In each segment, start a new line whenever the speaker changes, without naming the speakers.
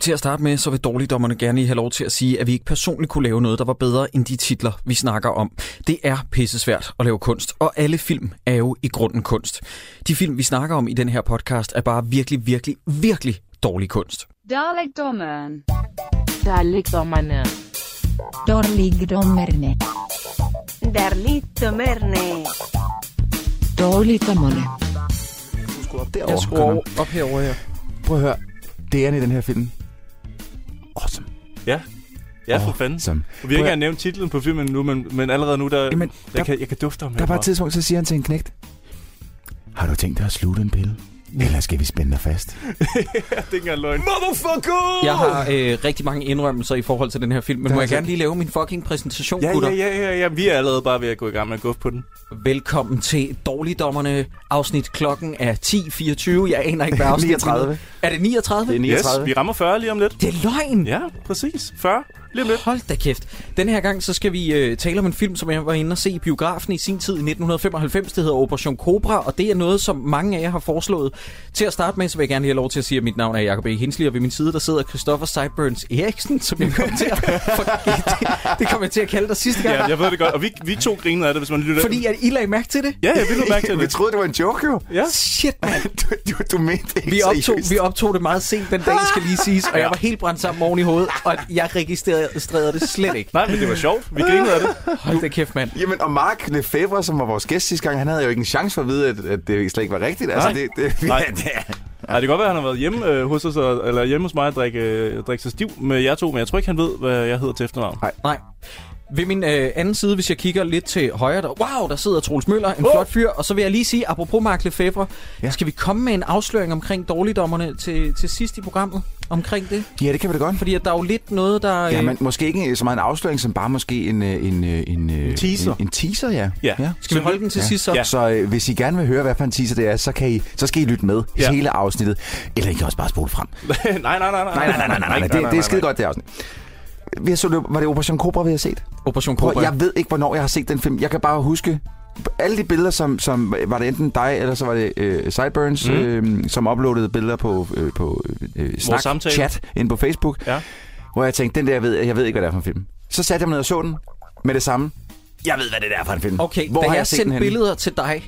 Til at starte med, så vil dårligdommerne gerne lige have lov til at sige, at vi ikke personligt kunne lave noget, der var bedre end de titler, vi snakker om. Det er pissesvært at lave kunst, og alle film er jo i grunden kunst. De film, vi snakker om i den her podcast, er bare virkelig, virkelig, virkelig dårlig kunst.
Dårligdommeren.
Der ligger dommerne.
Dårligdommerne.
Darligdommerne.
Dårligdommerne.
Du skruer op derovre.
Jeg skruer op herover her.
Prøv at høre. Det er i den her film. Awesome.
Ja. Ja, for fanden.
Awesome.
Vi har ikke engang nævnt titlen på filmen nu, men, men allerede nu, der, Jamen,
Jamen,
der,
der-
jeg, kan, jeg kan dufte ham
Der er bare
herfra.
et tidspunkt, så siger han til en knægt. Har du tænkt dig at slutte en pille? Eller skal vi spænde dig fast?
Ja, det er ikke engang løgn.
Jeg har øh, rigtig mange indrømmelser i forhold til den her film, men
Der
må
er
jeg
så-
gerne lige lave min fucking præsentation,
Ja,
gutter?
ja, ja, ja, ja, vi er allerede bare ved at gå i gang med at guffe på den.
Velkommen til Dårligdommerne. Afsnit klokken er 10.24. Jeg aner ikke, hvad afsnit
39.
er. Er det 39?
Det er
Yes,
39.
vi rammer 40 lige om lidt.
Det er løgn!
Ja, præcis. 40 lige om lidt.
Hold da kæft. Den her gang, så skal vi øh, tale om en film, som jeg var inde og se i biografen i sin tid i 1995. Det hedder Operation Cobra, og det er noget, som mange af jer har foreslået. Til at starte med, så vil jeg gerne lige have lov til at sige, at mit navn er Jacob E. Hensley, og ved min side, der sidder Christoffer Seiburns Eriksen, som jeg kom til at, for, det, det kom jeg til at kalde dig sidste gang.
Ja, jeg ved det godt. Og vi, vi to grinede af det, hvis man lytter.
Fordi at I lagde mærke til det?
Ja, jeg vil mærke til
vi
det.
troede, det var en joke, jo.
Ja.
Shit, mand.
Du, du, du mente det ikke
Vi optog,
seriøst.
vi optog det meget sent den dag, skal lige siges, og jeg var helt brændt sammen oven i hovedet, og jeg registrerede det slet ikke.
Nej, men det var sjovt. Vi grinede af det.
Hold da kæft, mand.
Jamen, og Mark Lefebvre, som var vores gæst sidste gang, han havde jo ikke en chance for at vide, at, at det slet ikke var rigtigt. Altså,
Nej.
Det, det,
Nej.
Ja, det er.
Nej, det kan godt være, at han har været hjemme, øh, hos, os, og- eller hjemme hos mig og drikke, øh, drikke sig stiv med jer to, men jeg tror ikke, han ved, hvad jeg hedder til efternavn.
Nej. Ved min øh, anden side, hvis jeg kigger lidt til højre, der, wow, der sidder Troels Møller, en oh. flot fyr. Og så vil jeg lige sige, apropos Mark Lefebvre, ja.
Ja.
skal vi komme med en afsløring omkring dårligdommerne til, til sidst i programmet? Omkring det?
ja, det kan vi da godt.
Fordi at der er jo lidt noget, der... Øh,
Ja, men måske ikke så meget en afsløring, som bare måske en, øh, en, øh, en, øh, en
teaser.
En, en teaser, ja.
Ja.
skal vi holde den til
Ja.
sidst så?
Ja.
Så øh, hvis I gerne vil høre, hvad for en teaser det er, så, kan I, så skal I lytte med
Ja.
ja. hele afsnittet. Eller I kan også bare spole frem.
nej, nej, nej, nej.
Nej, nej, nej, nej, nej, nej. Det, det er skide godt, det afsnit. Vi så, løb- var det Operation Cobra, vi har set?
Operation
Prøv,
Cobra.
jeg ved ikke, hvornår jeg har set den film. Jeg kan bare huske alle de billeder, som, som var det enten dig, eller så var det øh, Sideburns,
Mm.
mm. øh, som uploadede billeder på, øh, på øh, snak,
samtale.
chat inde på Facebook,
Ja.
hvor jeg tænkte, den der, jeg ved, jeg ved ikke, hvad det er for en film. Så satte jeg mig ned og så den med det samme. Jeg ved, hvad det der er for en film.
Okay,
hvor
da
har
jeg,
jeg set den
sendte
henne?
billeder til dig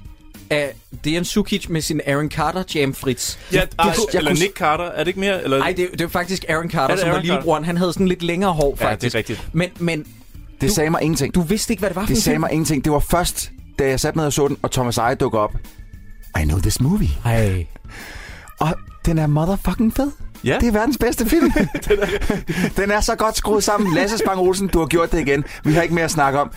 af Dejan Sukic med sin Aaron Carter jam Fritz.
Ja, ej,
kunne- jeg
eller
kunne-
Nick Carter, er det ikke mere? Eller...
Nej, det, det var faktisk Aaron Carter,
Er det
som var
Aaron Carter?
lillebroren. Han havde sådan lidt længere hår,
Ja, det er
faktisk.
rigtigt.
Men, men
Det
Du-
sagde mig ingenting.
du vidste ikke, hvad det var for
det
en
sagde
film.
mig ingenting. Det var først, da jeg satte mig ned og så den, og Thomas Eje dukker op. I know this movie.
Ej.
Og den er motherfucking fed.
Ja.
Det er verdens bedste film. den er så godt skruet sammen. Lasse Spang Olsen, du har gjort det igen. Vi har ikke mere at snakke om.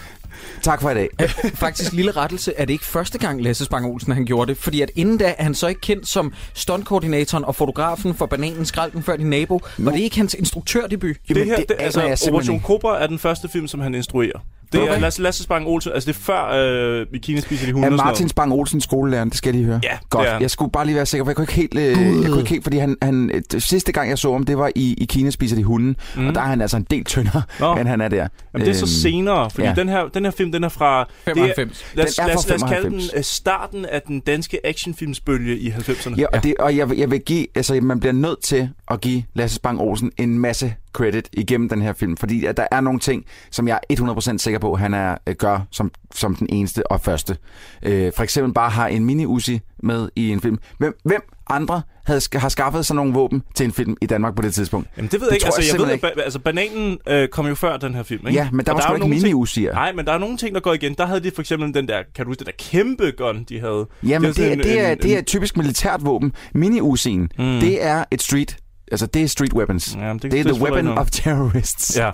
Tak for i dag.
Øh, faktisk lille rettelse, er det ikke første gang Lasse Spang Olsen han gjorde det, fordi at inden da er han så ikke kendt som stuntkoordinatoren og fotografen for Bananen Skrald den før din nabo, var det ikke hans instruktørdebut?
det her,
Jamen,
det, altså,
aner jeg simpelthen
Operation
ikke.
Cobra er den første film, som han instruerer. Det okay. er
Okay.
Lasse, Lasse Spang Olsen, altså det er før øh, Bikini spiser de hunde
Er
og sådan
Martin
noget.
Spang Olsen skolelæreren? Det skal jeg lige høre.
Ja, det
Godt.
er han.
Jeg skulle bare lige være sikker, for jeg kunne ikke helt... Øh, jeg kunne ikke helt fordi han, han, øh, sidste gang, jeg så ham, det var i, i Kina spiser de hunden. Mm. Og der er han altså en del tyndere,
Nå.
end han er der.
Jamen, det er så
Øhm,
senere, fordi ja.
ja.
den, her, den her film, den er fra... det er-
95.
Lad os,
Den er
lad,
fra
os, lad os kalde den
95.
øh, starten af den danske actionfilmsbølge i 90'erne.
Ja, og, ja. Det, og jeg, vil- jeg vil give, altså man bliver nødt til at give Lasse Spang Olsen en masse credit igennem den her film, fordi at der er nogle ting, som jeg er 100% sikker på, han er, øh, gør som, som den eneste og første. Øh, for eksempel bare har en mini-Uzi med i en film. Hvem, hvem andre havde, sk- har skaffet sådan nogle våben til en film i Danmark på det tidspunkt?
Jamen, det ved jeg ikke.
tror
Altså,
jeg
jeg, jeg ved,
simpelthen
at ba- altså, bananen øh, kom jo før den her film, ikke?
Ja, men der
Og
var sgu
er jo
da ikke
nogle ting-
mini-Uzi'er.
Nej, men der er nogle ting, der går igen. Der havde de for eksempel den der, kan du huske, den der kæmpe gun, de havde.
Jamen,
var
det, det,
sådan
er, det, er,
en-
det er et typisk militært våben. Mini-Uzi'en, mm.
Mm.
det er et street, altså det er street weapons.
en- Jamen, det,
Det er the
selvfølgelig
weapon
noget.
of terrorists.
Ja.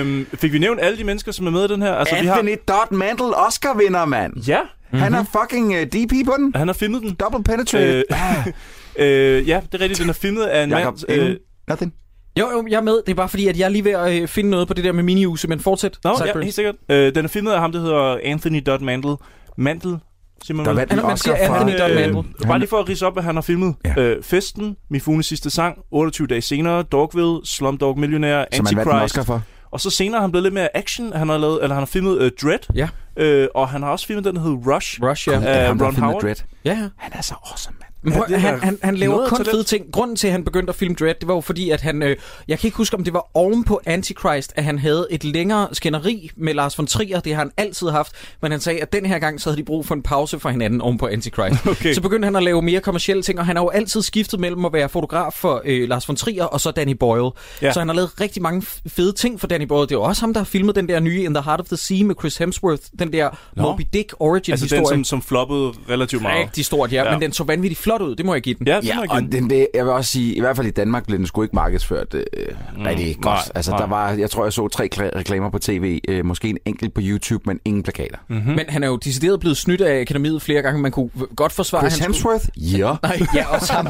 øhm, fik vi nævnt alle de mennesker, som er med i den her? Altså, vi har...
Anthony Dodd Mantle, Oscar-vinder, mand.
Ja,
Mm-hmm. Han er fucking uh, DP på den.
han har filmet den.
Double penetrated.
Øh,
Øh,
Ah.
øh, ja, det er rigtigt. Den er filmet af en
Jakob,
mand...
øh, nothing.
Jo, jo, jeg er med. Det er bare fordi, at jeg er lige ved at øh, finde noget på det der med miniuse, men fortsæt.
Nå, ja,
Sideburns.
helt sikkert. Øh, den er filmet af ham, der hedder Anthony Dodd Mandel. Mandel, siger man
Der
vel?
vandt en
Eller man
Oscar
siger
for...
Anthony Dodd
øh,
Mandel.
Bare lige for at rise op, hvad han har filmet. Ja.
Ja.
Øh, Festen, Mifunes sidste sang, 28 dage senere, Dogville, Slumdog Millionaire,
Som han vandt en Oscar
Antichrist.
for.
Og så senere er han blevet lidt mere action. Han har, lavet, eller han har filmet uh, Dread,
Ja.
øh, og han har også filmet den, der hedder Rush.
Rush, ja.
Ja, ham, der
Ron
filmede
Howard.
Dread.
Ja,
Han er så awesome, mand.
Men
Ja,
prøv,
det er
han,
da
han, han laver
noget
kun
talent.
fede ting. Grunden til, at han begyndte at filme Dread, det var jo fordi, at han... Øh, jeg kan ikke huske, om det var oven på Antichrist, at han havde et længere skænderi med Lars von Trier. Det har han altid haft. Men han sagde, at den her gang, så havde de brug for en pause fra hinanden oven på Antichrist.
Okay.
Så begyndte han at lave mere kommersielle ting, og han har jo altid skiftet mellem at være fotograf for øh, Lars von Trier og så Danny Boyle.
Ja.
Ja. Så han har lavet rigtig mange f- fede ting for Danny Boyle. Det er jo også ham, der har filmet den der nye In the Heart of the Sea med Chris Hemsworth. Den der
Nå.
Moby Dick origin
Altså
historie
den, som, som floppede relativt meget.
Rigtig stort, ja,
Ja.
ja. Men den så vanvittigt flot ud, det må jeg give den.
Ja,
Ja,
ja
og den, det, jeg vil også sige, i hvert fald i Danmark blev den sgu ikke markedsført øh, mm, rigtig godt.
nej,
altså,
nej.
der var, jeg tror, jeg så tre kla- reklamer på tv, øh, måske en enkelt på YouTube, men ingen plakater. Mm.
Men han er jo decideret blevet snydt af akademiet flere gange. Man kunne v- godt forsvare,
Chris
at han
Hemsworth? Ja.
skulle... Nej, ja, også ham.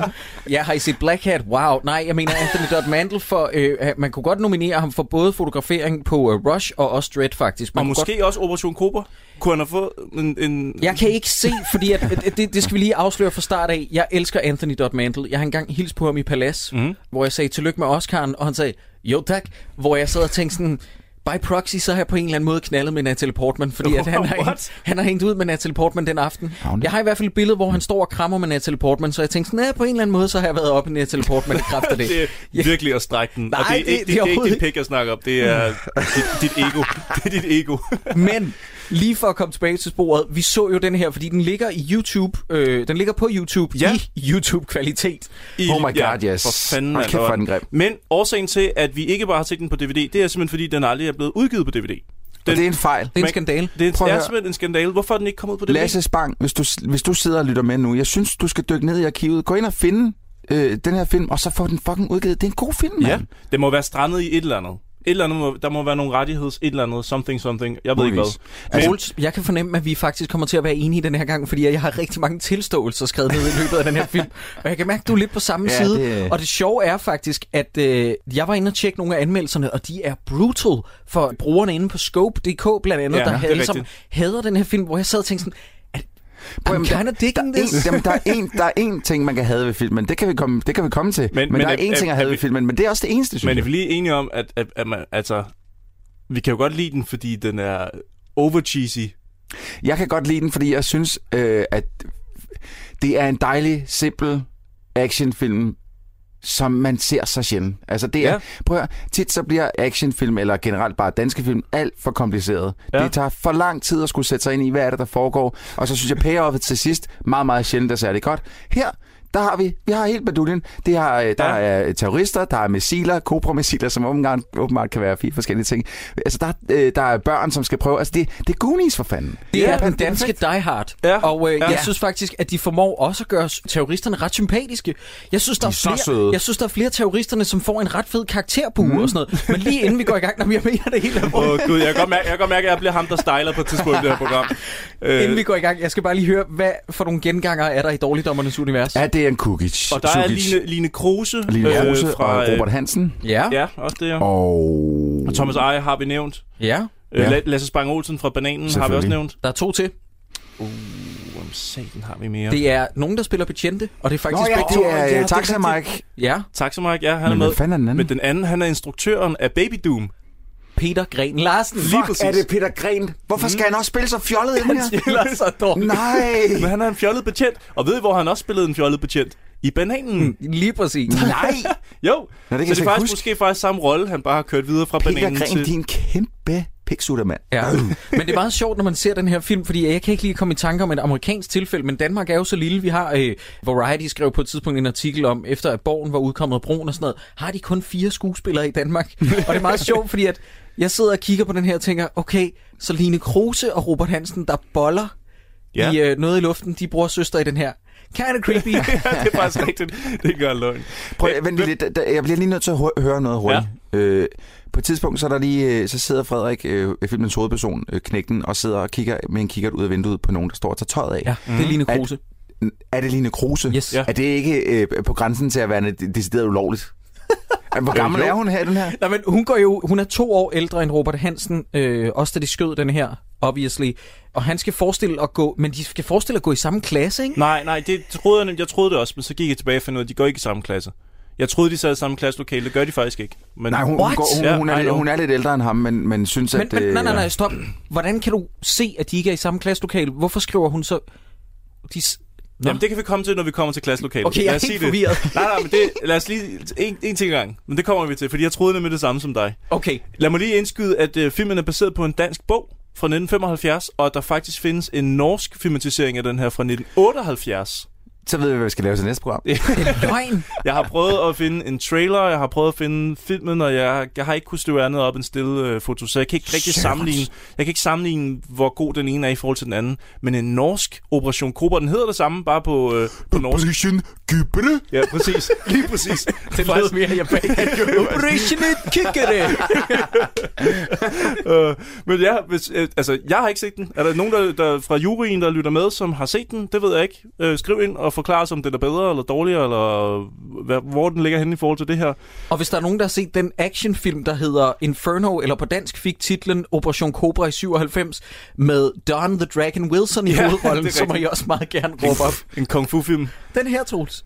Ja, har I set Black Hat? Wow. Nej, jeg mener Anthony Dodd Mandel for... Øh, man kunne godt nominere ham for både fotografering på øh, Rush og også Dread, faktisk. Man
Og
kunne
måske godt... også Operation Cobra. Kunne han have fået en... en
Jeg kan ikke se, fordi at, at- det, det skal vi lige afsløre fra start af. Jeg elsker Anthony Dodd Mandel. Jeg har engang hilst på ham i Palace,
Mhm.
mm. hvor jeg sagde tillykke med Oscar'en, og han sagde, jo tak, hvor jeg sad og tænkte sådan, by proxy, så har jeg på en eller anden måde knaldet med Natalie Portman, fordi at han, har
What?
hængt, han har hængt ud med Natalie Portman den aften.
Har hun det?
Jeg har i hvert fald et billede, hvor han står og krammer med Natalie Portman, så jeg tænkte sådan, "Næh, på en eller anden måde, så har jeg været oppe i Natalie Portman i kraft af det.
Det er virkelig at strække den.
Nej,
og det er,
det-
ikke, det,
det er
det er ikke
overhovedet
dit pik, jeg snakker om. Det er
Mm.
dit, dit ego. Det er dit ego.
Men lige for at komme tilbage til sporet, vi så jo den her, fordi den ligger i YouTube. Øh, den ligger på YouTube
Ja.
ja. i YouTube-kvalitet.
I-
Oh my god, yes.
For fanden,
Hold
mand,
kæft, hvor er den
var-
grim.
Men årsagen til, at vi ikke bare har set den på DVD, det er simpelthen, fordi den aldrig er blevet udgivet på DVD.
Og det er en fejl.
Det er en
Men-
skandale.
Det er
Prøv at høre.
simpelthen en skandale. Hvorfor er den ikke kommet ud på DVD?
Lasse Spang, hvis du, hvis du sidder og lytter med nu, jeg synes, du skal dykke ned i arkivet. Gå ind og finde øh, den her film, og så få den fucking udgivet. Det er en god film,
Ja,
mand.
det må være strandet i et eller andet. Et eller andet må, der må være nogle rettigheds, et eller andet, something, something. Jeg ved ikke hvad.
Muligvis. Altså-
Troels, jeg kan fornemme, at vi faktisk kommer til at være enige den her gang, fordi jeg har rigtig mange tilståelser skrevet ned i løbet af den her film. Og jeg kan mærke, at du er lidt på samme
Ja,
ja, side.
det-
Det... Og det sjove er faktisk, at øh, jeg var inde og tjekke nogle af anmeldelserne, og de er brutal for brugerne inde på Scope.dk blandt andet,
Ja,
ja, der
det er
havde, som
rigtigt.
hader den her film, hvor jeg sad og tænkte sådan, at, I'm
Jamen, der-
kinda digging
der, er
this.
en, jamen, der, er en, der er en ting, man kan have ved filmen. Det kan vi komme, det kan vi komme til. Men, men, men der er en ting at
er
have
vi-
ved filmen, men det er også det eneste, synes
Men
jeg.
er vi lige enige om, at, at, at man, altså, vi kan jo godt lide den, fordi den er over cheesy.
Jeg kan godt lide den, fordi jeg synes, øh, at det er en dejlig, simpel actionfilm, som man ser så sjældent. Altså det er,
Ja.
ja. prøv at høre, tit så bliver actionfilm, eller generelt bare danske film, alt for kompliceret.
Ja.
Ja. Det tager for lang tid at skulle sætte sig ind i, hvad er det, der foregår. Og så synes jeg, payoffet til sidst, meget, meget sjældent er særlig godt. Her, der har vi, vi har helt baduljen. Det har, øh, der
Ja.
ja. er terrorister, der er missiler, kobra-missiler, som åbenbart, åbenbart kan være fire forskellige ting. Altså der, er, øh, der er børn, som skal prøve. Altså det, det er Goonies for fanden.
Det
Ja,
er den
perfekt.
danske Die Hard.
Ja,
Og øh,
ja.
jeg synes faktisk, at de formår også at gøre s- terroristerne ret sympatiske. Jeg synes, der er,
så
flere,
søde.
jeg synes, der er flere af terroristerne, som får en ret fed karakterbue mm. og sådan noget. Men lige inden vi går i gang, når jeg mener det hele
Åh oh, gud, jeg kan, godt mærke, jeg kan godt mærke, at jeg bliver ham, der styler på et tidspunkt i det her program. Øh,
Inden vi går i gang, jeg skal bare lige høre, hvad for nogle genganger er der i Dårligdommernes Univers?
Ja, det er en Kukic.
Øh, og der er
Sukic.
Line, Line Kruse.
Line Rose øh,
fra,
og
øh,
Robert Hansen.
Ja.
Ja, også det, ja.
Og...
Og Thomas Eje har vi nævnt.
ja.
Øh,
Ja.
La- Lasse Spang Olsen fra Bananen har vi også
Selvfølgelig.
nævnt.
Der er to til.
Om satan har vi mere. Det...
Det er nogen, der spiller betjente, og det er
Nå
faktisk
ja,
begge
det
to.
er
ja, det
ja,
er
Taxa
rigtigt.
Mike.
Ja,
Tak så meget. Ja, han er
Men
med.
hvad fanden er den anden?
Men den anden, han er instruktøren af Baby Doom.
Peter Gren Larsen.
Lige præcis.
Er det Peter Gren? Hvorfor skal han også spille så fjollet ind her?
Ellers så dårligt.
Nej.
Men han er en fjollet betjent. Og ved I, hvor han også spillede en fjollet betjent? I Bananen. Mm.
Lige præcis.
Nej.
Jo.
Nå, det kan jeg slet
så det er
ikke
faktisk
huske.
måske faktisk samme rolle, han bare har kørt videre fra
Peter
Bananen
Gren,
til...
din kæmpe piksuttermand.
Ja, men det er meget sjovt, når man ser den her film, fordi jeg kan ikke lige komme i tanke om et amerikansk tilfælde, men Danmark er jo så lille. Vi har, øh, Variety skrev på et tidspunkt en artikel om, efter at Borgen var udkommet af Broen og sådan noget, har de kun fire skuespillere i Danmark? og det er meget sjovt, fordi at jeg sidder og kigger på den her og tænker, okay, så Line Kruse og Robert Hansen, der boller
Ja.
ja. i øh, noget i luften, de bruger søster i den her. Kinda creepy.
ja, det er faktisk rigtigt. Det gør løgn.
Prøv, vent lige lidt. Der- Jeg bliver lige nødt til at hø- høre noget hurtigt. Ja. Øh, på et tidspunkt, så, er der lige, øh, så sidder Frederik, øh, filmens hovedperson, øh, knægten, og sidder og kigger med en kikkert ud af vinduet på nogen, der står og tager tøjet af.
Ja, det er Line Kruse.
Er det Line Kruse?
Yes.
Ja.
Er det ikke øh, på grænsen til at være noget decideret ulovligt? Hvor gammel
jo.
er hun her, i den her?
Nej, men hun, går jo, hun er to år ældre end Robert Hansen, øh, også da de skød den her, obviously. Og han skal forestille at gå, men de skal forestille at gå i samme klasse, ikke?
Nej, nej, det troede jeg, nem- jeg troede det også, men så gik jeg tilbage og fandt ud af, at de går ikke i samme klasse. Jeg troede, de sad i samme klasselokale. Det gør de faktisk ikke. Men
Nej, hun, hun,
What?
går, hun,
Ja,
yeah, hun,
I
er, lidt-
know.
hun er lidt ældre end ham, men, men synes,
Men,
at...
men
øh,
nej, nej, nej,
ja.
stop. Hvordan kan du se, at de ikke er i samme klasselokale? Hvorfor skriver hun så... De, s-
Nå. Jamen, det kan vi komme til, når vi kommer til klasselokalet.
Okay, jeg er helt forvirret.
Det. Nej, nej, men det, lad os lige... En, en ting gang. Men det kommer vi til, fordi jeg troede nemlig det samme som dig.
Okay,
Lad mig lige indskyde, at øh, filmen er baseret på en dansk bog fra 1975, og at der faktisk findes en norsk filmatisering af den her fra 1978.
Så ved vi, hvad vi skal lave til næste program.
det er løgn.
Jeg har prøvet at finde en trailer, jeg har prøvet at finde filmen, og jeg, jeg har ikke kunnet støve andet op end stille øh, foto, så jeg kan ikke rigtig
Shit.
sammenligne, jeg kan ikke sammenligne, hvor god den ene er i forhold til den anden. Men en norsk Operation Cobra, den hedder det samme, bare på, øh, på norsk.
Operation Gybre.
Ja, præcis. Lige præcis.
Det lød mere japansk. Operation Kikkere.
Øh, men ja, hvis, øh, altså, jeg har ikke set den. Er der nogen der, der fra juryen, der lytter med, som har set den? Det ved jeg ikke. Øh, skriv ind og forklar os, om den er bedre eller dårligere, eller hvad, hvor den ligger henne i forhold til det her.
Og hvis der er nogen, der har set den actionfilm, der hedder Inferno, eller på dansk fik titlen Operation Cobra i 97, med Don the Dragon Wilson i
Ja,
ja,
det
hovedrollen,
er
så må
rigtigt.
I også meget gerne råbe op.
En kung fu-film.
Den her, Troels.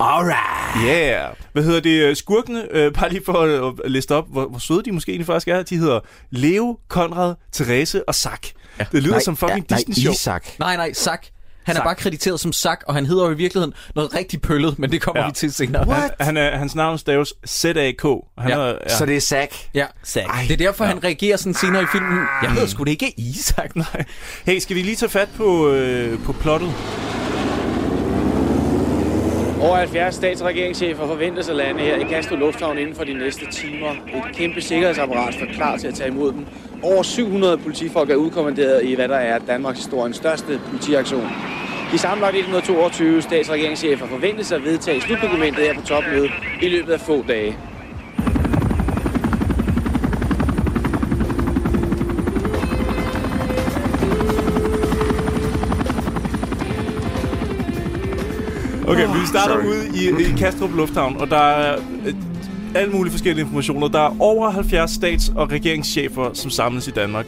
Alright.
Yeah. Hvad hedder det? øh, Skurkene, øh, bare lige for at, at liste op, hvor, hvor søde de måske egentlig faktisk er. De hedder Leo, Konrad, Therese og Zack. Ja. Det lyder nej, som fucking ja, Disney-show.
Nej, Isak.
Nej, nej, Zack. Han er
Zack.
bare krediteret som Zack, og han hedder jo i virkeligheden noget rigtig pøllet, men det kommer
Ja.
ja. vi til senere.
Han, han er, hans navn staves Z-A-K. og Han
Ja.
er,
Ja. Så det er Zack.
Ja,
Zack.
det er derfor, han reagerer sådan senere i filmen. Jeg hedder sgu da ikke Isak. Nej.
Hey, skal vi lige tage fat på, øh, på plottet?
Over 70 stats- og regeringschefer forventes at lande her i Kastrup Lufthavn inden for de næste timer. Et kæmpe sikkerhedsapparat står klar til at tage imod dem. Over 700 politifolk er udkommanderet i, hvad der er Danmarks historiens største politiaktion. De sammenlagt 122 stats- og regeringschefer forventes at vedtage slutdokumentet her på topmødet i løbet af få dage.
Okay, vi starter
sorry.
ude i, i Kastrup Lufthavn, og der er øh, alle mulige forskellige informationer. Der er over 70 stats- og regeringschefer, som samles i Danmark.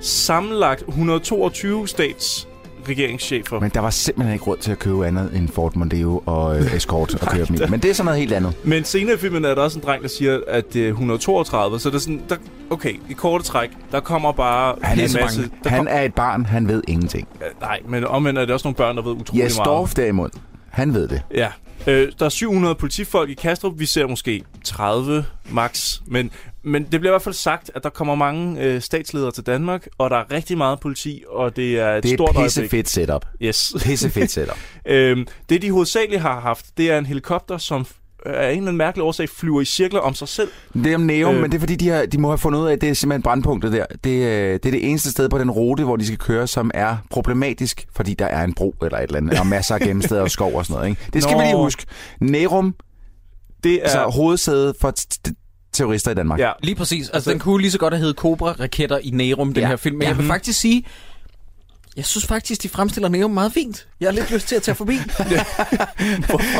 Sammenlagt 122 stats regeringschefer.
Men der var simpelthen ikke råd til at købe andet end Ford Mondeo og øh, Escort og køre dem i. Men det er sådan noget helt andet.
Men senere i filmen er der også en dreng, der siger, at det er 132, så det er sådan, der, okay, i korte træk, der kommer bare
Han er
en
så
masse...
mange.
Der
Han
kom,
er et barn, han ved ingenting.
nej, men omvendt er det også nogle børn, der ved utrolig
Jes
meget.
Dorf derimod, han ved det.
Ja. Øh, der er 700 politifolk i Kastrup. Vi ser måske 30 max. Men, men det bliver i hvert fald sagt, at der kommer mange øh, statsledere til Danmark, og der er rigtig meget politi, og det er et
Det er
stort
et
øjeblik.
pissefedt setup.
Yes.
Pissefedt setup.
Øhm, det, de hovedsageligt har haft, det er en helikopter, som f- af en eller anden mærkelig årsag flyver i cirkler om sig selv.
Det er om Neo,
Øh.
øh. men det er fordi, de, har, de må have fundet ud af, at det er simpelthen brandpunktet der. Det, øh, det er det eneste sted på den rute, hvor de skal køre, som er problematisk, fordi der er en bro eller et eller andet, og masser af gennemsteder og skov og sådan noget. Ikke? Det skal
Nå.
Nå. vi lige huske. Nærum,
Det er...
ja. altså hovedsædet for t- t- terrorister i Danmark.
ja.
Lige præcis. Altså,
Altså-
altså, den kunne lige så godt have heddet Cobra-raketter i Nærum, den
Ja.
her film. Men jeg vil faktisk sige, jeg synes faktisk, de fremstiller Nærum meget fint. Jeg har lidt lyst til at tage forbi.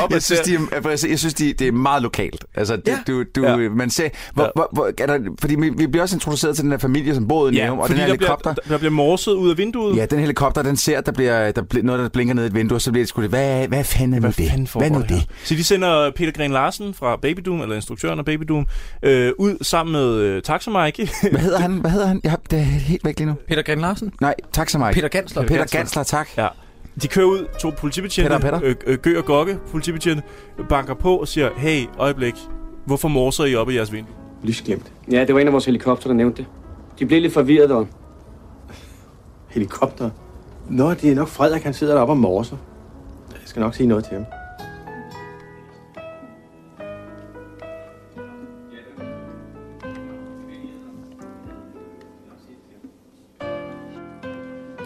Op
Jeg synes, de, er- altså, jeg synes de, det er meget lokalt. Altså, det,
Ja.
du, du,
Ja.
ja. man ser, hvor,
Ja.
ja. hvor, hvor, er der, fordi vi, vi bliver også introduceret til den der familie, som boede i
ja,
Nærum, og
fordi
den her
der, bliver,
helikopter.
der, der bliver morset ud af vinduet.
Ja, den helikopter, den ser, der bliver, der bliver noget, der blinker ned i et vindue, og så bliver det sgu det. Hvad, hvad fanden er nu det? hvad er nu
foregår der
det?
her? Så de sender Peter Gren Larsen fra Baby Doom, eller instruktøren af Baby Doom, øh, ud sammen med øh, Taxa Mike.
Hvad hedder han? Hvad hedder han? Jeg har, det er helt væk lige nu.
Peter Gren Larsen?
Nej, tak så meget.
Peter Gansler?
Peter Gansler, tak.
ja. De kører ud, to politibetjente,
Peter og
Øh, øh, Gø og Gokke, politibetjente, banker på og siger, hey, øjeblik, hvorfor morser I op i jeres vindue?
Lysglemt.
Ja, det var en af vores helikopter, der nævnte det. De blev lidt forvirret og
Helikopter. Nå, det er nok Frederik, han sidder deroppe og morser. Jeg skal nok sige noget til ham.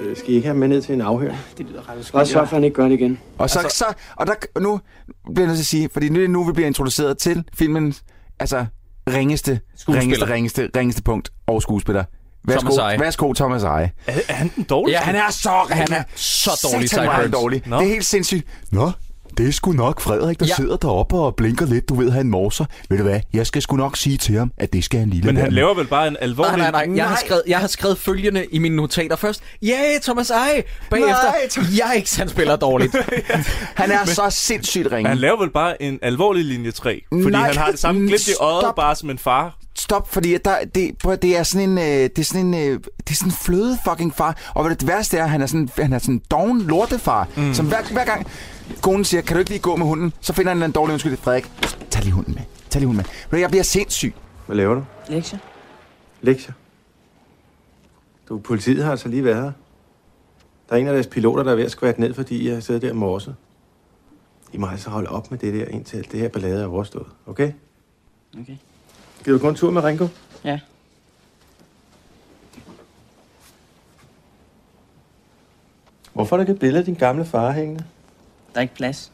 Øh, Skal I ikke have ham med ned til en afhøring?
det lyder ret Bare sørg for, at han ikke gør det igen.
Og, så, altså, så, og der, og nu bliver jeg nødt til at sige, fordi nu, det er nu vi bliver introduceret til filmens altså, ringeste, ringeste, ringeste, ringeste punkt og skuespiller. Værsgo,
Thomas Eje.
værsgo Thomas Eje.
Er, er han den dårlige?
Ja,
Han er så, han er
så dårlig,
satan,
Cy
hvor er han
Burns.
dårlig.
Nå.
Det er helt sindssygt. Nå, det er sgu nok Frederik, der
Ja.
sidder deroppe og blinker lidt. Du ved, han morser. Ved du hvad, jeg skal sgu nok sige til ham, at det skal han lige lade
Men
være
han
med.
laver vel bare en
Nej,
alvorlig...
nej, nej. Jeg har,
Nej.
skrevet, jeg har skrevet følgende i mine notater først. Ja, yeah, Thomas Eje! Bagefter,
Nej, Thomas-
jeg er ikke, han spiller dårligt.
Han er så sindssygt ringe.
Han laver vel bare en alvorlig linje 3, fordi
Nej.
han har det samme glimt i øjet,
Stop.
bare som en far.
stop, fordi at der, det, prøv, at- det er sådan en, øh, det er sådan en, øh, det er sådan en fløde fucking far. Og hvad det værste er, han er sådan, han er sådan en doven lortefar, mm. som hver, hver gang konen siger, kan du ikke lige gå med hunden, så finder han en eller anden dårlig undskyldning. Frederik, tag lige hunden med. Tag lige hunden med. Ved du, Jeg bliver sindssyg.
Hvad laver du?
Lektier?
Lektier. Du, politiet har altså lige været her. Der er en af deres piloter, der er ved at skvatte ned, fordi jeg sidder der og morse. I må altså holde op med det der, indtil alt det her ballade er overstået. Okay?
Okay.
Giver du kun en tur med Ringo?
Ja.
Hvorfor er der det billede af din gamle far hængende?
Der er ikke plads.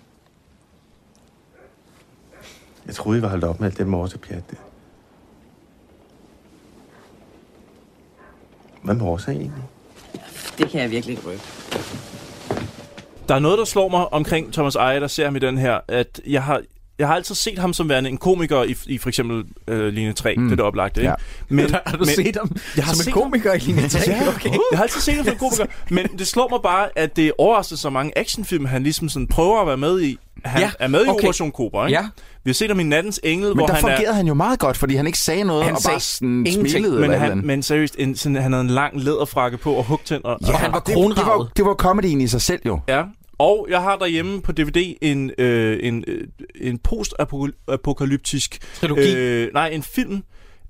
Jeg troede, I var holdt op med alt det morsepjat der. Hvad morser I egentlig?
Det kan jeg virkelig ikke rykke.
Der er noget, der slår mig omkring Thomas Eje, der ser ham i den her, at jeg har, jeg har altid set ham som værende en komiker i, i for eksempel øh, Line 3, mm. det er det oplagte, ikke?
Ja.
Men,
Har du set ham
Jeg har
som
set
en
ham.
komiker i linje 3? Okay.
Jeg har altid set ham som en komiker, men det slår mig bare, at det overrasker så mange actionfilm, han ligesom sådan prøver at være med i. Han
Ja,
ja, er med i
okay.
Operation Cobra, ikke?
Ja.
Vi har set ham i Nattens Engel,
Men
hvor
der
han er...
fungerede han jo meget godt, fordi han ikke sagde noget
Han
og
sagde
bare sådan
ingenting.
smilede
Men,
eller han,
han,
andet.
men seriøst, en, sådan, han havde en lang læderfrakke på og hugtænder.
Og han var
det, det, var,
kronravet.
det var comedyen i sig selv jo.
Ja, og jeg har derhjemme på DVD en, øh, en, øh, en post-apokalyptisk...
Trilogi.
Øh, nej, en film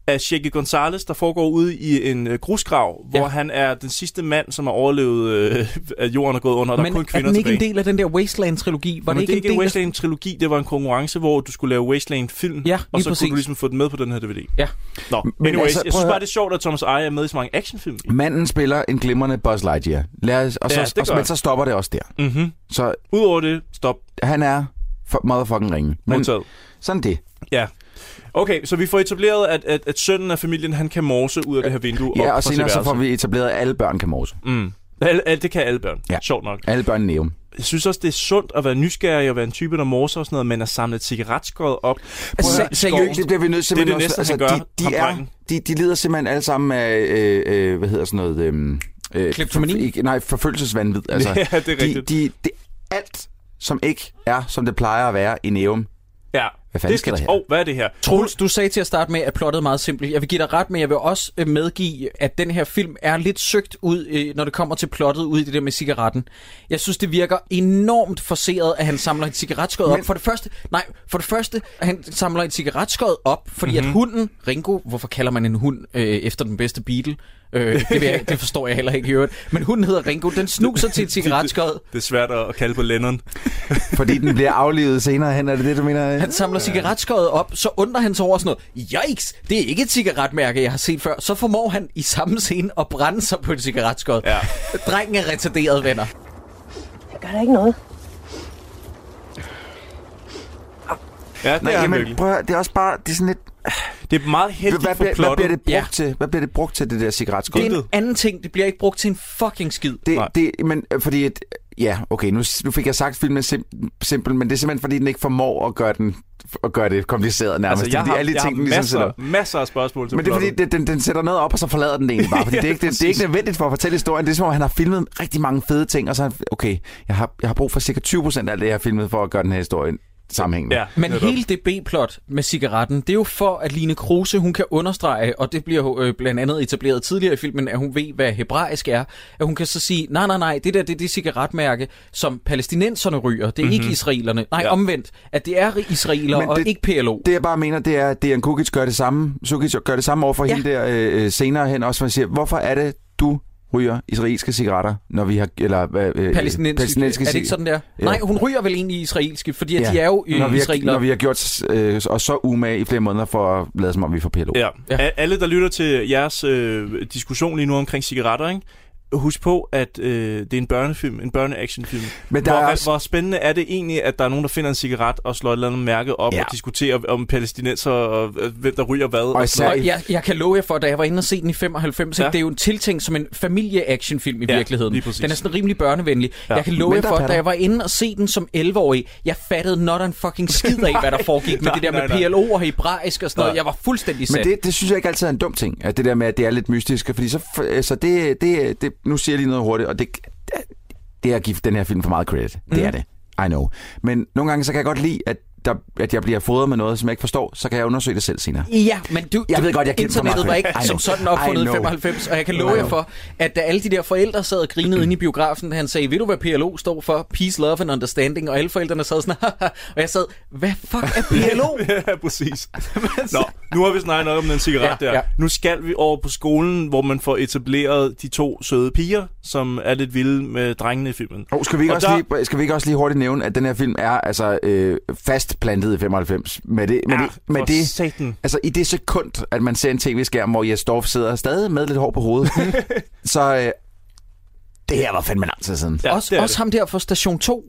af Shaggy Gonzalez, der foregår ude i en øh, grusgrav, hvor
Ja.
han er den sidste mand, som har overlevet, øh, at jorden er gået under, og der er
Men
kun
er
kvinder
den ikke
tilbage.
en del af den der Wasteland-trilogi? Var det
Men
ikke en del
en
af...
Wasteland-trilogi, det var en konkurrence, hvor du skulle lave Wasteland-film,
Ja,
og
lige
så
præcis.
kunne du ligesom få den med på den her DVD.
Ja.
Nå,
men
men anyways,
altså,
altså, jeg
prøv
synes
at
bare,
høre. Mm.
det er sjovt, at Thomas Eje er med i så mange actionfilm.
Manden spiller en glimrende Buzz Lightyear. Lad os, og så,
Ja,
ja,
det gør
men
han.
så stopper det også der.
Mm-hmm.
Så
Udover det, stop.
han er for motherfucking ringe. Men
Modtaget.
sådan det.
Ja. Okay, så vi får etableret, at, at, at sønnen af familien, han kan morse ud af det her vindue.
Ja,
op
og
fra
senere
sit
så får
værelse.
vi etableret, at alle børn kan morse.
Mm. Al, al, det kan alle børn.
Ja.
Ja. Sjovt nok.
Alle børn i Neum.
Jeg synes også, det er sundt at være nysgerrig og være en type, der morser og sådan noget, men at samle et cigaretskod op.
Altså,
Prøv at
se-
høre, i skoven.
seriøst,
Det bliver vi nødt til.
Det er det næste, han gør,
de, de,
ham
er,
drengen.
de, de lider simpelthen alle sammen af, øh, øh, hvad hedder sådan noget... Øh, øh,
Kleptomani?
for- ikke- Nej, forfølgelsesvanvid. Altså,
Ja, det er
de,
rigtigt.
de, de, alt, som ikke er, som det plejer at være i Neum.
Ja.
Hvad fanden
det
sker
skal,
der her?
Åh, hvad er det her?
Troels, du sagde til at starte med, at plottet er meget simpelt. Jeg vil give dig ret, men jeg vil også øh, medgive, at den her film er lidt søgt ud, øh, når det kommer til plottet ud i det der med cigaretten. Jeg synes, det virker enormt forseret, at han samler et cigaretskod op. For det første, nej, for det første, at han samler et cigaretskod op, fordi
Mhm.
mm-hmm. at hunden, Ringo, hvorfor kalder man en hund øh, efter den bedste Beatle? Øh, det, vil jeg, ikke- det forstår jeg heller ikke i øvrigt. Men hunden hedder Ringo, den snuser til et cigaretskod.
Det er svært at at kalde på Lennon.
Fordi den bliver aflevet senere hen, er det det, du mener? øh?
Han samler cigaretskøjet op, så undrer han sig over sådan noget. Yikes, det er ikke et cigaretmærke, jeg har set før. Så formår han i samme scene at brænde sig på et cigaretskøjet.
Ja.
Drengen er retarderet, venner.
Det gør der ikke noget.
Ja, det
Nej,
er han
jamen,
virkelig.
prøv at, høre, det er også bare, det er sådan lidt,
Det er meget
hvad,
heldigt
hvad,
for
bliver, hvad
plottet. Altså,
bliver det brugt
Ja.
til? Hvad bliver det brugt til, det der cigaretskål?
Det er
Intet.
en anden ting, det bliver ikke brugt til en fucking skid.
Det,
Nej.
det, men øh, fordi, at, ja, okay, nu, s- nu fik jeg sagt filmen er sim, simpel, men det er simpelthen, fordi den ikke formår at gøre, den, at gøre det kompliceret nærmest.
Altså, jeg
fordi
har,
alle de
jeg
ting,
har
den ligesom sætter.
masser, masser af spørgsmål til
Men det er fordi,
plottet.
det, den, den sætter noget op, og så forlader den det egentlig bare. Fordi det, er ikke, det, det er ikke nødvendigt for at fortælle historien. Det er som om, han har filmet rigtig mange fede ting, og så er han, okay, jeg har, jeg har brug for cirka 20% af alt det, jeg har filmet, for at gøre den her historie sammenhængende.
Ja,
Men
netop.
hele det B-plot med cigaretten, det er jo for, at Line Kruse, hun kan understrege, og det bliver jo øh, blandt andet etableret tidligere i filmen, at hun ved, hvad hebraisk er, at hun kan så sige, nej, nej, nej, det der, det er det cigaretmærke, som palæstinenserne ryger, det er mm-hmm. ikke israelerne. Nej,
Ja.
ja. omvendt, at det er israeler
Men
og
det-
ikke PLO.
Det jeg bare mener, det er, at Dejan Kukic gør det samme. Sukic gør det samme over for ja.
Ja.
hende der øh, øh, senere hen også, hvor han siger, hvorfor er det, du ryger israelske cigaretter, når vi har... Eller, hvad, øh,
palæstinensiske. palæstinensiske. Er det ikke sådan der?
Ja.
Ja. Nej, hun ryger vel egentlig israelske, fordi ja. de er jo
når
øh,
vi har,
israelere.
når vi har gjort øh, os så umage i flere måneder for at lade som om, vi får PLO.
Ja.
Ja.
ja. Alle, der lytter til jeres øh, diskussion lige nu omkring cigaretter, ikke? husk på, at øh, det er en børnefilm, en børneactionfilm.
Men der
hvor,
er
hvad-
også-
hvor spændende er det egentlig, at der er nogen, der finder en cigaret og slår et eller andet mærke op
Ja.
ja. og diskuterer om palæstinenser og øh, hvem der ryger hvad.
Og
Og sådan
især
noget.
Og jeg, jeg kan love jer for, da jeg var inde og se den i 95, ja.
Ja.
det er jo en tiltænkt som en familie-actionfilm i
Ja,
virkeligheden.
lige præcis.
Den er sådan rimelig børnevenlig.
Ja.
Ja. Jeg kan love
Men
jer
der
for,
er patter.
da jeg var inde og se den som 11-årig, jeg fattede not en fucking skid af, hvad der foregik med
nej,
det der
nej, nej.
med PLO og hebraisk og sådan
Nej.
noget. Jeg var fuldstændig
Men
sat.
det, det synes jeg ikke altid er en dum ting, at det der med, at det er lidt mystisk. Fordi så, f- altså det, det, det, nu siger jeg lige noget hurtigt, og det, Mm. det er at give den her film for meget credit. Det er det. I know. Men nogle gange, så kan jeg godt lide, at der, at jeg bliver fodret med noget, som jeg ikke forstår, så kan jeg undersøge det selv senere.
Ja, men du,
Jeg
du-
ved godt, jeg kendte for meget
internettet var
på
ikke
det. I
som
know.
sådan opfundet
I
i
know.
95, og jeg kan love
I
jer
know.
for, at da alle de der forældre sad og
Mm.
grinede inde i biografen, da han sagde, ved du hvad PLO står for? Peace, Love and Understanding, og alle forældrene sad sådan, "Haha." og jeg sad, hvad fuck er PLO?
ja, præcis. Nå, nu har vi snakket nok om den cigaret
Ja,
ja, der.
ja.
Ja. Nu skal vi over på skolen, hvor man får etableret de to søde piger, som er lidt vilde med drengene i filmen.
Oh, skal, vi ikke
Og
også
der-
lige, skal vi ikke også lige hurtigt nævne, at den her film er altså øh, fast plantet i 95? Med det, med det, med
for
det
satan.
Altså i det sekund, at man ser en tv-skærm, hvor Jes Dorf sidder stadig med lidt hår på hovedet, så øh, det her var fandme lang tid siden.
Ja,
også,
det er
også
det.
ham der fra Station 2.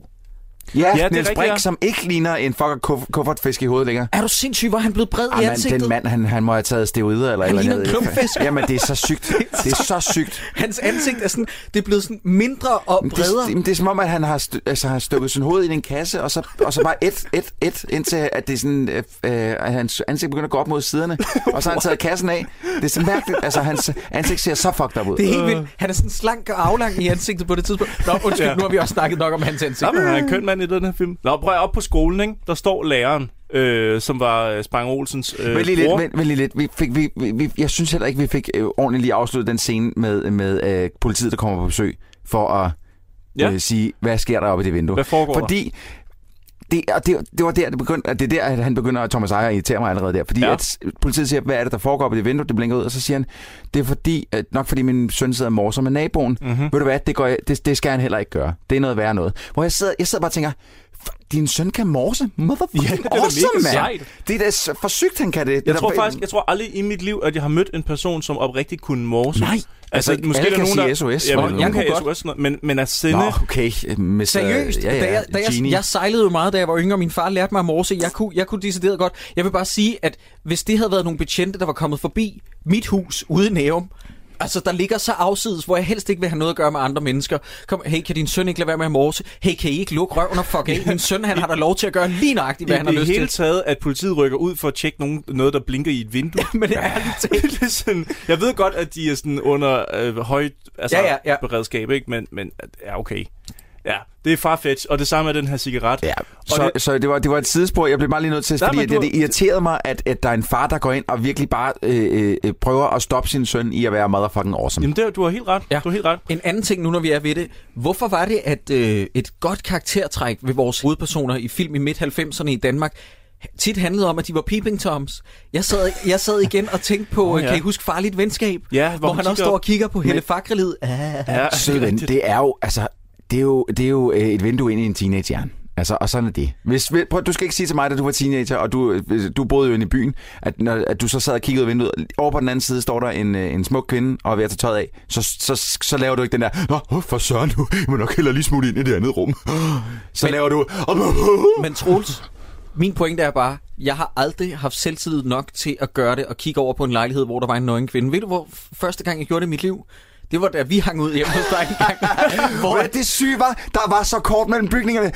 Ja,
det
ja
er
Niels
rigtigt,
Brink,
ja.
som ikke ligner en fucking kuff- kuffertfisk i hovedet længere.
Er du sindssyg, hvor er han blev bred i
Ej, man,
ansigtet?
den Ah, mand, han, han må have taget steroider eller
Han
et
ligner
eller andet.
en klumpfisk.
Jamen, det er så sygt. Det er så sygt.
Hans ansigt er sådan, det er blevet sådan mindre og
Men Det,
bredere.
det, det er som om, at han har, st- altså, har stukket sin hoved ind i en kasse, og så, og så bare et, et, et, indtil at, det er sådan, øh, øh, at hans ansigt begynder at gå op mod siderne, og så har han taget kassen af. Det er så mærkeligt. Altså, hans ansigt ser så fucked up ud.
Det er helt vildt. Han er sådan slank og aflang i ansigtet på det tidspunkt. Nå, undskyld, ja.
Ja.
nu har vi også snakket nok om hans ansigt.
Nå, men han er en køn mand i den her film. Nå, prøv at op på skolen, ikke? Der står læreren, øh, som var øh, Spang Olsens øh,
Men lige lidt,
bror.
men, men lige lidt. Vi fik, vi, vi, vi, jeg synes heller ikke, vi fik øh, ordentligt lige afsluttet den scene med, med øh, politiet, der kommer på besøg, for at
Ja.
ja. øh, sige, hvad sker der oppe i det vindue.
Hvad foregår der?
Fordi det, og det, det var der, det begyndte, at det er der, at han begynder, at Thomas Ejer irriterer mig allerede der. Fordi
Ja.
ja. at politiet siger, hvad er det, der foregår på det vindue? Det blinker ud, og så siger han, det er fordi, at nok fordi min søn sidder og morser med naboen.
Mhm.
Mm-hmm. Ved du hvad, det, går, jeg- det, det, skal han heller ikke gøre. Det er noget værre noget. Hvor jeg sidder, jeg sidder bare og tænker, "Fuck, din søn kan morse? Motherfucking
Ja,
ja,
det er da mega
awesome, mand!
sejt.
Det er da s- for sygt, han kan det. det
Jeg
er
tror
da,
faktisk, jeg tror aldrig i mit liv, at jeg har mødt en person, som oprigtigt kunne morse.
Nej. Altså,
Altså, altså måske
alle
er der
kan
nogen, der...
sige SOS,
Ja,
for
men,
helvede.
jeg kan
Jeg kunne
SOS, og sådan noget, men, men at sende...
Nå, okay. Mr.
Seriøst?
Ja, ja,
da jeg, da jeg,
Genie.
jeg sejlede jo meget, da jeg var yngre, og min far lærte mig at morse. Jeg kunne, jeg kunne decideret godt. Jeg vil bare sige, at hvis det havde været nogle betjente, der var kommet forbi mit hus ude i Nærum, Altså, der ligger så afsides, hvor jeg helst ikke vil have noget at gøre med andre mennesker. Kom, hey, kan din søn ikke lade være med at morse? Hey, kan I ikke lukke røven og fuck af? Min søn, han har da lov til at gøre lige nøjagtigt, hvad
I
han har
det
lyst
hele
til.
taget, at politiet rykker ud for at tjekke nogen, noget, der blinker i et vindue.
Men ærligt talt,
Det er sådan, jeg ved godt, at de er sådan under øh, højt altså,
Ja, ja, ja.
beredskab, ikke? Men, men ja, okay. Ja, det er farfetch, og det samme er den her cigaret.
Ja,
Og
så, det, så det, var, det var et sidespor. Jeg blev bare lige nødt til,
Nej,
fordi
men
at
du-
det, det irriterede mig, at, at der er en far, der går ind og virkelig bare øh, øh, prøver at stoppe sin søn i at være motherfucking awesome.
Mm. Jamen, det, du har helt ret.
Ja.
Ja. Du har helt ret.
En anden ting nu, når vi er ved det. Hvorfor var det, at øh, et godt karaktertræk ved vores hovedpersoner i film i midt-90'erne i Danmark tit handlede om, at de var peeping toms. Jeg sad, jeg sad igen og tænkte på, oh,
ja.
ja. kan I huske Farligt Venskab?
Ja,
hvor,
hvor
hvor
hun
han også
kigger
står
op.
og kigger på Helle Fakrelid. Ah.
Ja,
Sød ven,
rigtigt.
det er jo, altså, det er jo, det er jo øh, et vindue ind i en teenagehjerne. Altså, og sådan er det. Hvis, ved- prøv, du skal ikke sige til mig, da du var teenager, og du, øh, du boede jo inde i byen, at, når, at du så sad og kiggede ud af vinduet. Over på den anden side står der en, øh, en smuk kvinde, og er ved at tage tøjet af. Så, så, så, laver du ikke den der, Nå, åh, for søren, nu må nok hellere lige smutte ind i det andet rum. Så Men, laver du...
Men Troels, min pointe er bare, jeg har aldrig haft selvtillid nok til at gøre det og kigge over på en lejlighed, hvor der var en nøgen kvinde. Ved du, hvor f- første gang jeg gjorde det i mit liv? Det var da vi hang ud hjemme hos dig en gang.
Hvor
hvor
er det syge var, der var så kort mellem bygningerne.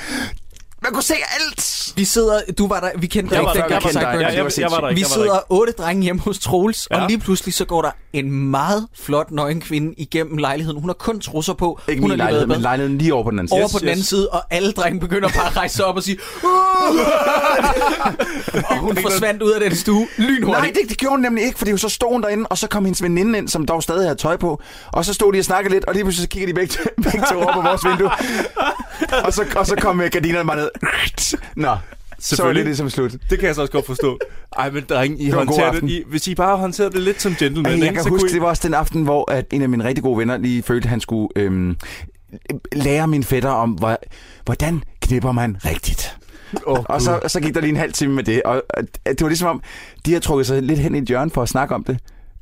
Man kunne se alt.
vi sidder, du var der, vi kendte dig
Jeg var
ikke
der, jeg
dengang,
var
Cyberpunk.
der, jeg, jeg, jeg, jeg var der ikke.
Vi
jeg var der
sidder otte drenge hjemme hos Troels, ja.
Ja.
og lige pludselig så går der en meget flot nøgen kvinde igennem lejligheden. Hun har kun trusser på.
Ikke
hun
min
har lige
lejlighed,
været i
men
bad.
lejligheden lige over på den anden side.
Over
Yes,
på den
yes.
anden side, og alle drenge begynder bare at rejse sig op og sige "Uh!" Og hun forsvandt ud af den stue lynhurtigt.
Nej, det, det gjorde hun nemlig ikke, fordi så stod hun derinde, og så kom hendes veninde ind, som dog stadig havde tøj på. Og så stod de og snakkede lidt, og lige pludselig så kigger de begge, begge to over på vores vindue. Og så, og så kom øh, gardinerne bare ned. Nå, så var det
Selvfølgelig.
ligesom slut.
Det kan jeg så også godt forstå. Ej, men drenge, I
var en god
håndterer
aften.
det. I, hvis I bare håndterede det lidt som gentleman,
Men
ikke,
jeg kan
så
huske,
kunne I-
det var også den aften, hvor at en af mine rigtig gode venner lige følte, at han skulle øhm, lære min fætter om, hvor, hvordan knipper man rigtigt. Oh, og så, så gik der lige en halv time med det, og og det var ligesom om, de har trukket sig lidt hen i et hjørne for at snakke om det,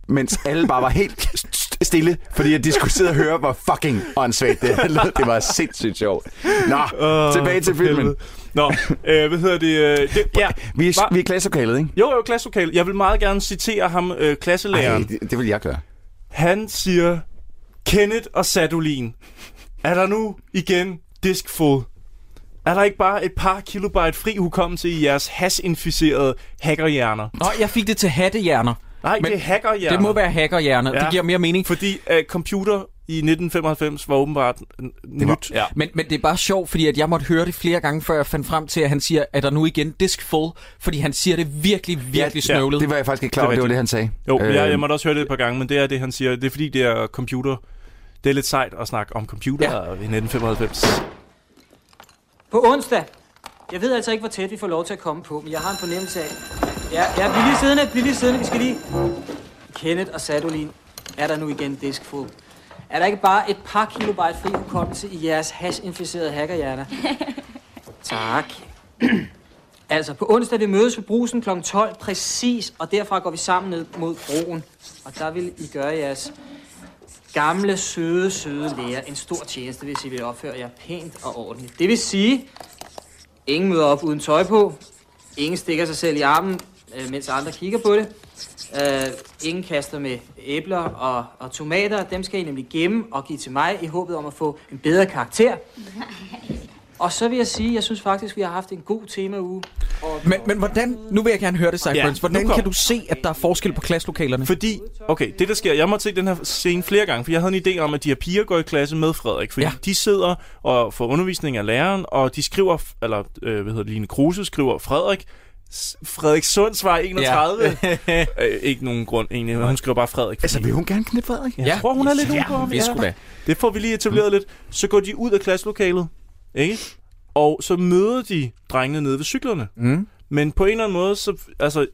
mens alle bare var helt st- st- stille, fordi at de skulle sidde og høre, hvor fucking åndssvagt det her lød. Det var sindssygt sjovt. Nå,
Åh,
uh, tilbage til
for
filmen.
helvede. Nå, øh, hvad hedder det? Øh, det ja.
Vi
Hva-
er, vi er i klasselokalet, ikke?
Jo, jo, klasselokalet. Jeg vil meget gerne citere ham, øh,
Ej,
klasselæreren.
det, det vil jeg gøre.
Han siger, Kenneth og Sadolin, er der nu igen diskfod? Er der ikke bare et par kilobyte fri hukommelse i jeres hasinficerede hackerhjerner?
Nå, jeg fik det til hattehjerner.
Nej,
Men
Men det er hackerhjerner.
Det må være hackerhjerner. Ja.
Ja.
Det giver mere mening.
Fordi uh, computer i 1995 var åbenbart n- nyt.
var-
ja.
Men, men det er bare sjovt, fordi at jeg måtte høre det flere gange, før jeg fandt frem til, at han siger, at der nu igen disk full, fordi han siger det virkelig, virkelig
ja,
snøvlet.
Det var jeg faktisk ikke klar
Det er
over, det var
rigtigt.
det, han sagde.
Jo, øh, jeg, jeg
Øhm,
måtte også høre det et par gange, men det er det, han siger. Det er fordi, det er computer. Det er lidt sejt at snakke om computer
Ja.
ja. i 1995.
På onsdag. Jeg ved altså ikke, hvor tæt vi får lov til at komme på, men jeg har en fornemmelse af... Ja, ja, bliv lige siddende, bliv lige siddende. Vi skal lige... Kenneth og Sadolin, er der nu igen diskfod? Er der ikke bare et par kilobyte fri hukommelse i jeres hash-inficerede hackerhjerner? tak. altså, på onsdag vi mødes ved brusen kl. 12 præcis, og derfra går vi sammen ned mod broen. Og der vil I gøre jeres Gamle, søde, søde lærer. En stor tjeneste, hvis I vil opføre jer pænt og ordentligt. Det vil sige, ingen møder op uden tøj på. Ingen stikker sig selv i armen, øh, mens andre kigger på det. Øh, ingen kaster med æbler og, og tomater. Dem skal I nemlig gemme og give til mig i håbet om at få en bedre karakter. Og så vil jeg sige, jeg synes faktisk, vi har haft en god temauge. Og
Men, men hvordan, nu vil jeg gerne høre det, Cyburns,
Ja,
ja, hvordan
nu kom-
kan du se, at der er forskel på klasselokalerne?
Fordi, okay, det der sker, jeg måtte se den her scene flere gange, for jeg havde en idé om, at de her piger går i klasse med Frederik, fordi
Ja.
ja. de sidder og får undervisning af læreren, og de skriver, f- eller øh, hvad hedder det, Line Kruse skriver, Frederik, S- Frederik Sundsvar 31. Ja. øh, ikke nogen grund egentlig, men hun skriver bare Frederik.
Altså, vil hun gerne knippe Frederik?
jeg tror, hun er lidt
ja,
udenom,
det
ja.
skulle da.
Det får vi lige etableret lidt. Så går de ud af klasselokalet, ikke? Og så møder de drengene nede ved cyklerne.
Mm.
Men på en eller anden måde, så... Altså,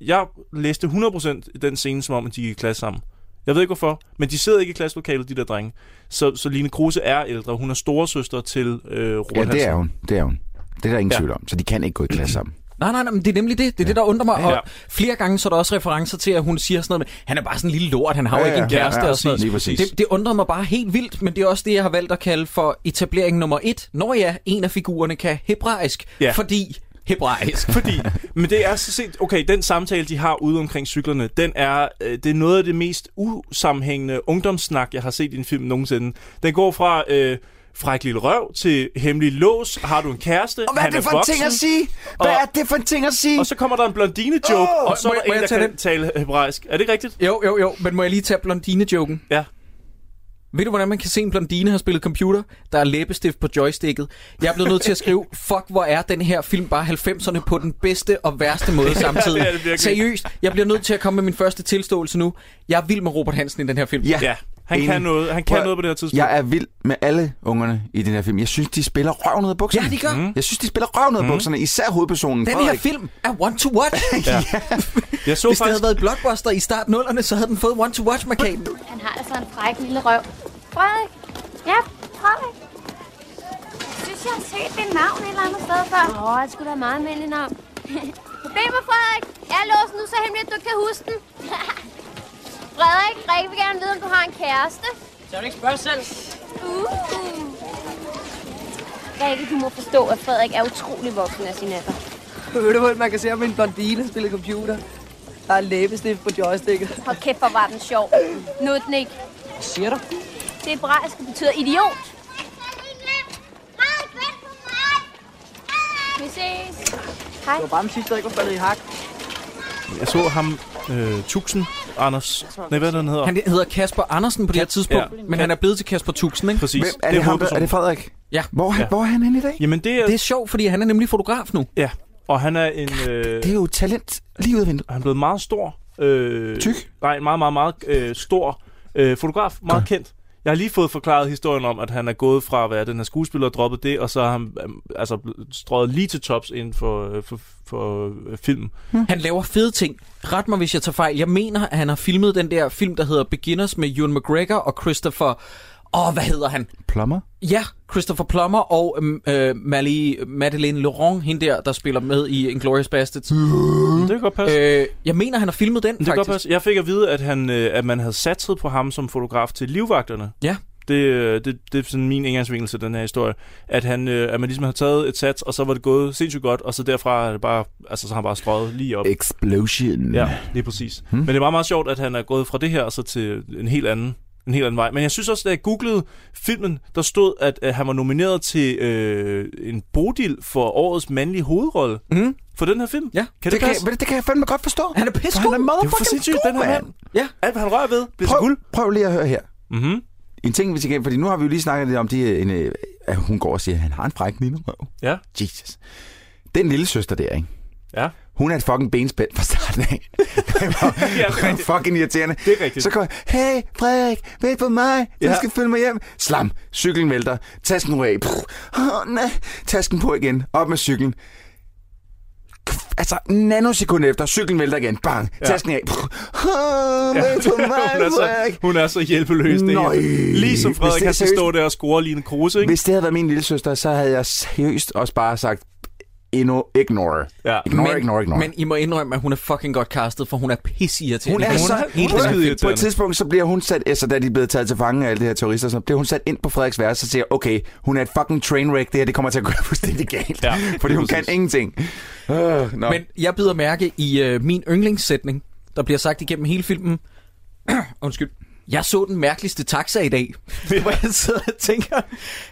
jeg læste 100% den scene, som om, at de gik i klasse sammen. Jeg ved ikke hvorfor, men de sidder ikke i klasselokalet, de der drenge. Så, så Line Kruse er ældre. Hun er storesøster til øh, Roland
Ja, det
Hansen.
er hun. Det er hun. Det er der ingen
Ja.
ja. tvivl om, så de kan ikke gå i klasse sammen.
Nej, nej, nej, men det er nemlig det. Det er det, der undrer mig. Og
Ja.
flere gange så er der også referencer til, at hun siger sådan noget med, han er bare sådan en lille lort, han har jo
Ja,
ikke en
ja, ja,
kæreste
ja,
og sådan
lige
noget.
præcis.
Det, det undrer mig bare helt vildt, men det er også det, jeg har valgt at kalde for etablering nummer et. Når ja, en af figurerne kan hebraisk,
Ja.
fordi hebraisk.
Fordi, men det er så set, okay, den samtale, de har ude omkring cyklerne, den er, øh, det er noget af det mest usammenhængende ungdomssnak, jeg har set i en film nogensinde. Den går fra, øh, fræk lille røv til hemmelig lås, har du en kæreste,
Og hvad er
han
det for en ting at sige? Hvad
Og-
er det for en ting at sige?
Og så kommer der en blondine-joke,
Åh!
og så
Må
er
jeg- må
der
jeg
en, der
tage
kan
den?
tale øh, hebraisk. Er det ikke rigtigt?
Jo, jo, jo, men må jeg lige tage blondine-joken?
Ja.
Ved du, hvordan man kan se en blondine har spillet computer? Der er læbestift på joysticket. Jeg er blevet nødt til at skrive, fuck, hvor er den her film bare 90'erne på den bedste og værste måde samtidig.
det er det virkelig.
Seriøst, jeg bliver nødt til at komme med min første tilståelse nu. Jeg er vild med Robert Hansen i den her film.
Ja.
Ja, han
Enig.
kan noget, han kan
Prøv-
noget på det her tidspunkt.
Jeg er vild med alle ungerne i den her film. Jeg synes, de spiller røven ud af bukserne.
Ja, de gør.
Jeg synes, de spiller røven
Mhm.
ud af bukserne. Især hovedpersonen
Den her
Frederik.
film er one to watch.
Ja. Jeg så
Hvis det
faktisk...
havde været blockbuster i start 0'erne, så havde den fået one to watch markaden.
Han har altså en fræk lille røv. Frederik? Ja, Frederik. Jeg synes, jeg har set dit navn et eller andet sted før. Åh, det skulle da meget almindeligt navn. Problemer, Frederik. Jeg låser nu så hemmelig, at du ikke kan huske den. Frederik, Rikke vil gerne vide, om du har en kæreste.
så vil du ikke spørge selv.
Uh. Rikke, du må forstå, at Frederik er utrolig voksen af sin alder.
Ved du, hvordan man kan se, om en blondine spiller computer? Der er læbestift på joysticket.
Hold kæft, hvor var den sjov. Nutnik. ikke.
Hvad siger du?
Det hebraiske betyder idiot. Vi ses. Hej.
Det var bare musik, der ikke var faldet i hak.
Jeg så ham, øh, Tuxen, Anders. Nej, hvad er det, han hedder?
Han hedder Kasper Andersen på det her tidspunkt,
Ja.
men han er blevet til Kasper Tuxen, ikke?
Præcis.
Hvem, er, det det ham, der, er det Frederik?
Ja.
Hvor, ja.
Ja.
hvor er han henne i dag?
Jamen, det er...
Det er sjovt, fordi han er nemlig fotograf nu.
Ja, og han er en... Øh,
Det er jo talent lige ud af vinduet.
Han er blevet meget stor. Øh,
Tyk?
Nej, en meget, meget, meget øh, stor øh, fotograf. Meget
Godt.
kendt. Jeg har lige fået forklaret historien om, at han er gået fra at være den her skuespiller og droppet det, og så har han øh, altså, blevet strøget lige til tops inden for, øh, for, for øh, film.
Han laver fede ting. Ret mig, hvis jeg tager fejl. Jeg mener, at han har filmet den der film, der hedder Beginners med Ewan McGregor og Christopher... Åh, oh, hvad hedder han?
Plummer?
Ja, Christopher Plummer og øhm, øh, Mali, Madeleine Laurent, hende der, der spiller med i Inglourious Bastards.
Mm. Det kan godt passe. Øh,
Øh, jeg mener, han har filmet den,
det kan godt
faktisk.
passe. Jeg fik at vide, at, han, øh, at man havde satset på ham som fotograf til livvagterne.
Ja.
Det, øh, det, det er sådan min indgangsvinkel til den her historie. At, han, øh, at man ligesom har taget et sats, og så var det gået sindssygt godt, og så derfra er det bare, altså, så har han bare strøget lige op.
Explosion.
Ja, lige præcis. Hmm. Men det er meget, meget sjovt, at han er gået fra det her og så til en helt anden en helt anden vej. Men jeg synes også, da jeg googlede filmen, der stod, at, at han var nomineret til øh, en bodil for årets mandlige hovedrolle
Mm.
for den her film.
Ja,
kan det,
Det kan,
passe?
jeg- det kan jeg fandme godt forstå.
Han er
For han
pissegod.
er
det er jo for
motherfucking
sindssygt,
god,
den her
mand.
mand.
Ja.
Alt, hvad han rører ved, bliver så
Prøv,
guld.
prøv lige at høre her.
Mm-hmm.
en ting, vi skal igennem, fordi nu har vi jo lige snakket lidt om, de, øh, en, øh, at hun går og siger, at han har en fræk lille røv.
Ja.
Jesus. Den lille søster der, ikke?
Ja.
Hun er et fucking benspænd fra starten af. ja, fucking irriterende.
Det er rigtigt.
Så kommer hey Frederik, vent på mig, du
Ja.
skal følge mig hjem. Slam, cyklen vælter, tasken ryger af. Puh, Åh, nej. Tasken på igen, op med cyklen. Kv- Altså, nanosekund efter, cyklen vælter igen. Bang,
Ja.
tasken af. Puh, Åh, vent på mig,
hun, er så,
Frederik.
hun er så hjælpeløs, det
Nøj.
hele. Ligesom
Hvis
Frederik
det er
kan så
seriøst-
stå der og score lige en kruse, ikke?
Hvis det havde været min lille søster, så havde jeg seriøst også bare sagt, "Ino- ignore.
Ja.
Ignore, men, ignore, ignore.
Men I må indrømme, at hun er fucking godt castet, for hun er pissirriterende.
Hun er så
helt
hun er-
vanvittig.
På et
irriterende.
tidspunkt, så bliver hun sat, altså da de er blevet taget til fange af alle de her terrorister, og sådan, noget, bliver hun sat ind på Frederiks værelse og siger, okay, hun er et fucking trainwreck, det her det kommer til at gøre fuldstændig galt.
Ja,
fordi
lige
hun kan
præcis.
ingenting. Uh, no.
Men jeg bider mærke i øh, min yndlingssætning, der bliver sagt igennem hele filmen. Undskyld. Jeg så den mærkeligste taxa i dag, hvor jeg sidder og tænker,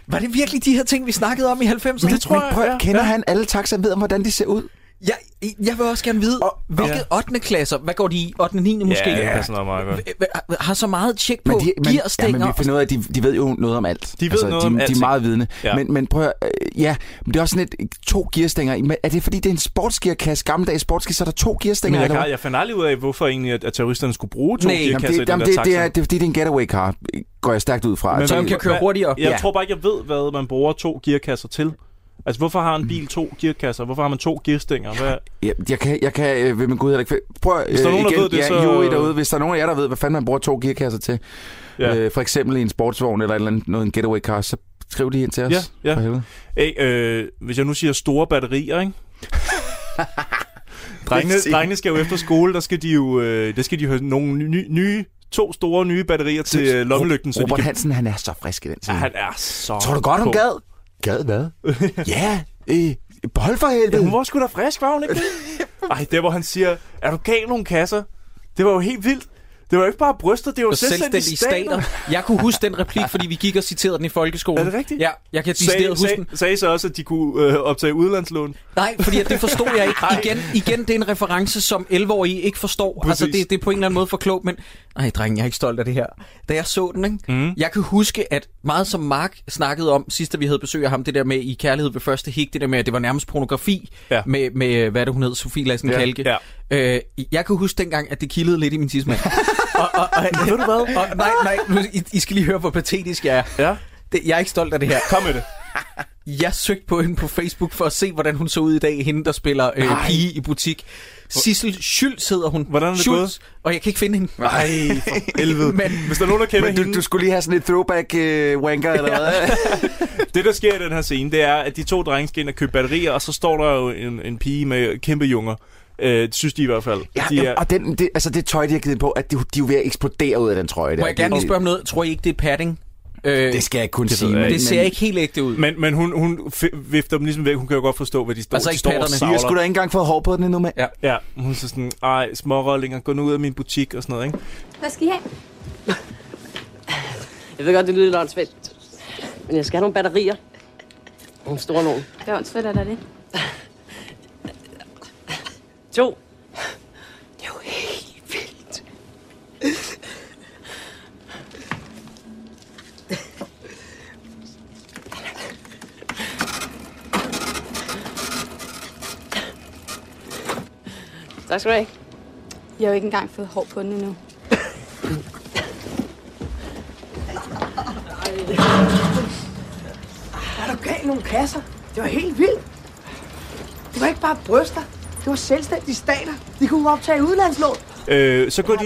var det virkelig de her ting, vi snakkede om i 90'erne?
men, men prøv,
ja.
kender han alle taxaer, ved han, hvordan de ser ud?
Jeg, jeg vil også gerne vide,
Og-
og, hvilke 8. klasser, hvad går de i? 8. 9. måske?
Ja, det passer nok meget godt.
H- har så meget tjek på gearstænger.
ja, men vi finder ud af, at de, de ved jo noget om alt. Altså,
De ved noget
de,
om
De er
alting.
meget vidne. Ja.
Ja.
Men, men prøv at, øh, ja, men det er også sådan et, to gearstænger. i, men Er det fordi, det er en sportsgearkasse, gammeldags sportsgear, så er der to gearstænger?
Men jeg,
eller
kan,
hvad?
jeg fandt aldrig ud af, hvorfor egentlig, at, at terroristerne skulle bruge to
Nej,
Jamen,
gearkasser i
det,
den
jamen,
der
det, det,
taxa.
er, det er fordi, det er en getaway car, går jeg stærkt ud fra.
Men
Så-
som
hvad-
kan køre
hvad-
hurtigere.
Jeg
Ja.
tror bare ikke, jeg ved, hvad man bruger to gearkasser til. Altså, hvorfor har
Mm.
en bil to gearkasser? Hvorfor har man to gearstænger? Hvad?
Ja, jeg kan, jeg kan øh, ved min gud heller ikke... Prøv øh,
Hvis der er nogen, der ved det,
ja,
så-
Juri derude, hvis der er nogen af jer, der ved, hvad fanden man bruger to gearkasser til, ja.
Ja.
øh, for eksempel i en sportsvogn eller, et eller andet, noget, en getaway car, så skriv lige ind til os.
Ja, ja.
For helvede.
Hey, øh, hvis jeg nu siger store batterier, ikke? drengene, drengene skal jo efter skole, der skal de jo øh, der skal de have nogle ny, nye, to store nye batterier til øh, lommelygten, så de
Robert
kan...
Hansen, han er så frisk i den
Ja,
scene.
han er så
Tror du godt, hun
på.
gad? Gad hvad? ja, øh, hold for helvede.
Ja, hun var sgu da frisk, var hun ikke? det? Ej, der hvor han siger, er du gal nogle kasser? Det var jo helt vildt. Det var jo ikke bare bryster, det var
på
selvstændige,
selvstændige
stater.
stater. Jeg kunne huske den replik, fordi vi gik og citerede den i folkeskolen.
Er det rigtigt?
Ja, jeg kan decideret
Sag,
huske den.
sag, sagde så også, at de kunne øh, optage udlandslån.
Nej, fordi at det forstod jeg ikke. Igen, igen, det er en reference, som 11-årige ikke forstår.
Præcis.
Altså, det, det er på en eller anden måde for klogt, men... Ej, dreng, jeg er ikke stolt af det her. Da jeg så den, ikke? Mm. jeg kan huske, at meget som Mark snakkede om, sidst da vi havde besøg af ham, det der med i Kærlighed ved første hik, det der med, at det var nærmest pornografi
Ja.
ja. med, med, hvad er det, hun hed, Sofie Lassen
Ja,
Kalke. Øh, jeg kan huske dengang, at det kildede lidt i min tidsmand. og, og, og, ved du hvad? Og, nej, nej, nu, I, I skal lige høre, hvor patetisk jeg er.
Ja.
Det, jeg er ikke stolt af det her.
Kom med det.
Jeg søgte på hende på Facebook for at se, hvordan hun så ud i dag, hende der spiller øh, pige i butik. Sissel Schultz hedder hun.
Hvordan er det
Schultz, og jeg kan ikke finde hende.
Ej, for helvede.
Men-
Hvis der er nogen, der kender
Men
hende...
du, du skulle lige have sådan et throwback-wanker, eller hvad?
Det, der sker i den her scene, det er, at de to drenge skal ind og købe batterier, og så står der jo en, en pige med kæmpe junger. Øh, det synes de i hvert fald.
Ja,
de er,
og den, det, altså det tøj, de har givet på, at de, de er jo ved at eksplodere ud af den trøje. der.
Må jeg gerne
Det-
lige spørge om noget? Tror I ikke, det er padding? Øh,
Det
det,
skal jeg ikke kunne sige.
ved jeg
men-
det ser
men-
ikke helt ægte ud. Men,
men, men hun, hun f- vifter dem ligesom væk. Hun kan jo godt forstå, hvad de står,
Altså
de
ikke
står og
patterne.
De har sgu
savler.
da ikke engang fået hår på den endnu, mand.
Ja.
Ja, hun er så sådan, ej, smårollinger, gå nu ud af min butik og sådan noget, ikke?
Hvad skal I have?
Jeg ved godt, det lyder lidt åndssvagt, men jeg skal have nogle batterier. Nogle store nogen.
Det er åndssvæt, er der det?
To. Tak skal du have.
Jeg har jo ikke engang fået hår på den endnu.
Er du gav nogle kasser? Det var helt vildt. Det var ikke bare bryster. Det var selvstændige stater. De kunne optage udlandslån.
Øh, så går de,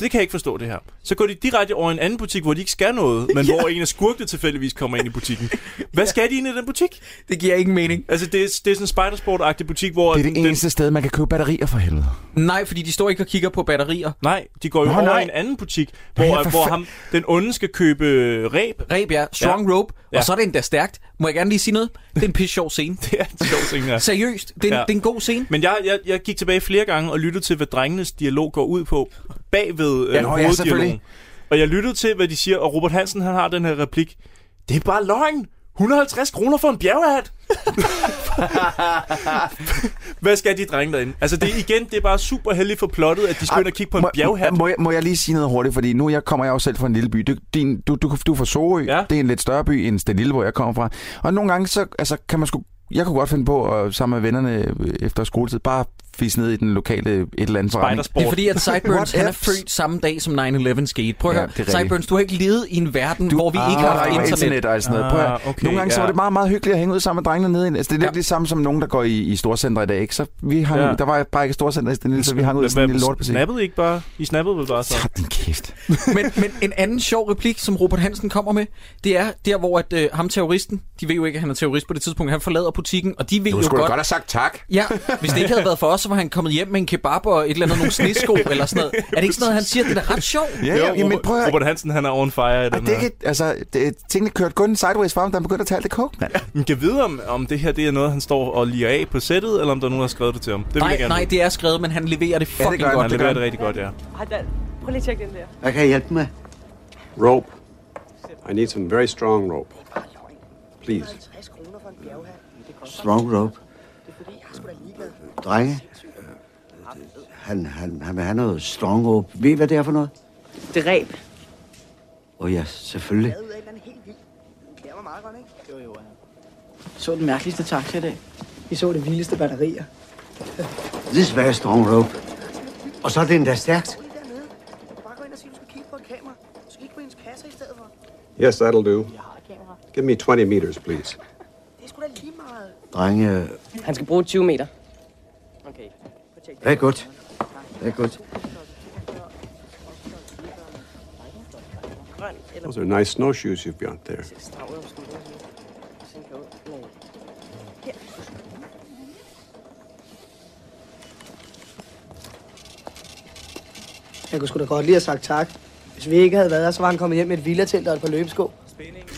det kan jeg ikke forstå, det her. Så går de direkte over i en anden butik, hvor de ikke skal noget, men hvor en af skurkene tilfældigvis kommer ind i butikken. Hvad skal de ind i den butik?
det giver ingen mening.
Altså, det er, det er sådan en spidersport-agtig butik, hvor...
Det er det
den-
eneste sted, man kan købe batterier for helvede.
Nej, fordi de står ikke og kigger på batterier.
Nej, de går jo
Nå,
over
nej.
i en anden butik,
Nå, ja,
hvor, øh,
for
hvor
fa-
ham, den onde skal købe øh, ræb.
Reb, ja. Strong ja. rope.
Ja.
Og så er det endda stærkt. Må jeg gerne lige sige noget? Det er en pisse sjov scene.
Det er en sjov ting, ja.
Seriøst, det er,
Ja.
ja. det er en god scene.
Men jeg, jeg, jeg gik tilbage flere gange og lyttede til, hvad drengenes dialog går ud på bagved øh,
Ja,
ja,
nå, ja, selvfølgelig.
hoveddialogen. Og jeg lyttede til, hvad de siger, og Robert Hansen han har den her replik. Det er bare løgn! 150 kroner for en bjerghat! Hvad skal de drenge derinde? Altså, det, er igen, det er bare super heldigt for plottet, at de skal ind og kigge på en
må,
bjerghat.
Må, jeg- må jeg lige sige noget hurtigt, fordi nu jeg kommer jeg jo selv fra en lille by. Du, din, du, du, du er fra Sorø, ja. det er en lidt større by end den lille, hvor jeg kommer fra. Og nogle gange, så altså, kan man sgu, jeg kunne godt finde på, at, sammen med vennerne øh, efter skoletid, bare fisse ned i den lokale et eller andet forretning.
Det er fordi, at Sideburns han er
What
født samme dag, som 9-11 skete. Prøv
Ja,
at
det er
ja,
rigtigt.
Sideburns, du har ikke levet i en verden, du, hvor vi ikke
Ah,
har haft
der var
internet.
internet og sådan noget. Prøv at, okay, nogle gange ja. så var det meget, meget hyggeligt at hænge ud sammen med drengene nede. i- Altså, det er lidt ja. det samme som nogen, der går i, i storcenter i dag. Ikke? Så vi hang,
Ja.
ja. Der var bare ikke storcenter i den lille, så vi hang ud i sådan en lille lortbutik.
Snappede I ikke bare? I snappede vel bare så?
Din kæft.
men, men en anden sjov replik, som Robert Hansen kommer med, det er der, hvor at, øh, ham terroristen, de ved jo ikke, at han er terrorist på det tidspunkt, han forlader butikken, og de ved
Du
jo
skulle
godt...
da godt have sagt tak.
Ja, hvis det ikke havde været for os, så var han kommet hjem med en kebab og et eller andet, nogle snesko eller sådan noget. Er det ikke sådan noget, han siger? Det er da ret sjovt.
Ja, ja, jamen, prøv at-
Robert Hansen, han er on fire i den
Det er ikke, altså, det, tingene kørte kun sideways frem, da han begyndte at tage alt det coke, mand.
Man kan vide, om, om det her det er noget, han står og liger af på sættet, eller om der er nogen, der har skrevet det til ham. Det vil jeg
Nej,
gerne
nej,
vide.
det er skrevet, men han leverer det fucking
gør han,
godt.
han leverer det rigtig godt, ja.
Ej, Dan, prøv lige at tjekke den der.
Hvad kan jeg hjælpe med?
Rope. I need some very strong rope. Please.
Strong rope. Drenge, han, han, han vil have noget strong rope. Ved I, hvad det er for noget?
Det ræb.
Åh oh, ja, selvfølgelig.
Så den mærkeligste taxa i dag. Vi så det vildeste batterier.
This very strong rope. Og så er det endda stærkt.
Yes, that'll do. Give me 20 meters, please.
Drenge,
Han skal bruge 20 meter.
det er godt. Det er godt.
Those are nice snowshoes you've got there.
Jeg kunne sgu da godt lige have sagt tak. Hvis vi ikke havde været her, så var han kommet hjem med et villatelt og et par løbesko.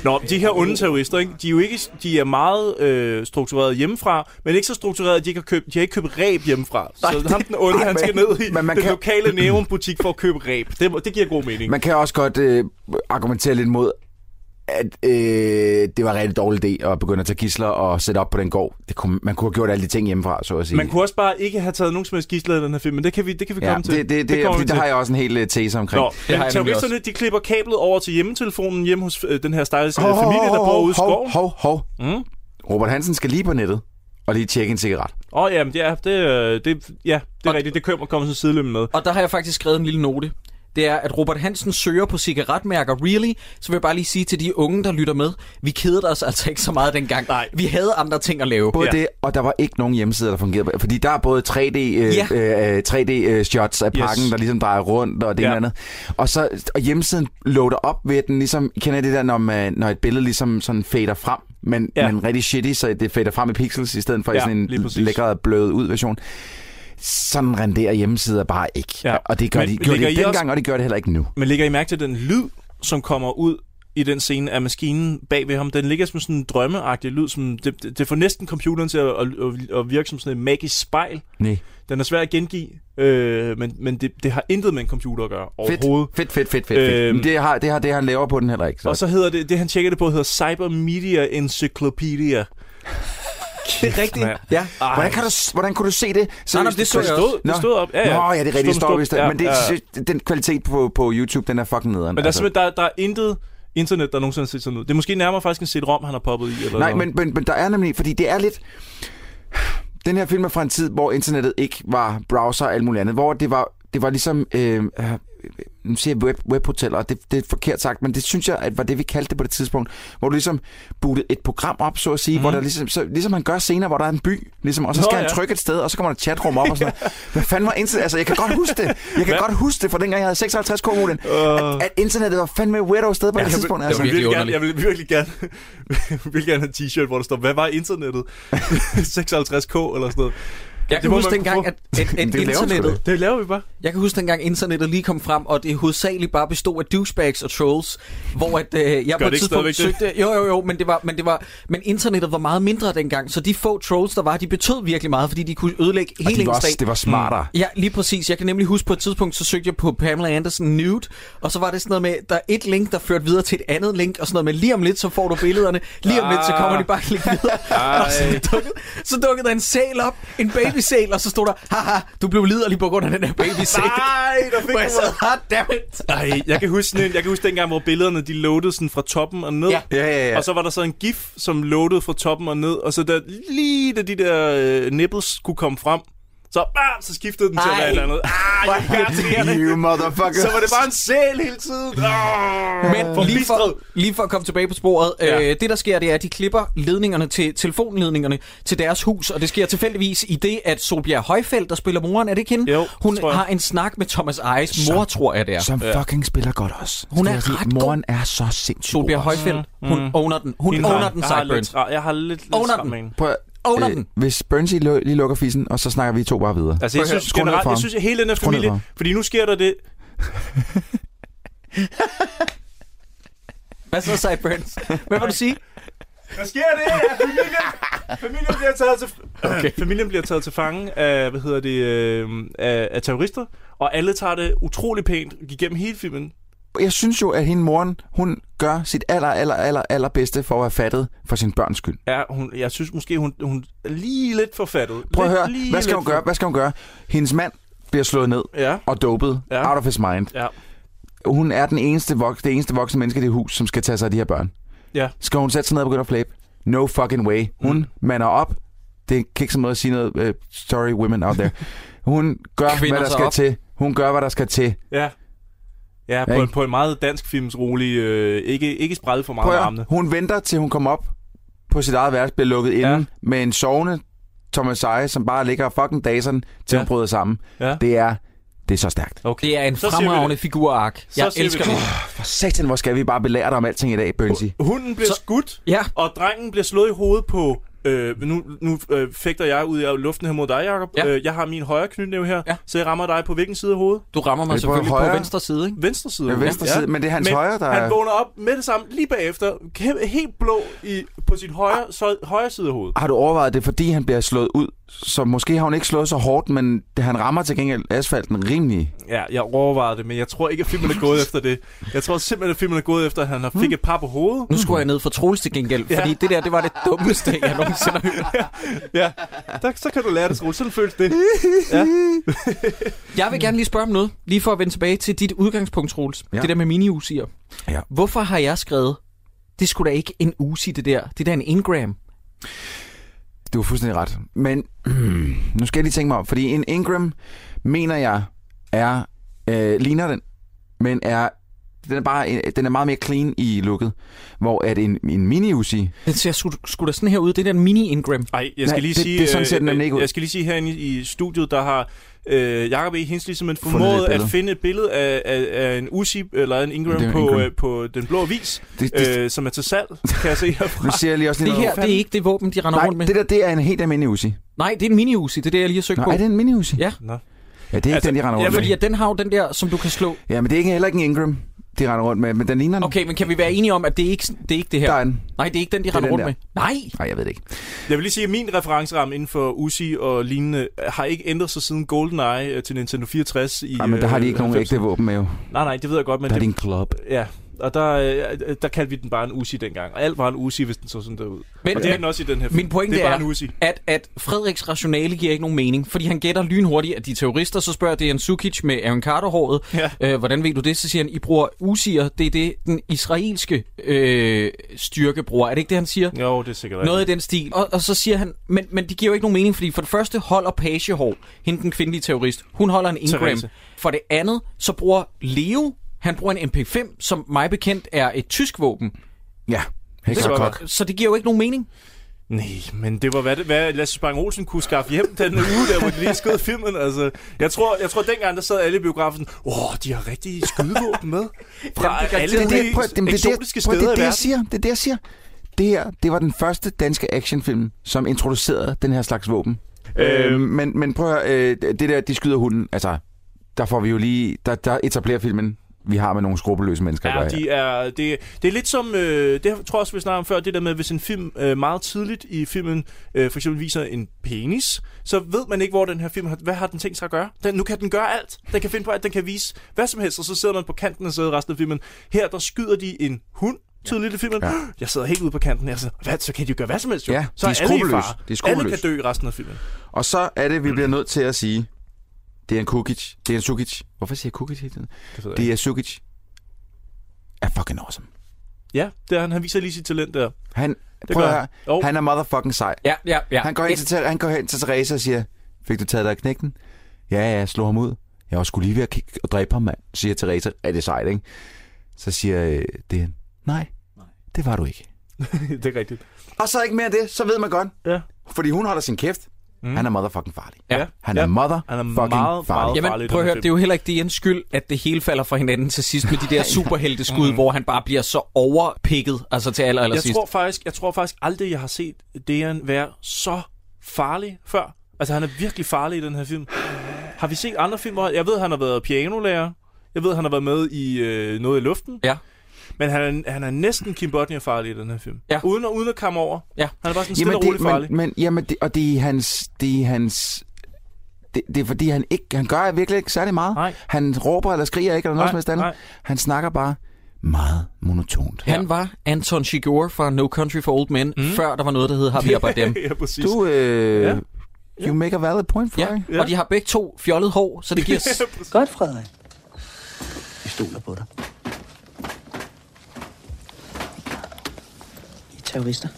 Nå, men de her onde terrorister, ikke? De, er jo ikke, de er meget øh, struktureret hjemmefra, men ikke så struktureret, at de ikke har købt, de har ikke købt ræb hjemmefra. Så
Nej,
ham den onde,
nej,
han skal
men-
ned i
men man
den
kan-
lokale Neum-butik for at købe ræb. Det, det giver god mening.
Man kan også godt øh, argumentere lidt mod, at øh, det var en rigtig dårlig idé at begynde at tage gisler og sætte op på den gård. Det kunne, man kunne have gjort alle de ting hjemmefra, så at sige.
Man kunne også bare ikke have taget nogen som helst gidsler i den her film, men det kan vi, det kan vi
ja,
komme
det,
til.
det, det, det,
kommer vi
fordi der
til.
har jeg også en hel øh, tese omkring.
Nå, men terroristerne, de klipper kablet over til hjemmetelefonen hjemme hos øh, den her stakkels øh, familie, der bor ude i skoven.
Hov, hov,
Mm.
Robert Hansen skal lige på nettet og lige tjekke en cigaret.
Åh, oh, jamen, det er, det, øh, det, ja, det er rigtigt. Det køber kommer sådan sidelømme med.
Og der har jeg faktisk skrevet en lille note. Det er, at Robert Hansen søger på cigaretmærker Really, så vil jeg bare lige sige til de unge, der lytter med, vi kedede os altså ikke så meget dengang. Nej. Vi havde andre ting at lave.
Både ja. det, og der var ikke nogen hjemmesider, der fungerede. Fordi der er både 3D, øh,
Ja.
ja. øh, 3D øh, shots af
Yes.
pakken, yes. der ligesom drejer rundt og det ja.
Ja.
ene og andet. Og, så, og hjemmesiden loader op ved, at den ligesom... I Kender det der, når, man, når et billede ligesom sådan fader frem, men, ja. men rigtig shitty, så det fader frem i pixels, i stedet for ja,
Ja,
i sådan en
lige præcis.
lækker blød ud version. Sådan renderer hjemmesider bare ikke. Ja. Og det gør
Men
de, gjorde de
ligger I
ikke dengang,
også-
og det gør det heller ikke nu.
Men lægger I mærke til den lyd, som kommer ud i den scene af maskinen bag ved ham? Den ligger som sådan en drømmeagtig lyd. Som det, det, det får næsten computeren til at, at, at- at virke som sådan et magisk spejl.
Nej.
Den er svær at gengive, øh, men, men det, det har intet med en computer at gøre
Fedt,
overhovedet.
fedt, fedt, fedt, fedt. fedt.
Øhm,
Men det har, det har det, han laver på den heller ikke.
Og så hedder det, det han tjekker det på, hedder Cyber Media Encyclopedia.
Det er rigtigt. Ja.
Ej.
Hvordan, kan du, hvordan kunne du se det?
nej, men det så jeg
Seriøst?
også.
Nå.
Det stod op. Ja, ja.
Nå, ja, det er
Stod med
rigtigt.
stor
Stod,
bogstav.
ja, men det,
Ja,
ja. den kvalitet på, på YouTube, den er fucking nederen. altså.
Men der, er simpelthen, der, der er intet internet, der nogensinde har set sådan ud. Det er måske nærmere faktisk en CD-ROM, han har poppet i. Eller
Nej,
noget.
men, men, men der er nemlig, fordi det er lidt... Den her film er fra en tid, hvor internettet ikke var browser og alt muligt andet. Hvor det var, det var ligesom... Øh, øh, nu siger jeg web, webhoteller, og det, det er forkert sagt, men det synes jeg, at var det, vi kaldte det på det tidspunkt, hvor du ligesom bootede et program op, så at sige, mm. hvor der ligesom, så, ligesom han gør senere, hvor der er en by, ligesom, og så
Nå,
skal Nå, han
ja.
trykke et sted, og så kommer der et chatrum op og sådan noget. Hvad fanden var internet? Altså, jeg kan godt huske det. Jeg kan godt huske det fra dengang, jeg havde 56 k at, at, internettet var fandme et weirdo sted på Øh. det
jeg vil-
tidspunkt.
jeg
altså.
vil virkelig gerne, jeg vil virkelig gerne, jeg vil gerne have en t-shirt, hvor der står, hvad var internettet? 56k eller sådan noget.
Jeg kan
må
huske
man
dengang,
få.
at, at, at
Det laver vi sgu
internettet...
da. Det laver vi bare.
Jeg kan huske dengang, internettet lige kom frem, og det hovedsageligt bare bestod af douchebags og trolls, hvor at, øh, jeg på
Gør det
et
ikke
tidspunkt
stadigvæk det?
søgte... Jo, jo, jo, men, det var, men, det var, men internettet var meget mindre dengang, så de få trolls, der var, de betød virkelig meget, fordi de kunne ødelægge
Og
hele
de var
ens
også-
dag.
det var smartere.
Ja, lige præcis. Jeg kan nemlig huske på et tidspunkt, så søgte jeg på Pamela Anderson nude, og så var det sådan noget med, der er et link, der førte videre til et andet link, og sådan noget med, lige om lidt, så får du billederne, lige om lidt, så kommer de bare klik videre.
Ej.
Og så dukkede, så dukkede der en sæl op, en babysæl, og så stod der, haha, du blev liderlig på grund af den her
Ah,
babysæl.
Nej, der fik
Hvor jeg
du mig.
sad, hot damn it.
Ej, jeg kan huske sådan en, jeg kan huske dengang, hvor billederne de loadede sådan fra toppen og ned.
Ja.
Ja, ja, ja.
Og så var der så en gif, som loadede fra toppen og ned, og så der, lige da de der øh, nipples kunne komme frem, så, bam, så skiftede den til at
Ej.
være et eller andet. Ah, jeg kan garantere det.
You motherfucker.
Så var det bare en sæl hele tiden. Oh,
Men Øh, lige for, lige for at komme tilbage på sporet, ja. øh, det der sker, det er, at de klipper ledningerne til telefonledningerne til deres hus, og det sker tilfældigvis i det, at Solbjerg Højfeldt, der spiller moren, er det ikke hende? Jo, Hun
tror jeg.
har en snak med Thomas Ejes mor, tror jeg det er.
Som fucking spiller godt også.
Hun
Skal
er
jeg sige.
ret
Moren er så sindssygt
Solbjerg
god også.
Højfeldt, hun owner den. Hun
Hende har-
owner den,
jeg har lidt
Sideburns.
tra- Jeg har lidt, lidt
Owner
travlt
den.
med hende.
Prøv at,
Owner
øh,
den.
Hvis Burnsy lu- lige lukker fisen, og så snakker vi to bare videre.
Altså,
Prøv
jeg
at
synes
høre, skru ned
generelt,
for
jeg
ham.
synes, at hele den her
Skru ned for
familie...
ham.
Fordi nu sker der det...
Hvad så, Sideburns? Hvad vil du sige?
Hvad sker det? At familien, familien, bliver taget til, okay. familien bliver taget til fange af, hvad hedder det, øh, af, af terrorister, og alle tager det utrolig pænt igennem hele filmen.
Jeg synes jo, at hende moren, hun gør sit aller, aller, aller, aller bedste for at være fattet for sin børns skyld.
Ja, hun, jeg synes måske, hun, hun er lige lidt forfattet.
Prøv at
lidt,
høre,
lige
hvad skal
lidt
hun gøre? Hvad skal hun gøre? Hendes mand bliver slået ned
Ja.
og dopet
Ja.
out of his mind.
Ja.
Hun er den eneste vok- det eneste voksne menneske i det hus, som skal tage sig af de her børn.
Ja.
Skal hun sætte sig ned og begynde at flæbe? No fucking way. Hun mm. mander op. Det er en kikset måde at sige noget. Uh, sorry, women out there. Hun gør,
Kvinder
Kvinder hvad der
sig
skal
op.
op. til. Hun gør, hvad der skal til.
Ja. Ja, på,
ikke?
en, på en meget dansk films rolig, øh, ikke, ikke sprede for meget
Prøv
med
at,
armene.
høre, hun venter, til hun kommer op på sit eget værelse, bliver lukket ja. inde med en sovende Thomas Eje, som bare ligger og fucking daseren, til ja. hun bryder sammen.
Ja.
Det er det er så stærkt.
Okay.
Det er en
Så siger vi det.
fremragende figurark.
Så
Jeg
siger vi
elsker
det.
det.
For satan, hvor skal vi bare belære dig om alting i dag, Burnsy.
Hunden bliver så, skudt,
ja.
og drengen bliver slået i hovedet på... Øh, nu nu øh, fægter jeg ud af luften her mod dig, Jacob. Ja. Øh, jeg har min højre knytnæve her, ja. så jeg rammer dig på hvilken side af hovedet?
Du rammer mig
Er det på
selvfølgelig på
højre?
venstre side, ikke?
Venstre side.
Ja,
af hovedet.
venstre side, men det er hans højre, der
han
er-
vågner op med det samme, lige bagefter, kæm- helt blå i, på sit
Ah.
højre, så, højre side af hovedet.
Har du overvejet det, er fordi han bliver slået ud? Så måske har hun ikke slået så hårdt, men det- han rammer til gengæld asfalten rimelig.
Ja, jeg overvejede det, men jeg tror ikke, at filmen er gået efter det. Jeg tror simpelthen, at filmen er gået efter, at han har
Hmm.
fik et par på hovedet.
Nu skulle jeg ned for Troels til gengæld,
Ja.
fordi det der, det var det dummeste, jeg nogensinde har hørt.
Ja, der, så kan du lære det, Troels. Sådan føles det. Ja.
Jeg vil gerne lige spørge om noget, lige for at vende tilbage til dit udgangspunkt, Troels. Ja.
Ja.
Det der med mini-usier.
Ja.
Hvorfor har jeg skrevet, det skulle da ikke en usi, det der. Det der er en Ingram.
Du har fuldstændig ret. Men nu skal jeg lige tænke mig om, fordi en Ingram, mener jeg, er øh, ligner den, men er den er, bare, en- den er meget mere clean i looket, hvor at en, en mini-Uzi,
Den ser sgu, sgu da sådan her ud. Det der mini-Ingram.
Nej, jeg skal
Nej,
lige
det-
sige...
det- sådan ser den
øh,
nemlig ikke ud.
Jeg skal lige sige herinde i, i studiet, der har øh, Jacob E. Hensley simpelthen
Fundet
formået
et
at
billede.
finde et billede af, af, af en Uzi, eller en Ingram,
Det er en
på,
Ingram.
Øh, på Den Blå Avis,
Det- det-
øh, som er til salg, kan jeg se herfra.
nu ser jeg lige også lige
Det her, det er ikke det våben, de render
Nej,
rundt med.
det der, det er en helt almindelig Uzi.
Nej, det er en mini-usi. Det er det, jeg lige har søgt
Nå,
på.
er det en mini-Uzi?
Ja.
Nå.
Ja, det er ikke
Altså,
altså, den, de render
ja,
rundt
Fordi
med.
at den har jo den der, som du kan slå.
Ja, men det er ikke, heller ikke en Ingram, de render rundt med, men den ligner den.
Okay, men kan vi være enige om, at det er ikke det, er ikke det her?
Der er den.
Nej, det er ikke den, de
Det er
render
den
rundt
der.
med. Nej!
Nej, jeg ved det ikke.
Jeg vil lige sige, at min referenceramme inden for Uzi og lignende øh, har ikke ændret sig siden GoldenEye øh, til Nintendo 64 i...
Nej, men der har de ikke
øh,
nogen
90'erne.
ægte våben med jo.
Nej, nej, det ved jeg godt, men...
Der er det
Det,
en club.
ja, og der, øh, der kaldte vi den bare en Uzi dengang. Og alt var en Uzi, hvis den så sådan der ud.
Men-
Men, og det er den også i den her film.
Min pointe
det er...
er,
bare en Uzi.
at, at Frederiks rationale giver ikke nogen mening, fordi han gætter lynhurtigt, at de er terrorister, så spørger Dejan Sukic med Aaron Carter-håret,
Ja.
øh, hvordan ved du det? Så siger han, I bruger usier, det er det, den israelske øh, styrke bruger. Er det ikke det, han siger?
Jo, det er sikkert
Noget i den stil. Og, og så siger han, men, men det giver jo ikke nogen mening, fordi for det første holder Page Hår, hende den kvindelige terrorist, hun holder en Ingram.
Therese.
For det andet, så bruger Leo, han bruger en MP5, som mig bekendt er et tysk våben.
Ja, helt
godt
kok.
være.
Så det giver jo ikke nogen mening.
Nej, men det var, hvad, det- hvad Lasse Spang Olsen kunne skaffe hjem den uge, der hvor de lige skød filmen. Altså, jeg tror, jeg tror dengang, der sad alle i biografen, åh, oh, de har rigtig skydevåben med. Fra
det er
alle
Det er det,
mulige
prøv, at- det, det, det,
eksotiske
prøv, at-
steder
det, er
i
det, jeg
verden.
siger. Det er det, jeg siger. Det her, det var den første danske actionfilm, som introducerede den her slags våben.
Øhm.
Øh, men, men prøv at høre, øh, det der, de skyder hunden, altså, der får vi jo lige, der, der etablerer filmen, vi har med nogle skrupelløse mennesker. at
Ja,
gøre her.
de er, det, det er lidt som, øh, det tror jeg også, vi snakkede om før, det der med, hvis en film øh, meget tidligt i filmen øh, for eksempel viser en penis, så ved man ikke, hvor den her film har, hvad har den tænkt sig at gøre. Den, nu kan den gøre alt. Den kan finde på alt, den kan vise hvad som helst, og så sidder man på kanten og sidder resten af filmen. Her, der skyder de en hund tidligt i filmen. Ja.
Ja.
Jeg sidder helt ude på kanten, og jeg sidder, hvad, så kan de jo gøre hvad som helst, jo.
Ja,
så
de
er
er
alle i
skruppelløse.
fare.
De er
alle kan
skruppelløse.
dø i resten af filmen.
Og så er det, vi bliver
Mm.
nødt til at sige, det er en Kukic, det er en Sukic. Hvorfor siger jeg Kukic hele tiden?
Det ved jeg
Det
ikke.
er Sukic. Er fucking awesome.
Ja, det er, han, han viser lige sit talent der.
Han,
Det
det prøv
gør
at høre,
han. Jo.
han er motherfucking sej.
Ja, ja, ja.
Han går hen til, han går hen til Therese og siger, fik du taget dig af knægten? Ja, ja, jeg slog ham ud. Jeg var sgu lige ved at kigge og dræbe ham, mand, siger Therese. Er det sejt, ikke? Så siger øh, det han, nej, det var du ikke.
det er rigtigt.
Og så ikke mere af det, så ved man godt.
Ja.
Fordi hun holder sin kæft. Mm. Han er motherfucking farlig.
Ja.
Han er mother
Han er
fucking
meget,
farlig.
Jamen, prøv at høre, det er jo heller ikke Dians skyld, at det hele falder fra hinanden til sidst med de der superhelteskud, mm. hvor han bare bliver så overpikket, altså til aller, aller
jeg
sidst.
tror, faktisk, jeg tror faktisk aldrig, jeg har set Dejan være så farlig før. Altså, han er virkelig farlig i den her film. Har vi set andre film, hvor han- jeg ved, han har været pianolærer. Jeg ved, han har været med i øh, Noget i luften.
Ja.
Men han, er- han er næsten Kim Bodnia farlig i den her film. Ja. Uden, at, uden at komme over.
Ja.
Han er bare sådan stille og roligt
det,
farlig.
Men, men, jamen, det, og det er hans... Det er hans det, det er fordi, han ikke han gør virkelig ikke særlig meget.
Nej.
Han råber eller skriger ikke, eller noget
Nej,
som helst andet.
nej.
Han snakker bare meget monotont.
Han var Anton Chigurh fra No Country for Old Men, mm. før der var noget, der hed Har vi about dem.
ja, præcis.
Du, øh,
Ja.
ja. you make a valid point, Frederik.
Ja. Og de har begge to fjollet hår, så det giver... s-
Godt, Frederik. Vi stoler på dig. I er terrorister.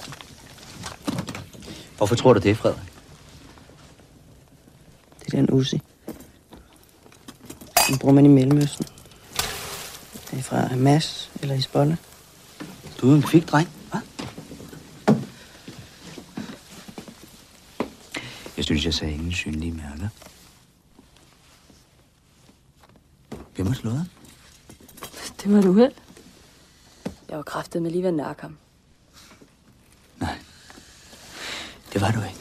Hvorfor tror du det, Frederik?
Det er den Uzi. Den bruger man i Mellemøsten. Det er fra Hamas eller Hezbollah.
Du er en kvik dreng, hva'? Jeg synes, jeg sagde ingen synlige mærker. Hvem har slået ham?
Det var du held. Jeg var kraftet med lige ved at nakke ham.
Det var du ikke.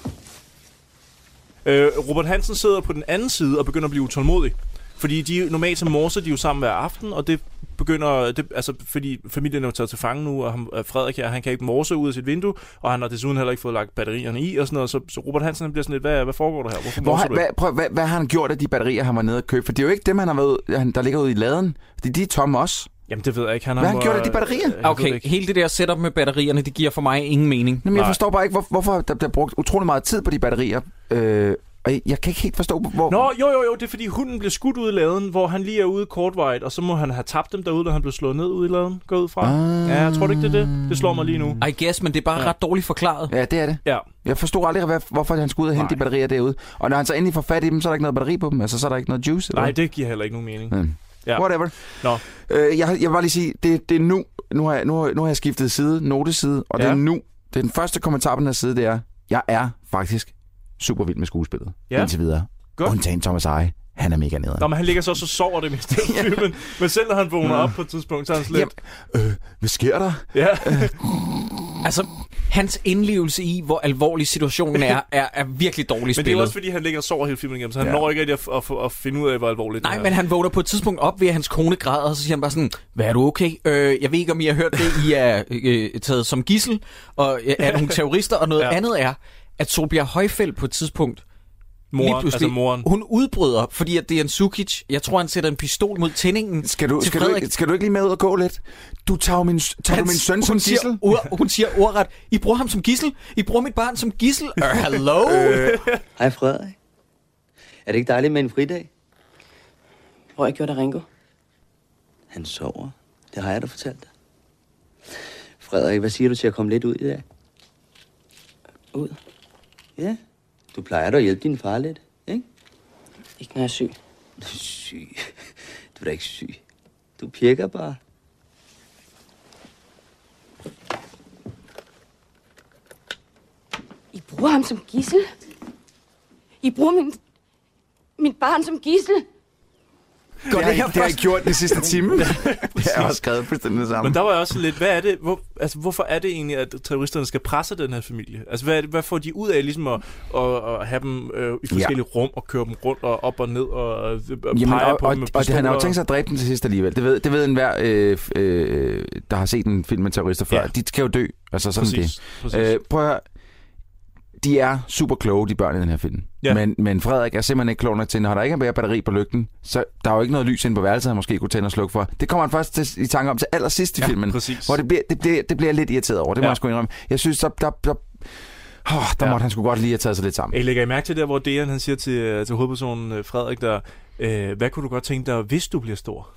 Øh, Robert Hansen sidder på den anden side og begynder at blive utålmodig. Fordi de, normalt så morser de jo sammen hver aften, og det begynder, det, altså fordi familien er jo taget til fange nu, og ham, og Frederik her, han kan ikke morse ud af sit vindue, og han har desuden heller ikke fået lagt batterierne i og sådan noget, så, så Robert Hansen han bliver sådan lidt, hvad, hvad foregår der her? Hvorfor
Hvor
morser
han,
du
hvad,
ikke?
prøv, hvad, hvad har han gjort af de batterier, han var nede og købe? For det er jo ikke dem, han har været, ud- han, der ligger ude i laden. Fordi de er tomme også.
Jamen det ved jeg ikke, han
Hvad
har
har han
må- Øh,
gjort af de batterier?
Jeg ved det
Okay,
ikke.
hele det der setup med batterierne, det giver for mig ingen mening.
Jamen, jeg forstår bare ikke, hvor, hvorfor der bliver brugt utrolig meget tid på de batterier. Øh, og jeg- jeg kan ikke helt forstå, hvor...
Nå, jo, jo, jo, det er fordi hunden blev skudt ud i laden, hvor han lige er ude kortvejet, og så må han have tabt dem derude, da han blev slået ned ude i laden, går jeg ud fra.
Ah.
Ja, jeg tror du ikke, det er det? Det slår mig lige nu.
I guess, men det er bare
Ja.
ret dårligt forklaret.
Ja, det er det.
Ja.
Jeg forstod aldrig, hvad, hvorfor han skulle ud og hente de batterier derude. Og når han så endelig får fat i dem, så er der ikke noget batteri på dem. Altså, så er der ikke noget juice.
Nej, det giver heller ikke nogen mening.
Mm.
Ja.
Whatever.
Nå.
Øh, jeg, jeg vil bare lige sige, det, det er nu. Nu har, jeg, nu, har- nu har jeg skiftet side, noteside, og ja. det
Ja.
er nu. Det er den første kommentar på den her side, det er, jeg er faktisk super vild med skuespillet.
Ja.
Ja. Indtil videre.
Godt.
Undtagen Thomas Eje. Han er mega nederen.
Nå, men han ligger så også og sover det meste af filmen. Men selv når han vågner op på et tidspunkt, så er han slet...
Hvad sker der?
Ja.
Altså, hans indlevelse i, hvor alvorlig situationen er, er, er virkelig dårligt
Men det er jo
spillet.
også, fordi han ligger og sover hele filmen igennem, så han ja.
Ja.
når ikke rigtig at, at, at, at finde ud af, hvor alvorligt
Nej,
det er.
men han vågner på et tidspunkt op ved, at hans kone græder, og så siger han bare sådan, hvad er du okay? Øh, jeg ved ikke, om I har hørt det, I er øh, taget som gissel, og øh, er nogle terrorister, og noget ja. andet er, at Solbjerg Højfeldt på et tidspunkt,
Moren,
lige pludselig,
altså moren.
hun udbryder, fordi at det er en Sukic, jeg tror, han sætter en pistol mod tændingen
Skal du,
til
skal, du,
Frederik.
ikke- skal du ikke lige med ud og gå lidt? Du tager jo min, tager du
Hans-
min søn
hun
som
siger
gidsel?
Ord, hun siger ordret, I bruger ham som gissel, I bruger mit barn som gissel, uh, hello?
Øh,
Hej, Frederik. Er det ikke dejligt med en fridag?
Hvor jeg gjorde der Ringo.
Han sover. Det har jeg da fortalt dig. Frederik, hvad siger du til at komme lidt ud i dag?
Ud?
Ja. Du plejer da at hjælpe din far lidt, ikke?
Ikke når jeg er syg.
Syg. Du er da ikke syg. Du pirker bare.
I bruger ham som gissel? I bruger min, min barn som gissel?
Det har, jeg, det har jeg gjort den sidste time. det har jeg også skrevet fuldstændig det samme.
Men der var jeg også lidt, hvad er det, hvor, altså, hvorfor er det egentlig, at terroristerne skal presse den her familie? Altså, hvad, er det, hvad får de ud af ligesom at, at, at have dem øh, i forskellige ja. rum og køre dem rundt og op og ned og, og pege
Jamen, og,
på
og,
dem med
og det, han har jo
pistoler?
tænkt sig at dræbe den til sidst alligevel. Det ved, det ved enhver, øh, f- øh, der har set en film med terrorister før. Ja. De skal jo dø. Altså sådan
Præcis,
det.
præcis.
Øh, prøv at høre. De er super kloge, de børn i den her film.
Ja.
Men, men Frederik er simpelthen ikke klog nok til, når der ikke er mere batteri på lygten, så der er jo ikke noget lys inde på værelset, han måske kunne tænde og slukke for. Det kommer han først til, i tanke om til allersidst i
Ja,
filmen,
præcis.
hvor det bliver, det, bliver, det bliver jeg lidt irriteret over. Det ja. må
Ja.
jeg sgu indrømme. Jeg synes, der, der, der, oh, der ja. måtte han sgu godt lige have taget sig lidt sammen.
Jeg lægger I mærke til der, hvor Dejan han siger til, til hovedpersonen øh, Frederik, der, øh, hvad kunne du godt tænke dig, hvis du bliver stor?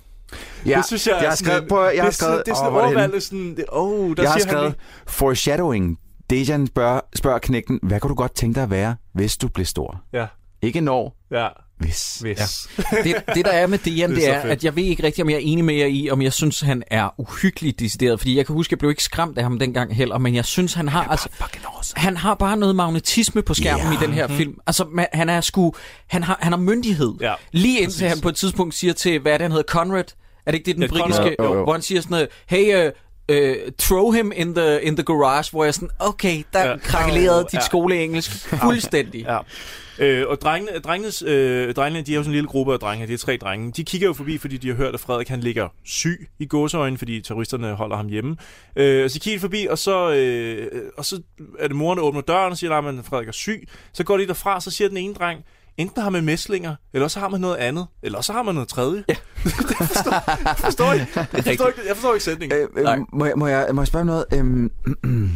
Ja,
det synes jeg,
jeg har
er sådan
skrevet-
en-
prøv at høre, jeg
det er
har
sådan-
skrevet-
Det er
åh,
sådan
hvor er det
overvalget, sådan, det- åh, der
jeg har
siger han
skrevet
lige-
foreshadowing. Dejan spørger, spørger knægten, hvad kunne du godt tænke dig at være, hvis du blev stor?
Ja.
Ikke når.
Ja.
Hvis.
Hvis.
Ja.
det, det, der er med Dian,
Det er
det
så
er,
fedt.
at jeg ved ikke rigtig, om jeg er enig med jer i, om jeg synes, han er uhyggelig decideret. Fordi jeg kan huske, jeg blev ikke skræmt af ham dengang heller, men jeg synes, han har... Han, altså, han har bare noget magnetisme på skærmen
Ja.
i den her
Mhm.
film. Altså, man, han er sgu... Han har, han har myndighed.
Ja,
Lige indtil
præcis.
han på et tidspunkt siger til, hvad er det, han hedder? Conrad? Er det ikke det, den
Ja, Conrad.
britiske...
Jo, jo, jo.
Hvor han siger sådan noget, hey... Uh, Uh, throw him in the, in the garage, hvor jeg er sådan, okay, der ja. krakkelerede dit
Ja.
skoleengelsk fuldstændig.
Ja. Øh, og drengene, drengenes, øh, drengene, de er jo sådan en lille gruppe af drenge, det er tre drenge. De kigger jo forbi, fordi de har hørt, at Frederik han ligger syg i gåseøjne, fordi terroristerne holder ham hjemme. Øh, og så kigger de forbi, og så, øh, og så er det moren, der åbner døren og siger, at Frederik er syg. Så går de derfra, så siger den ene dreng, enten har man mæslinger, eller så har man noget andet, eller så har man noget tredje. Ja. det forstår, jeg forstår, ikke. jeg, forstår ikke, jeg forstår ikke sætningen.
Øh, øh, må, jeg, må, jeg, må jeg spørge om noget? Øhm,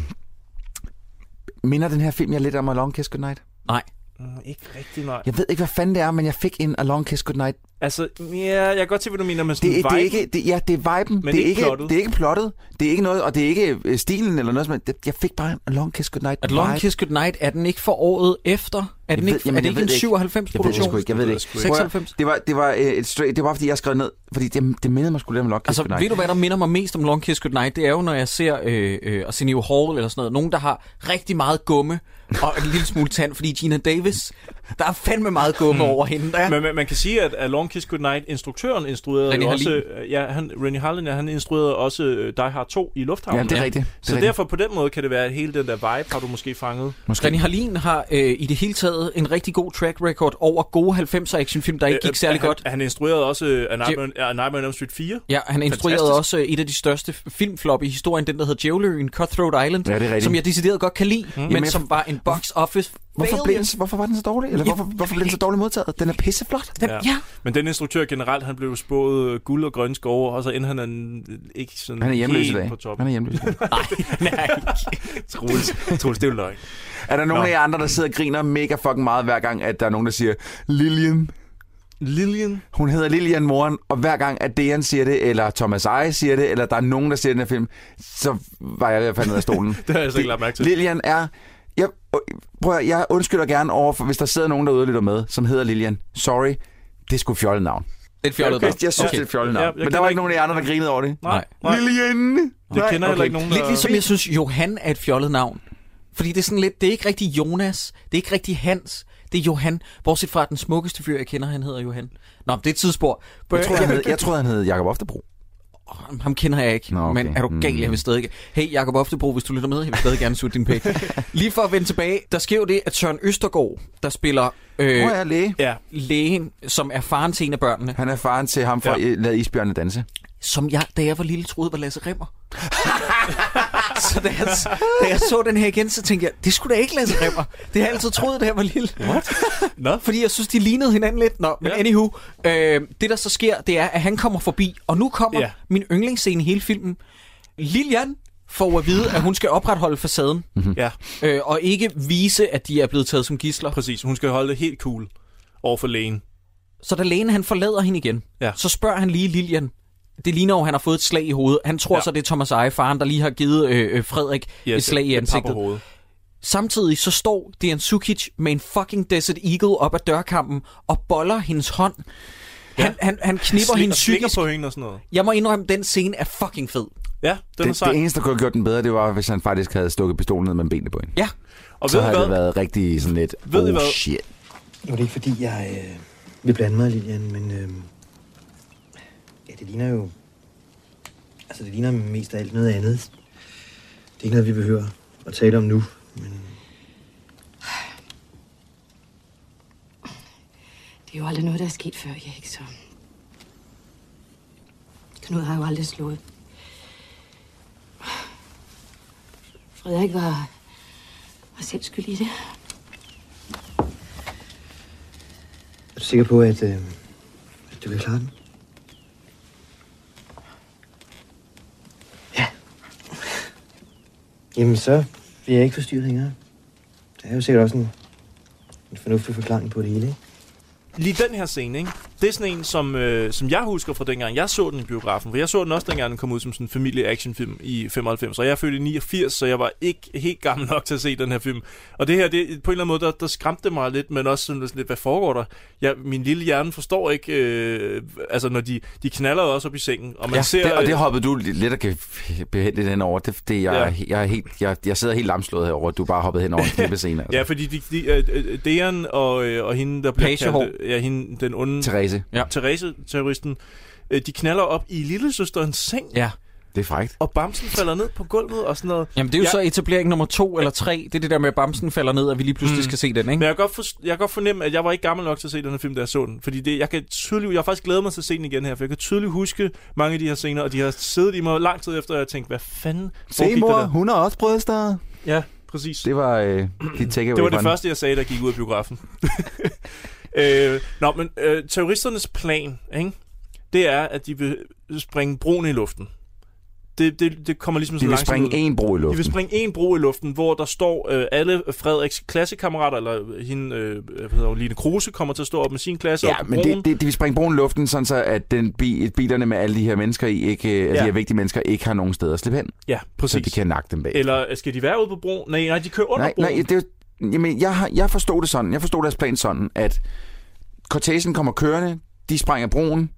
minder den her film jer lidt om A Long Kiss Goodnight?
Nej.
Mm, ikke rigtig, nej.
Jeg ved ikke, hvad fanden det er, men jeg fik en A Long Kiss Goodnight.
Altså, ja, jeg kan godt se, hvad du mener med sådan
Det, er- det er
viben.
ikke, det, ja, det er viben.
Men
det, er ikke,
plottet.
det er ikke plottet. Det er ikke noget, og det er ikke øh, stilen eller noget som helst. Det- Jeg fik bare en A Long Kiss Goodnight.
At Long
vibe.
Kiss Goodnight, er den ikke for året efter? Er, den
Jeg
ikke,
ved- jamen,
er det
jeg
ikke
ved
en
det
97
Jeg ved det
produktion?
sgu ikke, jeg ved det ikke.
96?
Det var, det var, øh, et straight, det var fordi, jeg skrev ned, fordi det, det mindede mig sgu lidt om Long Kiss
Altså,
Goodnight.
ved du, hvad der minder mig mest om Long Kiss Goodnight? Det er jo, når jeg ser øh, øh, Arsenio Hall eller sådan noget. Nogen, der har rigtig meget gumme og en lille smule tand, fordi Gina Davis, der er fandme meget gumme
Mm.
over hende. Der.
Men man, man kan sige, at A Long Kiss Goodnight, instruktøren instruerede
Rennie
jo også... øh,
Harlin.
Ja, han, Rennie Harlin, ja, han instruerede også øh, Die Hard 2 i Lufthavnen.
Ja, det er rigtigt. Det er
Så
rigtigt.
derfor på den måde kan det være, at hele den der vibe har du måske fanget.
Måske. René Harlin har øh, i det hele taget en rigtig god track record over gode 90'er actionfilm, der ikke
Øh,
gik særlig
han,
godt.
Han instruerede også øh, A Nightmare, A Nightmare on Elm Street 4.
Ja, han instruerede
Fantastisk.
også øh, et af de største filmflop i historien, den der hedder Djævleøen, Cutthroat Island,
Ja, det er rigtigt.
som jeg decideret godt kan lide, mm. men
Jamen, jeg-
som var en box office
Hvorfor, blev
failure.
den, hvorfor var den så dårlig? Eller
Jeg
hvorfor, hvorfor blev den så dårligt modtaget? Den er pisseflot.
Den,
Men den instruktør generelt, han blev spået øh, guld og grønne skove, og så endte han en, ikke sådan
Han er hjemløs
helt
i dag.
på toppen.
Han er hjemløs.
nej, Troels, Troels, det er jo løgn.
Er der nogen
Nå.
af jer andre, der sidder og griner mega fucking meget, hver gang, at der er nogen, der siger, Lillian?
Lillian?
Hun hedder Lillian Moren, og hver gang, at Dejan siger det, eller Thomas Eje siger det, eller der er nogen, der siger det i den her film, så var jeg ved at falde ned af stolen.
Det har jeg altså ikke lagt mærke til.
Lillian er... Jeg, prøv at, høre, jeg undskylder gerne over, for, hvis der sidder nogen derude og lytter med, som hedder Lillian. Sorry, det er sgu fjollet navn.
Det er et fjollet navn.
Jeg, jeg synes,
Okay.
det er et fjollet
Ja,
navn.
jeg
Ja, men der
kender
var ikke nogen af jer andre, der grinede over det.
Nej.
Lillian! Det
kender jeg heller ikke nogen, der-
Lidt ligesom jeg synes, Johan er et fjollet navn. Fordi det er sådan lidt, det er ikke rigtig Jonas, det er ikke rigtig Hans, det er Johan. Bortset fra at den smukkeste fyr, jeg kender, han hedder Johan. Nå, men det er et tidsspor.
Jeg troede, han hed, jeg troede, han hed Jacob Oftebro.
Ham- Ham kender jeg ikke, Nå, okay. men er
Mm.
du gal, jeg vil stadig... Hey, Jakob Oftebro, hvis du lytter med, jeg vil stadig gerne suge din pæk. Lige for at vende tilbage, der sker jo det, at Søren Østergaard, der spiller... Øh,
Hvor er læge?
Ja.
Lægen, som er faren til en af børnene.
Han er faren til ham fra ja. Lad Isbjørne danse.
som jeg, da jeg var lille, troede var Lasse Rimmer. så da jeg, da jeg så den her igen, så tænkte jeg, det skulle da ikke Lasse Rimmer. Det har jeg altid troet, da jeg var lille. What?
Nå.
Fordi jeg synes, de lignede hinanden lidt. Nå, men ja. anywho, øh, det der så sker, det er, at han kommer forbi, og nu kommer
Ja.
ja. min yndlingsscene i hele filmen. Lilian får at vide, at hun skal opretholde facaden,
Hmm.
Mhm. Ja.
øh, og ikke vise, at de er blevet taget som gidsler.
Præcis, hun skal holde det helt cool over for lægen.
Så da lægen han forlader hende igen,
ja.
så spørger han lige Lilian. Det ligner jo, at han har fået et slag i hovedet. Han tror ja. så, det er Thomas Eje, faren, der lige har givet øh, øh, Frederik yes, et slag i ansigtet.
hovedet.
Samtidig så står Dejan Sukic med en fucking Desert Eagle op ad dørkampen og boller hendes hånd. Ja. Han, han, han knipper
Sli-
hende
og slikker
psykisk.
på hende og sådan noget.
Jeg må indrømme, den scene er fucking fed.
Ja, den er
Det,
sej.
det eneste, der kunne have gjort den bedre, det var, hvis han faktisk havde stukket pistolen ned mellem benene på hende.
Ja.
Og
så
ved I
havde
hvad?
det været rigtig sådan lidt,
Ved I
oh
hvad?
shit.
Nu er det ikke, fordi jeg øh, vil blande mig, Lilian, men øh, det ligner jo... Altså, det ligner mest af alt noget andet. Det er ikke noget, vi
uh,
behøver at tale om nu.
Det er jo aldrig noget, der er sket før, Erik, så... Knud har jo aldrig slået. Frederik var, var selv skyld i det.
Er du sikker på, at, øh, at du kan klare den? Ja. Jamen, så bliver jeg ikke forstyrret længere. Der er jo sikkert også en, en fornuftig forklaring på det
eh?
hele, ikke?
Lige den her scene, ikke? Det er sådan en, som, øh, som jeg husker fra dengang, jeg så den i biografen. For jeg så den også dengang, den kom ud som sådan en familie-actionfilm i 95. Og jeg er født i 89, så jeg var ikke helt gammel nok til at se den her film. Og det her, det, på en eller anden måde, der, der skræmte det mig lidt, men også sådan lidt, hvad foregår der? Jeg, min lille hjerne forstår ikke, øh, altså når de, de knaller jo også op i sengen. Og man
ja,
ser, øh,
det, og det hoppede du lidt og kan behente den over. Det, det jeg,
Ja.
ja. jeg, er helt, jeg, jeg sidder helt lamslået herover, at du bare hoppede hen over en kæmpe scene. Altså.
Ja, fordi de, de, øh, øh, Dejan og, øh, og hende, der bliver
Pagehår.
kaldt... øh, Ja, hende, den onde...
Therese.
Ja. Therese, terroristen. Øh, de knaller op i lillesøsterens seng.
Ja.
Det er frækt.
Og Bamsen falder ned på gulvet og sådan noget.
Jamen, det er jo
jeg,
ja. så etablering nummer to eller tre. Det er det der med, at bamsen falder ned, og vi lige pludselig
Mm.
mm. skal se den,
Men
ikke?
jeg kan, godt for, jeg kan godt fornemme, at jeg var ikke gammel nok til at se den her film, da jeg så den. Fordi det, jeg kan tydeligt... Jeg har faktisk glædet mig til at se den igen her, for jeg kan tydeligt huske mange af de her scener, og de har siddet i mig lang tid efter, og jeg tænkte, hvad fanden
Se,
foregik der
mor,
der?
hun har også bryster.
Ja, præcis.
Det var øh, dit takeaway
Det var
fra
det
den.
første, jeg sagde, der gik ud af biografen. øh, nå, men øh, terroristernes plan, ikke? det er, at de vil springe broen i luften. Det, det, det kommer ligesom
De
så
vil
langsomt
springe
ud.
én bro i luften.
De vil springe en bro i luften, hvor der står øh, alle Frederiks klassekammerater, eller hende, øh, hvad hedder hun, Line Kruse, kommer til at stå op med sin klasse
Ja,
op på
men
broen.
det, det, de vil springe broen i luften, sådan så at den, bi- bilerne med alle de her mennesker i, ikke, øh, alle
Ja.
de her vigtige mennesker, ikke har nogen steder at slippe hen.
Ja, præcis.
Så de kan nakke dem bag.
Eller øh, skal de være ude på broen? Nej, nej, de kører under
nej,
broen.
nej, det er jo, jamen, jeg, har- jeg forstod det sådan. Jeg forstod deres plan sådan, at cortesen kommer kørende, de sprænger broen,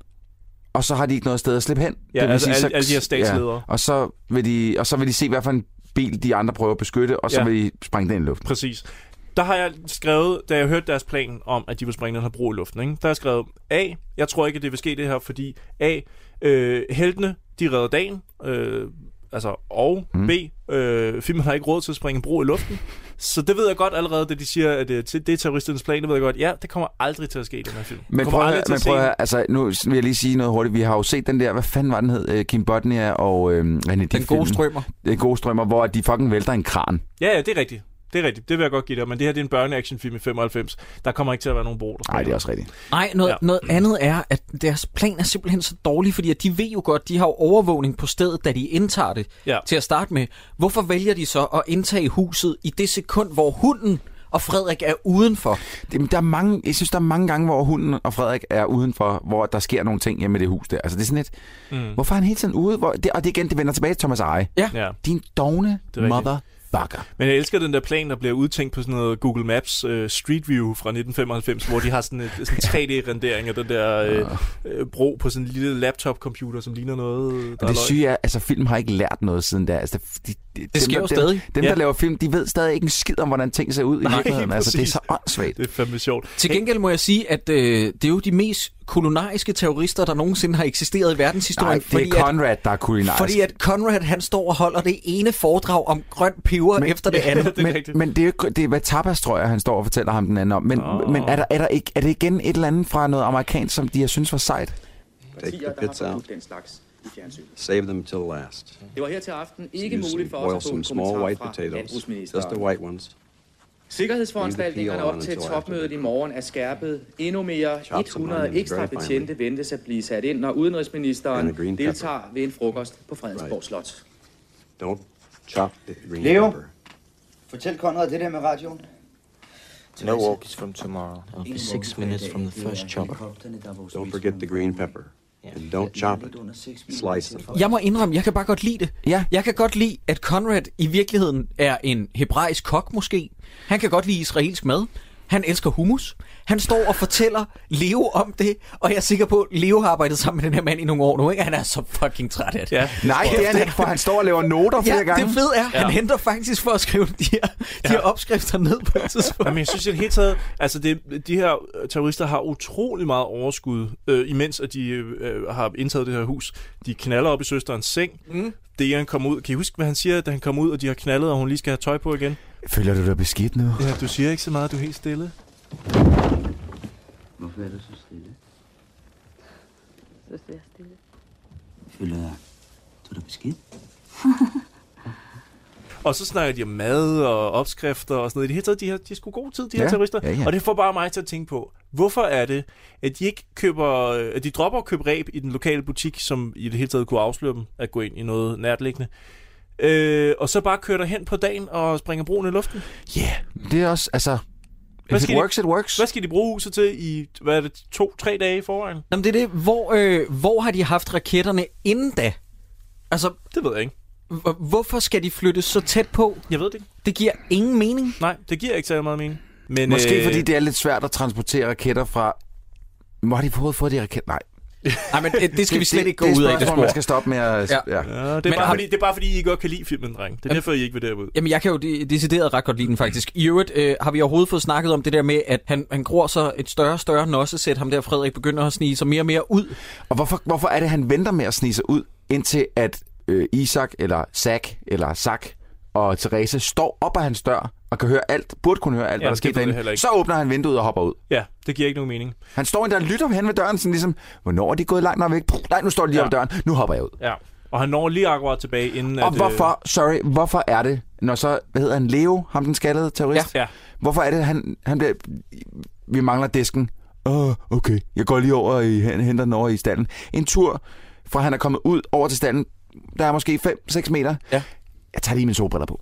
og så har de ikke noget sted at slippe hen.
Ja,
Det vil
altså alle-
så-
alle de her statsledere.
og, så vil de, og så vil de se, hvad for en bil de andre prøver at beskytte, og så
Ja.
ja. vil de sprænge den i luften.
Præcis. Der har jeg skrevet, da jeg hørte deres plan om, at de vil springe den her bro i luften, ikke? der har jeg skrevet A. Jeg tror ikke, at det vil ske det her, fordi A. Øh, heltene, de redder dagen, øh, altså, og mm.
Mm.
B. Øh, filmen har ikke råd til at springe en bro i luften. Så det ved jeg godt allerede, da de siger, at øh, det det er terroristernes plan, det ved jeg godt. Ja, det kommer aldrig til at ske i den her film.
Men
kommer
prøv, at,
aldrig
høre-
til
men
at
prøv at,
se
høre, altså nu vil jeg lige sige noget hurtigt. Vi har jo set den der, hvad fanden var den hed? Øh, Kim Bodnia og øh, René Den
gode strømmer.
Den gode strømmer, hvor de fucking vælter en kran.
Ja, ja, det er rigtigt. Det er rigtigt. Det vil jeg godt give dig, men det her det er en børneactionfilm i 95. Der kommer ikke til at være nogen bro, der
Nej, det er også rigtigt.
Nej, noget, ja. noget andet er, at deres plan er simpelthen så dårlig, fordi at de ved jo godt, de har jo overvågning på stedet, da de indtager det
Ja.
til at starte med. Hvorfor vælger de så at indtage huset i det sekund, hvor hunden og Frederik er udenfor?
Jamen, der er mange, jeg synes, der er mange gange, hvor hunden og Frederik er udenfor, hvor der sker nogle ting hjemme i det hus der. Altså, det er sådan lidt,
Mm.
mm. hvorfor er han hele tiden ude? Hvor, det, og det igen, det vender tilbage til Thomas Eje.
Ja.
ja.
Din dogne
er rigtigt.
motherfucker.
Men jeg elsker den der plan, der bliver udtænkt på sådan noget Google Maps øh, Street View fra 1995, hvor de har sådan en sådan 3D-rendering af den der øh, øh, bro på sådan en lille laptop-computer, som ligner noget. øh, Der
Og det
løg.
syge er, altså film har ikke lært noget siden der. Altså, de, de,
Det sker
dem,
jo
der-
stadig.
Dem, dem, der
Ja.
laver film, de ved stadig ikke en skid om, hvordan ting ser ud
Nej,
i virkeligheden. Altså, det er
præcis.
så åndssvagt.
Det er fandme sjovt.
Til gengæld må jeg sige, at øh, det er jo de mest kolonariske terrorister, der nogensinde har eksisteret i verdenshistorien.
Nej, det er Conrad, der er kulinarisk.
Fordi at Conrad, han står og holder det ene foredrag om grøn peber men, efter det andet.
men, men det er jo ikke, det er, hvad tapas, tror jeg, han står og fortæller ham den anden om. Men,
Nå.
oh. men er, der, er, der ikke, er det igen et eller andet fra noget amerikansk, som de har synes var sejt?
Take the bits out.
den slags i fjernsynet.
Save them till last.
Det var her til aften ikke
Use
muligt
and
for os
boil
at få
some
en
small
kommentar
white
fra
potatoes. Just the
landbrugsministeren.
white ones.
Sikkerhedsforanstaltningerne op til
Leave the peel on
topmødet i morgen er skærpet. Endnu mere
Chop some
100
onions
ekstra
very finely.
betjente ventes at blive sat ind, når
And
udenrigsministeren
a green pepper.
deltager ved en frokost på Fredensborg Slot.
Don't chop the green
Leo?
pepper.
Fortæl Conrad det der med radioen.
No walkies from tomorrow. It'll be six minutes from the first chop.
Don't forget the green pepper. And don't chop it. Slice them.
Jeg må indrømme, jeg kan bare godt lide det.
Ja.
Jeg kan godt lide, at Conrad i virkeligheden er en hebraisk kok måske. Han kan godt lide israelsk mad. Han elsker hummus. Han står og fortæller Leo om det, og jeg er sikker på, at Leo har arbejdet sammen med den her mand i nogle år nu, ikke? Han er så fucking træt af det. Ja.
Nej, det er han ikke, for han står og laver noter flere
ja,
gange.
det fede er, ja.
Ja.
han henter faktisk for at skrive de her, de her opskrifter ned på et tidspunkt.
Jamen, jeg synes i det hele taget, altså det, de her øh, terrorister har utrolig meget overskud, øh, imens at de øh, har indtaget det her hus. De knaller op i søsterens seng.
Mm.
Det er, han kommer ud. Kan I huske, hvad han siger, da han kommer ud, og de har knaldet, og hun lige skal have tøj på igen?
Føler du dig beskidt nu?
Ja, du siger ikke så meget, du er helt stille.
Hvorfor er du så stille?
Så sidder jeg stille.
Føler jeg, du er da beskidt?
Og så snakker de om mad og opskrifter og sådan noget. I det hele taget, de har, de har sgu god tid, de her
Ja,
terrorister.
ja, ja.
Og det får bare mig til at tænke på, hvorfor er det, at de ikke køber, øh, at de dropper at købe ræb i den lokale butik, som i det hele taget kunne afsløre dem at gå ind i noget nærtliggende. Øh, og så bare kører der hen på dagen og springer broen i luften.
Det er også, altså... If it works,
de,
it works.
Hvad skal de bruge huset til i, hvad er det, to-tre dage i forvejen?
Jamen, det er det. Hvor, øh, hvor har de haft raketterne inden da? Altså,
det ved jeg ikke.
Hvorfor skal de flyttes så tæt på?
Jeg ved det ikke.
Det giver ingen mening.
Nej, det giver ikke særlig meget mening. Men,
Måske
øh,
fordi det er lidt svært at transportere raketter fra... Må de forhovedet fået de raketter? Nej.
Nej, men øh, det, det skal vi slet ikke gå
det er
ud af, det
spørgsmål,
spor.
man skal stoppe med at...
Ja.
Ja.
Ja, det, er
Men
bare,
har-
fordi, det er bare fordi, I ikke godt kan lide filmen, dreng. Det er
Jamen-
derfor, I ikke vil derud.
Jamen, jeg kan jo de- decideret ret godt lide den faktisk. I øvrigt øh, har vi overhovedet fået snakket om det der med, at han, han gror så et større og større nossesæt, ham der Frederik begynder at snige sig mere og mere ud.
Og hvorfor, hvorfor er det, han venter med at snige sig ud, indtil at øh, Isak, eller Zach, eller Zach og Therese står op af hans dør og kan høre alt, burde kunne høre alt, hvad
Ja,
der
det
sker
ved jeg heller
derinde.
ikke.
Så åbner han vinduet og hopper ud.
Ja, det giver ikke nogen mening.
Han står endda og lytter hen ved døren, sådan ligesom, hvornår er de gået langt nok væk? Puh, nej, nu står de lige ja.
Ja.
op ad døren, nu hopper jeg ud.
Ja, og han når lige akkurat tilbage, inden
Og
at... øh,
hvorfor, sorry, hvorfor er det, når så, hvad hedder han, Leo, ham den skaldede terrorist?
Ja. Ja.
Hvorfor er det, han, han bliver, vi mangler disken. Åh, oh, okay, jeg går lige over i, hen- henter den over i stallen. En tur, fra han er kommet ud over til stallen, der er måske 5-6 meter.
Ja.
Jeg tager lige mine solbriller på.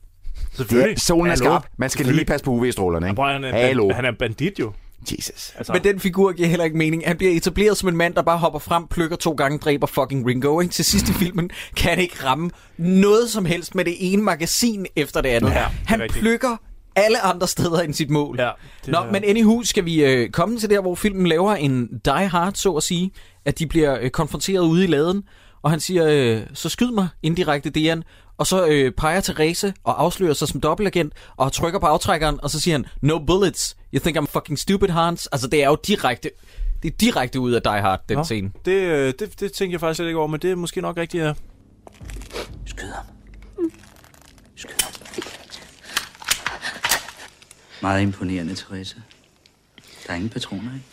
Selvfølgelig.
Ja, solen er
Hallo.
skarp. Man skal lige
Selvfølgelig.
passe på UV-strålerne, ikke?
Prøv, han er,
Hallo.
Han er en bandit jo.
Jesus.
Altså,
Men den figur giver heller ikke mening. Han bliver etableret som en mand, der bare hopper frem, plukker to gange, dræber fucking Ringo. Ikke? Til sidst i filmen kan han ikke ramme noget som helst med det ene magasin efter det andet.
Ja, det er
han
rigtigt.
plukker alle andre steder end sit mål.
Ja,
Nå, men anywho, skal vi øh, komme til der, hvor filmen laver en Die Hard, så at sige, at de bliver øh, konfronteret ude i laden, og han siger, øh, så skyd mig indirekte, Dejan, og så øh, peger Therese og afslører sig som dobbeltagent, og trykker på aftrækkeren, og så siger han, no bullets, you think I'm fucking stupid, Hans. Altså, det er jo direkte, det er direkte ud af Die Hard, den
Nå.
scene.
Det, øh, det, det tænkte jeg faktisk slet ikke over, men det er måske nok rigtigt, ja.
Meget imponerende, Therese. Der er ingen patroner, ikke?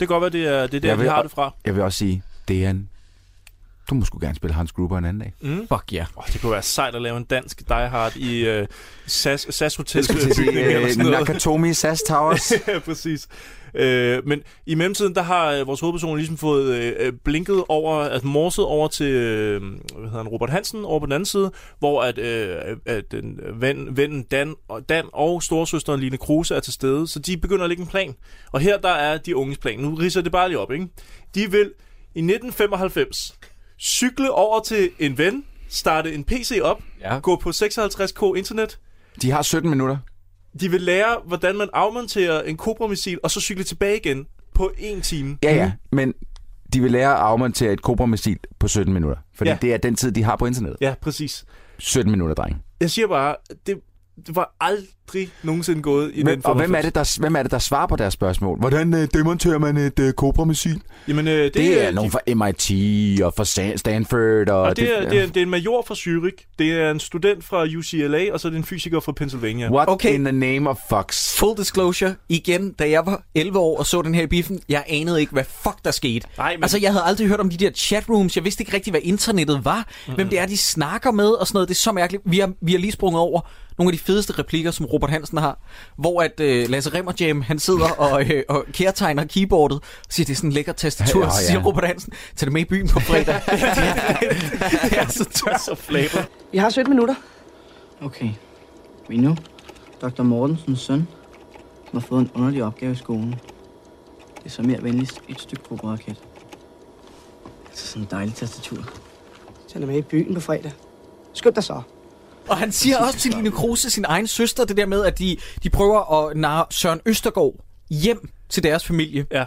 Det kan godt være, det er, det er der, vi har det fra.
Jeg vil også sige, det er en... Du må sgu gerne spille Hans Gruber en anden dag.
Mm.
Fuck ja. Yeah.
Oh, det kunne være sejt at lave en dansk Die Hard i øh, SAS, SAS Hotel.
Det skal til at sige,
bygningen eller
øh,
sådan noget.
Nakatomi SAS Towers.
ja, præcis. Øh, men i mellemtiden, der har øh, vores hovedperson ligesom fået øh, øh, blinket over, altså morset over til øh, hvad hedder han, Robert Hansen over på den anden side, hvor at, øh, at den, øh, ven, vennen Dan, og- Dan og storsøsteren Line Kruse er til stede, så de begynder at lægge en plan. Og her der er de unges plan. Nu riser jeg det bare lige op, ikke? De vil i 1995 cykle over til en ven, starte en PC op,
Ja.
gå på 56k internet,
De har 17 minutter.
de vil lære, hvordan man afmonterer en Cobra-missil, og så cykle tilbage igen på en time.
Ja, ja, men de vil lære at afmontere et Cobra-missil på 17 minutter. Fordi
Ja.
ja. det er den tid, de har på internettet.
Ja, præcis.
17 minutter, dreng.
Jeg siger bare, det, det var aldrig nogensinde gået i
Hvem,
den
og hvem er, det, der, hvem er det, der svarer på deres spørgsmål? Hvordan øh, demonterer man et øh, Cobra-missil?
Jamen, øh, det,
Det er
øh,
nogen fra MIT og fra Stan- Stanford. Og,
Og det, er,
ja.
det, er, det er en major fra Zürich, det er en student fra UCLA, og så er det en fysiker fra Pennsylvania.
What
Okay.
okay. in the name of fucks?
Full disclosure, igen, da jeg var 11 år og så den her i biffen, jeg anede ikke, hvad fuck der skete.
Nej, men-
Altså, jeg havde aldrig hørt om de der chatrooms, jeg vidste ikke rigtigt, hvad internettet var, mm-hmm. hvem det er, de snakker med og sådan noget. Det er så mærkeligt. Vi har, vi har lige sprunget over nogle af de fedeste replikker, som Robert Hansen har, hvor at øh, Lasse Remmerjam, han sidder og, øh, og kærtegner keyboardet og siger, det er sådan en lækker tastatur,
Ja,
og så
ja.
siger Robert Hansen, tag det med i byen på fredag. det er så tørt.
Så flavor.
Vi har 17 minutter.
Okay. Vi nu? Dr. Mortensens søn har fået en underlig opgave i skolen. Det er så mere venligst et stykke kobraket. Det er sådan en dejlig tastatur.
Tag det med i byen på fredag. Skynd dig så.
Og han siger også til Line Kruse, sin egen søster, det der med, at de, de prøver at narre Søren Østergaard hjem til deres familie.
Ja.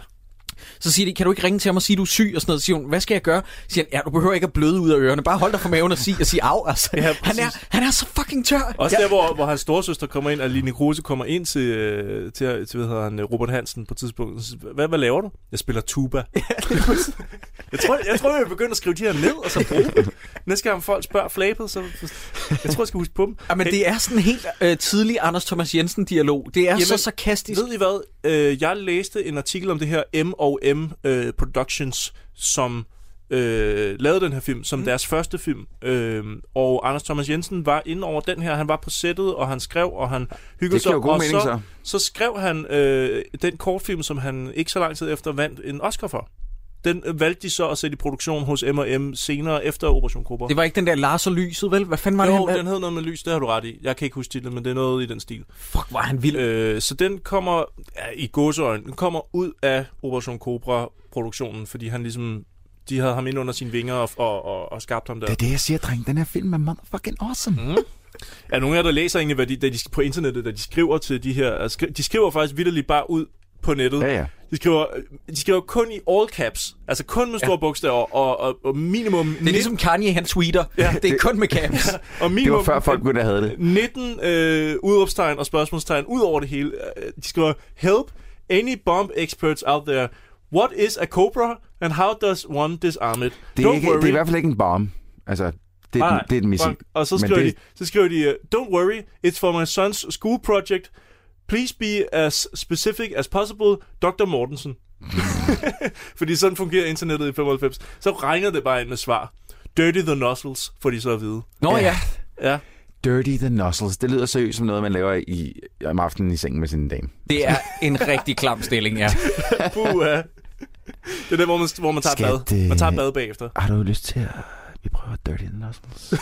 Så siger de, kan du ikke ringe til ham og sige, du er syg og sådan noget? Så siger hun, hvad skal jeg gøre? Så siger han, ja, du behøver ikke at bløde ud af ørerne. Bare hold dig for maven og sig, og sig af. Altså.
Ja,
han, er, han er så fucking tør.
Også
Ja.
der, hvor, hvor hans storesøster kommer ind, og Line Kruse kommer ind til, øh, til, til hvad hedder han, øh, Robert Hansen på et tidspunkt. og siger, Hvad, hvad laver du? Jeg spiller tuba. jeg, tror, jeg tror, jeg vil begynde at skrive de her ned, og så bruge dem. Næste gang folk spørger flabet, så... Jeg tror, jeg skal huske på dem.
Ja, men det er sådan en helt øh, tidlig Anders Thomas Jensen-dialog. Det er Jamen, så sarkastisk.
Ved I hvad? Øh, jeg læste en artikel om det her M&M øh, Productions, som øh, lavede den her film, som mm. deres første film. Øh, og Anders Thomas Jensen var inde over den her. Han var på sættet, og han skrev, og han hyggede
Det giver
sig.
jo god
og
mening,
så,
så.
så skrev han øh, den kortfilm, som han ikke så lang tid efter vandt en Oscar for. Den øh, valgte de så at sætte i produktion hos M&M senere efter Operation Cobra.
Det var ikke den der Lars og Lyset, vel? Hvad fanden var det,
jo,
han valgte?
den hed noget med lys, det har du ret i. Jeg kan ikke huske titlen, men det er noget i den stil.
Fuck, var han vild.
Øh, så den kommer, ja, i godsøjen, den kommer ud af Operation Cobra-produktionen, fordi han ligesom, de havde ham ind under sine vinger og, og, og, og skabt ham der.
Det er det, jeg siger, dreng. Den her film er motherfucking awesome.
Mm. Er der nogen af jer, der læser egentlig, hvad de, da de, på internettet, da de skriver til de her... altså, skri- De skriver faktisk vidderligt bare ud på nettet.
Ja, ja.
De skriver, de skriver kun i all caps, altså kun med store ja. bogstaver, og, og, og minimum...
Det er ligesom Kanye, han tweeter. Ja, det er kun med caps.
og minimum,
Det var før folk begyndte at have det.
19 øh, udråbstegn og spørgsmålstegn ud over det hele. Øh, De skriver, help any bomb experts out there. What is a cobra, and how does one disarm it?
Det er,
Don't
ikke,
worry.
det er i hvert fald ikke en bombe. Altså, det er,
Nej,
ah,
nej,
det er et missil.
fuck. Og så
Men
skriver,
det-
det... de, så skriver de, øh, don't worry, it's for my son's school project. Please be as specific as possible, Dr. Mortensen. Fordi sådan fungerer internettet i 95. Så regner det bare ind med svar. Dirty the nozzles, får de så at vide.
Nå ja.
Ja.
Dirty the nozzles. Det lyder seriøst som noget, man laver i, om aftenen i sengen med sin dame.
Det er en rigtig klam stilling, ja.
Puha. Det er der, hvor man, hvor man tager
Skat,
et bad. Man
øh,
tager et bad bagefter.
Har du lyst til at... Vi prøver Dirty the nozzles.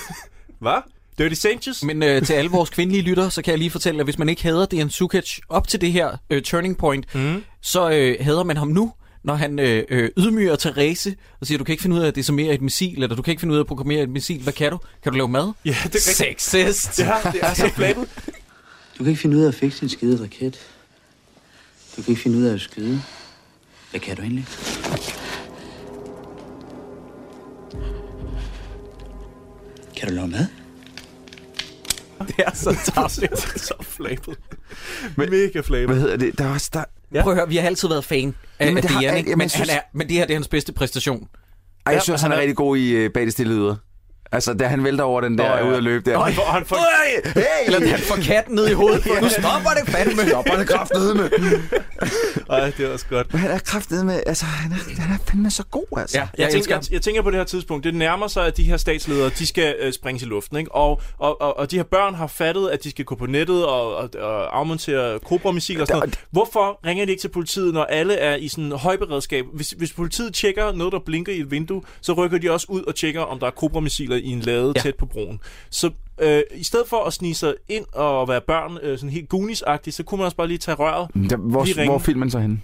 Hvad? Dirty Sanchez?
Men øh, til alle vores kvindelige lyttere, så kan jeg lige fortælle, at hvis man ikke hader Dejan Sukic op til det her øh, turning point,
mm.
så øh, hader man ham nu, når han øh, øh, ydmyger Therese og siger, du kan ikke finde ud af at decimere et missil, eller du kan ikke finde ud af at programmere et missil. Hvad kan du? Kan du lave mad?
Ja, det er rigtigt.
Sexist!
Ja, det er så flabet.
Du kan ikke finde ud af at fikse en skide raket. Du kan ikke finde ud af at skyde. Hvad kan du egentlig? Kan du lave mad?
Det er så
tabt. så flabet. Mega flabet.
Hvad hedder det? Der er også... Der...
Ja. Prøv at høre, vi har altid været fan af, Jamen,
Jamen,
af
det har-
Dejan,
jeg-
ikke?
jeg-
men,
jeg synes-
han er, men det her det er hans bedste præstation.
Ej, jeg synes, han er rigtig god i øh, bag det stille yder. Altså, da han vælter over den der
ja.
ude at løbe der.
Nå, han
får- han får-
Øj, hey!
Eller han får katten ned i hovedet. Nu stopper det fandme.
Stopper det kraftedeme.
Ej, det er også godt.
Men han er kraftedeme... Altså, han er, han er fandme så god, altså.
Ja, jeg, jeg, tænker, jeg, jeg tænker på det her tidspunkt, det nærmer sig, at de her statsledere, de skal øh, sprænges i luften, ikke? Og, og, og, og de her børn har fattet, at de skal gå på nettet og, og, og afmontere Cobra-missiler og sådan noget. Hvorfor ringer de ikke til politiet, når alle er i sådan højberedskab? Hvis, hvis politiet tjekker noget, der blinker i et vindue, så rykker de også ud og tjekker, om der er Cobra-missiler i en lade ja. tæt på broen. Så øh, i stedet for at snige sig ind og være børn øh, sådan helt goonies så kunne man også bare lige tage røret.
Der,
lige
hvor,
ringe.
hvor filmen så henne?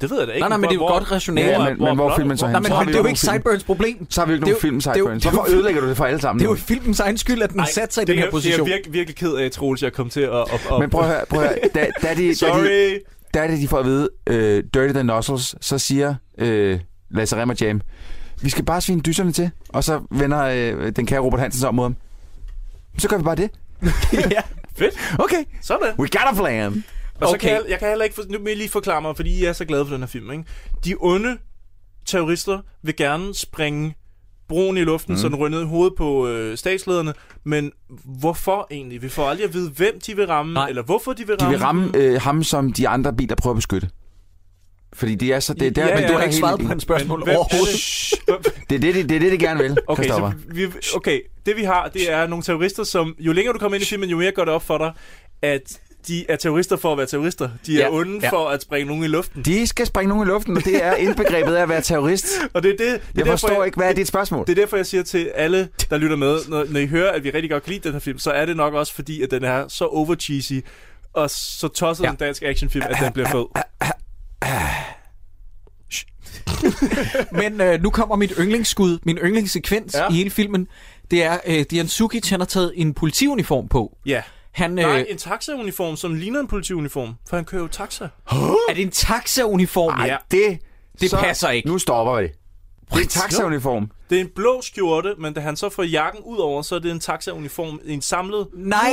Det ved jeg da ikke.
Nej, nej, men det er jo
Hvor-
godt rationale.
Ja, men- men hvor er filmen så
Nej,
henne?
men,
Så har
men
vi
det er jo
jo nogle
ikke
film.
Sideburns problem.
Så har vi jo ikke
Det er
nogen film,
det er jo-
Sideburns. Hvorfor ødelægger du det for alle sammen
Det er jo
nu?
filmens egen skyld, at den
Ej,
satte sig i
det
den
er-
her position.
Det er jeg virke, virkelig ked af, Troels, jeg kom til at... at, at
Men prøv at høre, prøv at høre. Da, da de, Da de,
Sorry!
der er det, de får at vide, øh, Dirty the Nozzles, så siger øh, Lasse Remmer Jam, vi skal bare svine dyserne til, og så vender øh, den kære Robert Hansen sig om mod ham. Så gør vi bare det.
Fedt.
Okay.
Sådan.
We got a plan.
Og okay. så
Okay.
kan jeg, jeg kan heller ikke... For, nu må jeg lige forklare mig, fordi jeg er så glad for den her film, ikke? De onde terrorister vil gerne springe broen i luften, mm.
Mm.
så den rynder ned i hovedet på øh, statslederne. Men hvorfor egentlig? Vi får aldrig at vide, hvem de vil ramme, Nej. eller hvorfor de vil
De
ramme.
vil ramme øh, ham, som de andre biler prøver at beskytte. Fordi det er så... Det, er der,
Ja,
men
ja.
det er
Men
hele ideen.
spørgsmål
Hvem er det?
Det er det, de- det, er det, de gerne vil,
Okay,
Christoffer.
så vi, okay, det vi har, det er nogle terrorister, som jo længere du kommer ind i filmen, jo mere går det op for dig, at de er terrorister for at være terrorister. De er
Ja,
ja, onde
ja.
ja. for at sprænge nogen i luften.
De skal sprænge nogen i luften, og det er indbegrebet af at være terrorist.
Og det er det, det er
Jeg
derfor,
forstår
jeg-
ikke, hvad er dit spørgsmål?
Det er derfor, jeg siger til alle, der lytter med, når, når I hører, at vi rigtig godt kan lide den her film, så er det nok også fordi, at den er så over cheesy og så tosset ja. en dansk actionfilm, at den bliver fed.
Men øh, nu kommer mit yndlingsskud, min yndlingssekvens ja.
Ja.
i hele filmen. Det er, øh, Dian Sukic, han har taget en politiuniform på.
Ja.
Han,
Nej,
øh,
en taxauniform, som ligner en politiuniform, for han kører jo taxa.
er det en taxauniform?
Ej,
det,
det
så-
passer ikke.
Nu stopper vi. Det er en taxauniform.
Det er en blå skjorte, men da han så får jakken ud over, så er det en taxauniform i en samlet...
Nej,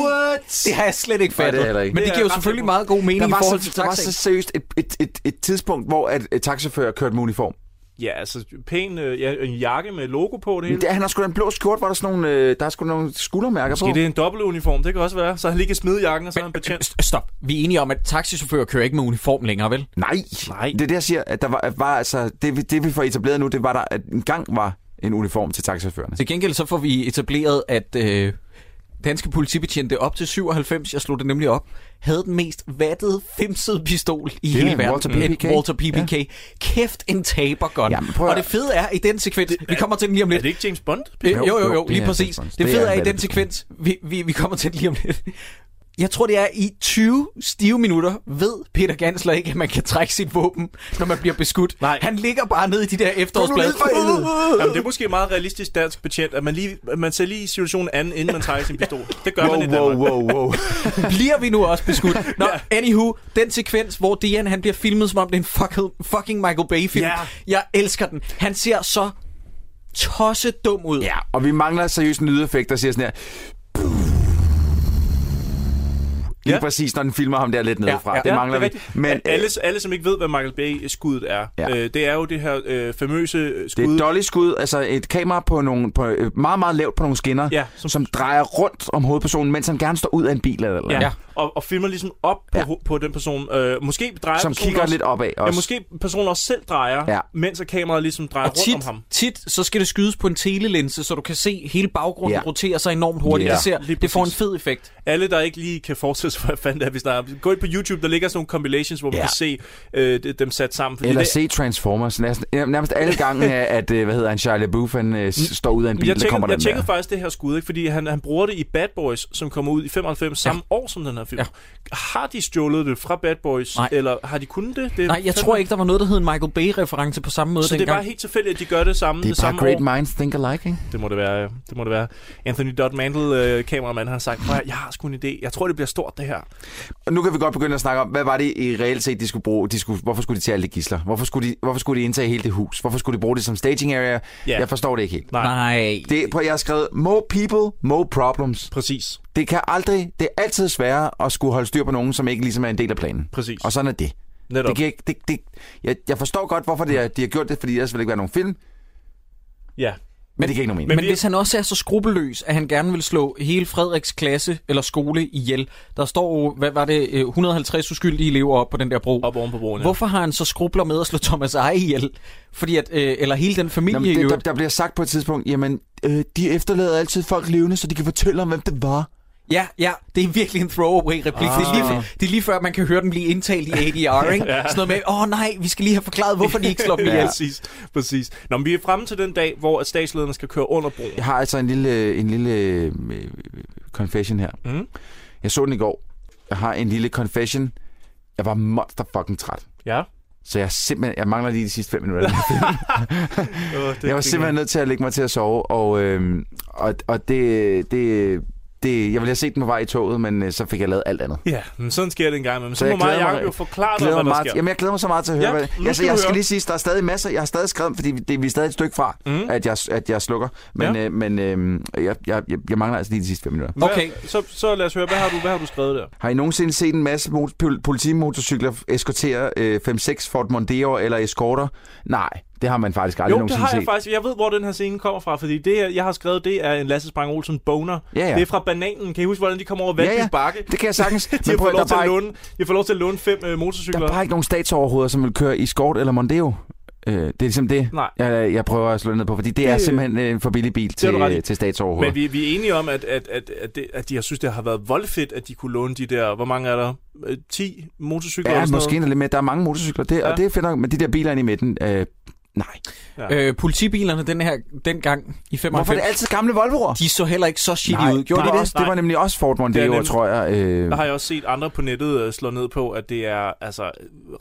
det har jeg slet ikke
Nej, det er
fattet.
heller ikke.
Men det
er
giver jo
ret
selvfølgelig
simpelt.
meget god mening
der
i
var,
forhold
så,
til
der var så
taxaen.
seriøst et, et, et, et tidspunkt, hvor at, et taxafører kørte med uniform.
Ja, altså pæn øh, ja, en jakke med logo på det hele.
Mm.
Men det, han har sgu da en blå skjort, hvor der er sådan nogle, øh, der er sgu nogle skuldermærker
Måske
på.
det er en dobbeltuniform, det kan også være. Så han lige kan smide jakken, og så er han betjent.
Stop. Vi er enige om, at taxichauffører kører ikke med uniform længere, vel?
Nej. Nej. Det er det, jeg siger, at der var, at var altså, det, vi- det, vi får etableret nu, det var der, at en gang var en uniform til taxaførerne.
Til gengæld så får vi etableret, at øh, danske politibetjente op til 97, jeg slog det nemlig op, havde den mest vattede, femsede pistol i
er
hele
en
verden.
Walter
En
PPK.
Walter PPK. Ja. Kæft, en taber godt. Og det fede er, i den sekvens, vi kommer til den lige om lidt. Er det
ikke James Bond?
Jo, jo, jo,
Jo,
jo
det
lige
er
præcis.
James Bond.
Det,
Det er
fede er, i
en
den
vattet
sekvens, vi, vi, vi kommer til den lige om lidt. Jeg tror, det er i 20 stive minutter, ved Peter Gansler ikke, at man kan trække sit våben, når man bliver beskudt. Nej. Han ligger bare ned i de der efterårsblade.
Jamen, det er måske meget realistisk dansk betjent, at man, lige, at man ser lige situationen an, inden man trækker sin pistol. Det gør
Wow,
man i
wow,
Danmark.
wow, wow.
bliver vi nu også beskudt. Nå, anywho, den sekvens, hvor Dian han bliver filmet, som om det er en fucking, fucking Michael Bay-film.
Ja.
Jeg elsker den. Han ser så tosset dum ud.
Ja, og vi mangler seriøst en lydeffekt, der siger sådan her... Lige ja. præcis, når den filmer ham der lidt nedefra. Ja, ja, det mangler
er
vi.
rigtigt.
Men øh,
alle, alle, som ikke ved, hvad Michael Bay-skuddet er,
Ja.
ja. øh, det er jo det her øh, famøse øh,
det
skud.
er et dolly skud, altså et kamera på nogle, på, øh, meget, meget lavt på nogle skinner, ja, som, som drejer rundt om hovedpersonen, mens han gerne står ud af en bil eller eller
Ja. ja. Og, og filmer ligesom op på, ja. på den person. Øh, måske drejer
Som
personen
kigger
også,
lidt opad
Ja,
også.
måske personen også selv drejer,
Ja.
ja. mens at kameraet ligesom drejer
Og
rundt
tit,
om ham.
tit, så skal det skydes på en telelinse, så du kan se hele baggrunden
Ja.
yeah. rotere sig enormt hurtigt.
Ja.
Yeah. Det, ser,
Lige
det får en
præcis.
fed effekt.
Alle, der ikke lige kan forestille sig, hvad fanden det er, vi snakker om. Gå ind på YouTube, der ligger sådan nogle compilations, hvor man
Ja.
kan se øh, de- dem sat sammen. Fordi
Eller
det,
se Transformers. Næsten, ja, nærmest alle gange, at øh, hvad hedder han, Shia LaBeouf, han øh, s- står ud af en bil,
jeg
der kommer
tjekkede,
den
jeg
der.
tjekkede faktisk det her skud, ikke? fordi han, han bruger det i Bad Boys, som kommer ud i 95, samme år som den her film. Ja. Har de stjålet det fra Bad Boys,
Nej.
Nej. eller har de kunnet det? det er
Nej, jeg
fandme-
tror ikke, der var noget, der hed en Michael Bay-reference på samme måde
Så det er
dengang.
bare helt tilfældigt, at de gør det samme
Det er
det
bare
samme
great
år.
minds think alike, ikke?
Det må det være, ja. det må det være. Anthony Dodd Mandel, øh, kameramand, har sagt, "Prøv at høre, jeg har sgu en idé. Jeg tror, det bliver stort, det her.
Og nu kan vi godt begynde at snakke om, hvad var det i reelt set, de skulle bruge? De skulle, hvorfor skulle de tage alle de gisler? Hvorfor skulle de, hvorfor skulle de indtage hele det hus? Hvorfor skulle de bruge det som staging area?
Ja.
Jeg forstår det ikke helt.
Nej.
Nej.
Det, prøv, jeg har skrevet, more people, more problems.
Præcis.
Det kan aldrig, det er altid sværere at skulle holde styr på nogen, som ikke ligesom er en del af planen.
Præcis.
Og sådan er det.
Netop.
Det kan ikke, det, det, jeg, jeg forstår godt, hvorfor det er, de har gjort det, fordi ellers ville det ikke være nogen film. Men,
Ja.
men det giver ikke nogen mening.
Men, men hvis han også er så skrupelløs, at han gerne vil slå hele Frederiks klasse eller skole ihjel, der står jo, hvad var det, øh, 150 uskyldige elever op på den der bro.
Op oven på broen, ja.
Hvorfor har han så skrubler med at slå Thomas Eje ihjel? Fordi at, øh, eller hele den familie
Nå, men det,
i
der,
øvrigt.
der bliver sagt på et tidspunkt, jamen, øh, de efterlader altid folk levende, så de kan fortælle om, hvem det var.
Ja, ja, det er virkelig en throwaway-replik. Ah. Det, er lige,
Ah.
det er lige før, at man kan høre dem blive indtalt i ADR, ikke?
Ja.
Sådan noget med, åh oh, nej, vi skal lige have forklaret, hvorfor de ikke slår dem ihjel.
præcis, præcis. Nå, men vi er fremme til den dag, hvor at statslederne skal køre under broen.
Jeg har altså en lille, en lille øh, confession her.
Mm.
Jeg så den i går. Jeg har en lille confession. Jeg var monster fucking træt.
Ja.
Så jeg er simpelthen, jeg mangler lige de sidste fem minutter. af den her film.
Øh,
jeg var simpelthen nødt til at lægge mig til at sove, og, øh, og, og det, det, det, jeg ville have set den på vej i toget, men øh, så fik jeg lavet alt andet.
Ja, men sådan sker det en gang imellem. Så, så må
jeg
mig og
glæder
Jacob jo forklare dig,
glæder
hvad
mig
der
meget,
sker.
Jamen, jeg glæder mig så meget til at høre,
Ja,
ja,
nu
hvad altså,
skal
jeg
du
skal
høre.
lige sige, der er stadig masser. Jeg har stadig skrevet, fordi det, vi er stadig et stykke fra,
Mhm.
mm. at, jeg, at jeg slukker. Men, ja. øh, men øh, jeg, jeg, jeg, jeg mangler altså lige de sidste fem minutter.
Hvad- Så, så lad os høre, hvad har du, hvad har du skrevet der?
Har I nogensinde set en masse mot- pol- politimotorcykler eskortere øh, 5-6 Ford Mondeo eller eskorter? Nej, det har man faktisk aldrig
jo, det
nogensinde
har jeg
set.
faktisk. Jeg ved, hvor den her scene kommer fra, fordi det, her, jeg har skrevet, det er en Lasse Sprang Olsen boner.
Ja, ja.
Det er fra Bananen. Kan I huske, hvordan de kommer over Valby
Ja, ja.
Bakke?
Det kan jeg sagtens.
de,
Men
har
prøv,
fået
der
lov til
var
at
ikke-
låne, de har fået lov til at låne fem øh, motorcykler.
Der er bare ikke nogen statsoverhoveder, som vil køre i Escort eller Mondeo. Øh, det er ligesom det,
Nej.
jeg, jeg prøver at slå ned på, fordi det, det er
Det-
simpelthen øh, en for billig bil
har du ret i.
til, til statsoverhoveder.
Men vi, vi er enige om, at, at, at, at, det, at de har synes, det har været voldfedt, at de kunne låne de der, hvor mange er der? Øh, 10 motorcykler?
Ja,
eller sådan
måske
noget.
endda lidt mere. Der er mange motorcykler, det, ja.
Ja.
og det er fedt nok. Men de der biler inde i midten, øh, nej.
Ja. Øh, politibilerne den her, dengang i 95...
Hvorfor er det altid gamle Volvo'er?
De så heller ikke så shitty
Nej,
ud. Gjorde
det
de
det? Det var nemlig også Ford
Det er
Mondeo,
nemlig-
tror jeg. Øh,
Der har jeg også set andre på nettet øh, slå ned på, at det er altså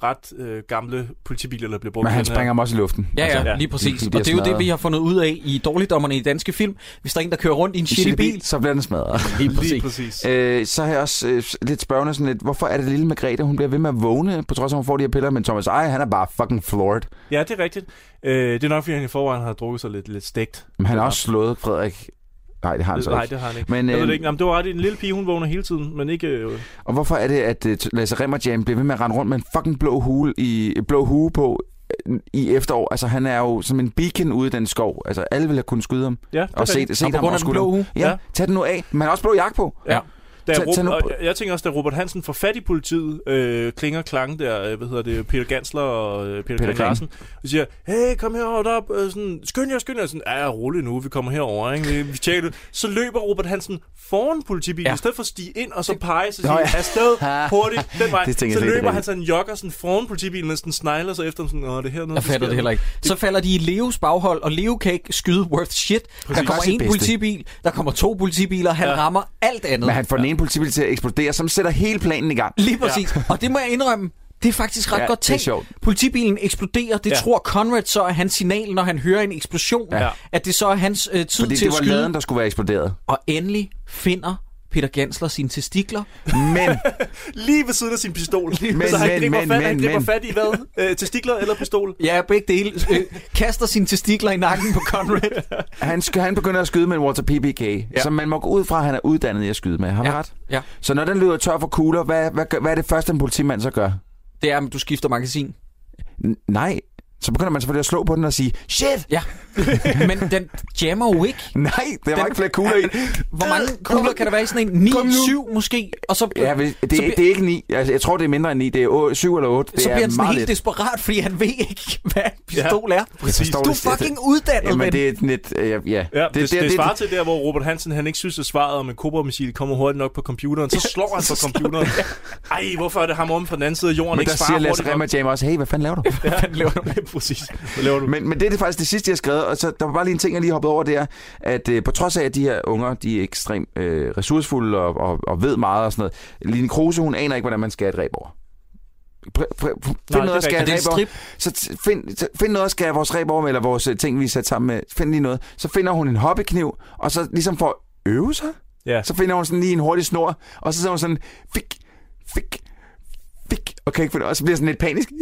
ret øh, gamle politibiler, der bliver brugt.
men
i
han
den her.
springer dem også i luften.
Ja, ja,
Altså,
ja, lige præcis.
de
Og
bliver
det er jo det,
smadret.
vi har fundet ud af i dårligdommerne i danske film. Hvis der er en, der kører rundt i en shitty bil,
Så bliver den smadret.
Lige præcis.
Øh, så har jeg også øh, lidt spørgende sådan lidt, hvorfor er det lille Margrethe, hun bliver ved med at vågne, på trods af, at hun får de her piller, men Thomas Eje, han er bare fucking floored.
Ja, det er rigtigt. Øh, det er nok, fordi han i forvejen har drukket sig lidt, lidt stegt.
Men han har også slået Frederik. Nej, det har han så
Nej,
ikke.
det har han ikke.
Altså Men,
Men, jeg ved
øh,
det ikke. Jamen, det var ret, en lille pige, hun vågner hele tiden, men ikke... Øh,
Og hvorfor er det, at øh, Lasse Remmerjam bliver ved med at rende rundt med en fucking blå, hule i, blå hue på øh, i efterår? Altså, han er jo som en beacon ude i den skov. Altså, alle ville have kunnet skyde ham.
Ja, det er
og se,
rigtigt.
se
Og på
ham
grund
over
af den blå
skulderen.
hue.
Ja,
Ja.
tag den nu af. Men han har også blå jakke på.
Ja. Da
Tag-
Rob,
tag nu-
og jeg, jeg tænker også, da Robert Hansen får fat i politiet, øh, klinger klang der, øh, hvad hedder det, Peter Gansler og øh, Peter,
Peter
Peter
Klang.
Larsen, og siger, hey, kom herovre op, øh, sådan, skynd jer, skynd jer, sådan, ja, rolig nu, vi kommer herover, ikke? Vi, vi tjekker det. Så løber Robert Hansen foran politibilen, ja. i stedet for at stige ind og så pege, så
Nå,
siger,
ja.
ja. afsted, hurtigt, den vej.
Det tænker jeg
så
slet ikke, det
løber
er
han sådan, jogger sådan foran politibilen, og sådan snegler sig efter, ham, sådan, åh, det er hernede.
jeg fatter det heller ikke. Så falder de i Leos baghold, og Leo kan ikke skyde worth shit. Der kommer
Også sit
en
bedste.
politibil, der kommer to politibiler, han
Ja.
rammer alt andet.
Men han får den ene politibil til at eksplodere, som sætter hele planen i gang.
Lige præcis. Ja. Og det må jeg indrømme, det er faktisk ret
Ja,
godt
det er
tænkt.
sjovt.
Politibilen eksploderer, det
Ja.
ja. tror Conrad så er hans signal, når han hører en eksplosion,
Ja.
ja. at det så er hans øh, tid
Fordi
til at
det var
skyde.
laden, der skulle være eksploderet.
Og endelig finder Peter Gansler sine testikler.
Men
Lige ved siden af sin pistol.
Men,
så han
men,
griber
men,
fat, han
men,
griber
men.
fat i hvad? Øh, testikler eller pistol?
Ja, begge dele. Øh, kaster sine testikler i nakken på Conrad.
Han, sk- han begynder at skyde med en Walter PPK, ja. som man må gå ud fra, at han er uddannet i at skyde med. Har ja. ret?
Ja.
Så når den løber tør for kugler, hvad, hvad, gør- hvad er det første, en politimand så gør?
Det er, at du skifter magasin.
N- nej. Så begynder man selvfølgelig at slå på den og sige, shit!
Ja. Men den jammer jo ikke.
Nej, der var ikke flere kugler i.
Hvor mange kugler kan der være i sådan en? 9, 7 måske? Og så,
Ja, vel, det,
så,
det, det er ikke 9. Altså, jeg tror, det er mindre end 9. Det er 7 eller 8. Det
så
er
bliver han sådan
meget
helt
lidt.
desperat, fordi han ved ikke, hvad en pistol ja, er.
Jeg forstår
Du er
det slet
fucking
ikke.
uddannet,
Jamen,
mand.
det er lidt... Øh, ja, ja,
Ja, det, det, det, det svarer til der, hvor Robert Hansen han ikke synes, at svaret om en kobra-missil kommer hurtigt nok på computeren. Så slår han på computeren. Ej, hvorfor er det ham om fra den anden side af jorden
Men
ikke
der siger
svarer
Lasse
hurtigt nok?
Remmer Jam også, hey, hvad fanden laver du?
Ja, han laver det. Præcis. Hvad laver du?
Men, men det er det faktisk det sidste, jeg har skrevet, og så der var bare lige en ting, jeg lige hoppede over, det er, at øh, på trods af, at de her unger, de er ekstremt øh, ressourcefulde og, og, og ved meget og sådan noget, Line Kruse, hun aner ikke, hvordan man skal et ræb over. Pr- pr- pr- Find
det er
noget at skære
rigtigt. Er det
ræb
en
over.
strip?
Så t- find, så find noget at skære vores ræb over med, eller vores øh, ting, vi er sat sammen med. Find lige noget. Så finder hun en hobbykniv, og så ligesom for at øve sig,
Ja.
så finder hun sådan lige en hurtig snor, og så siger hun sådan, fik, fik, fik, og kan ikke finde, og så bliver jeg sådan lidt panisk.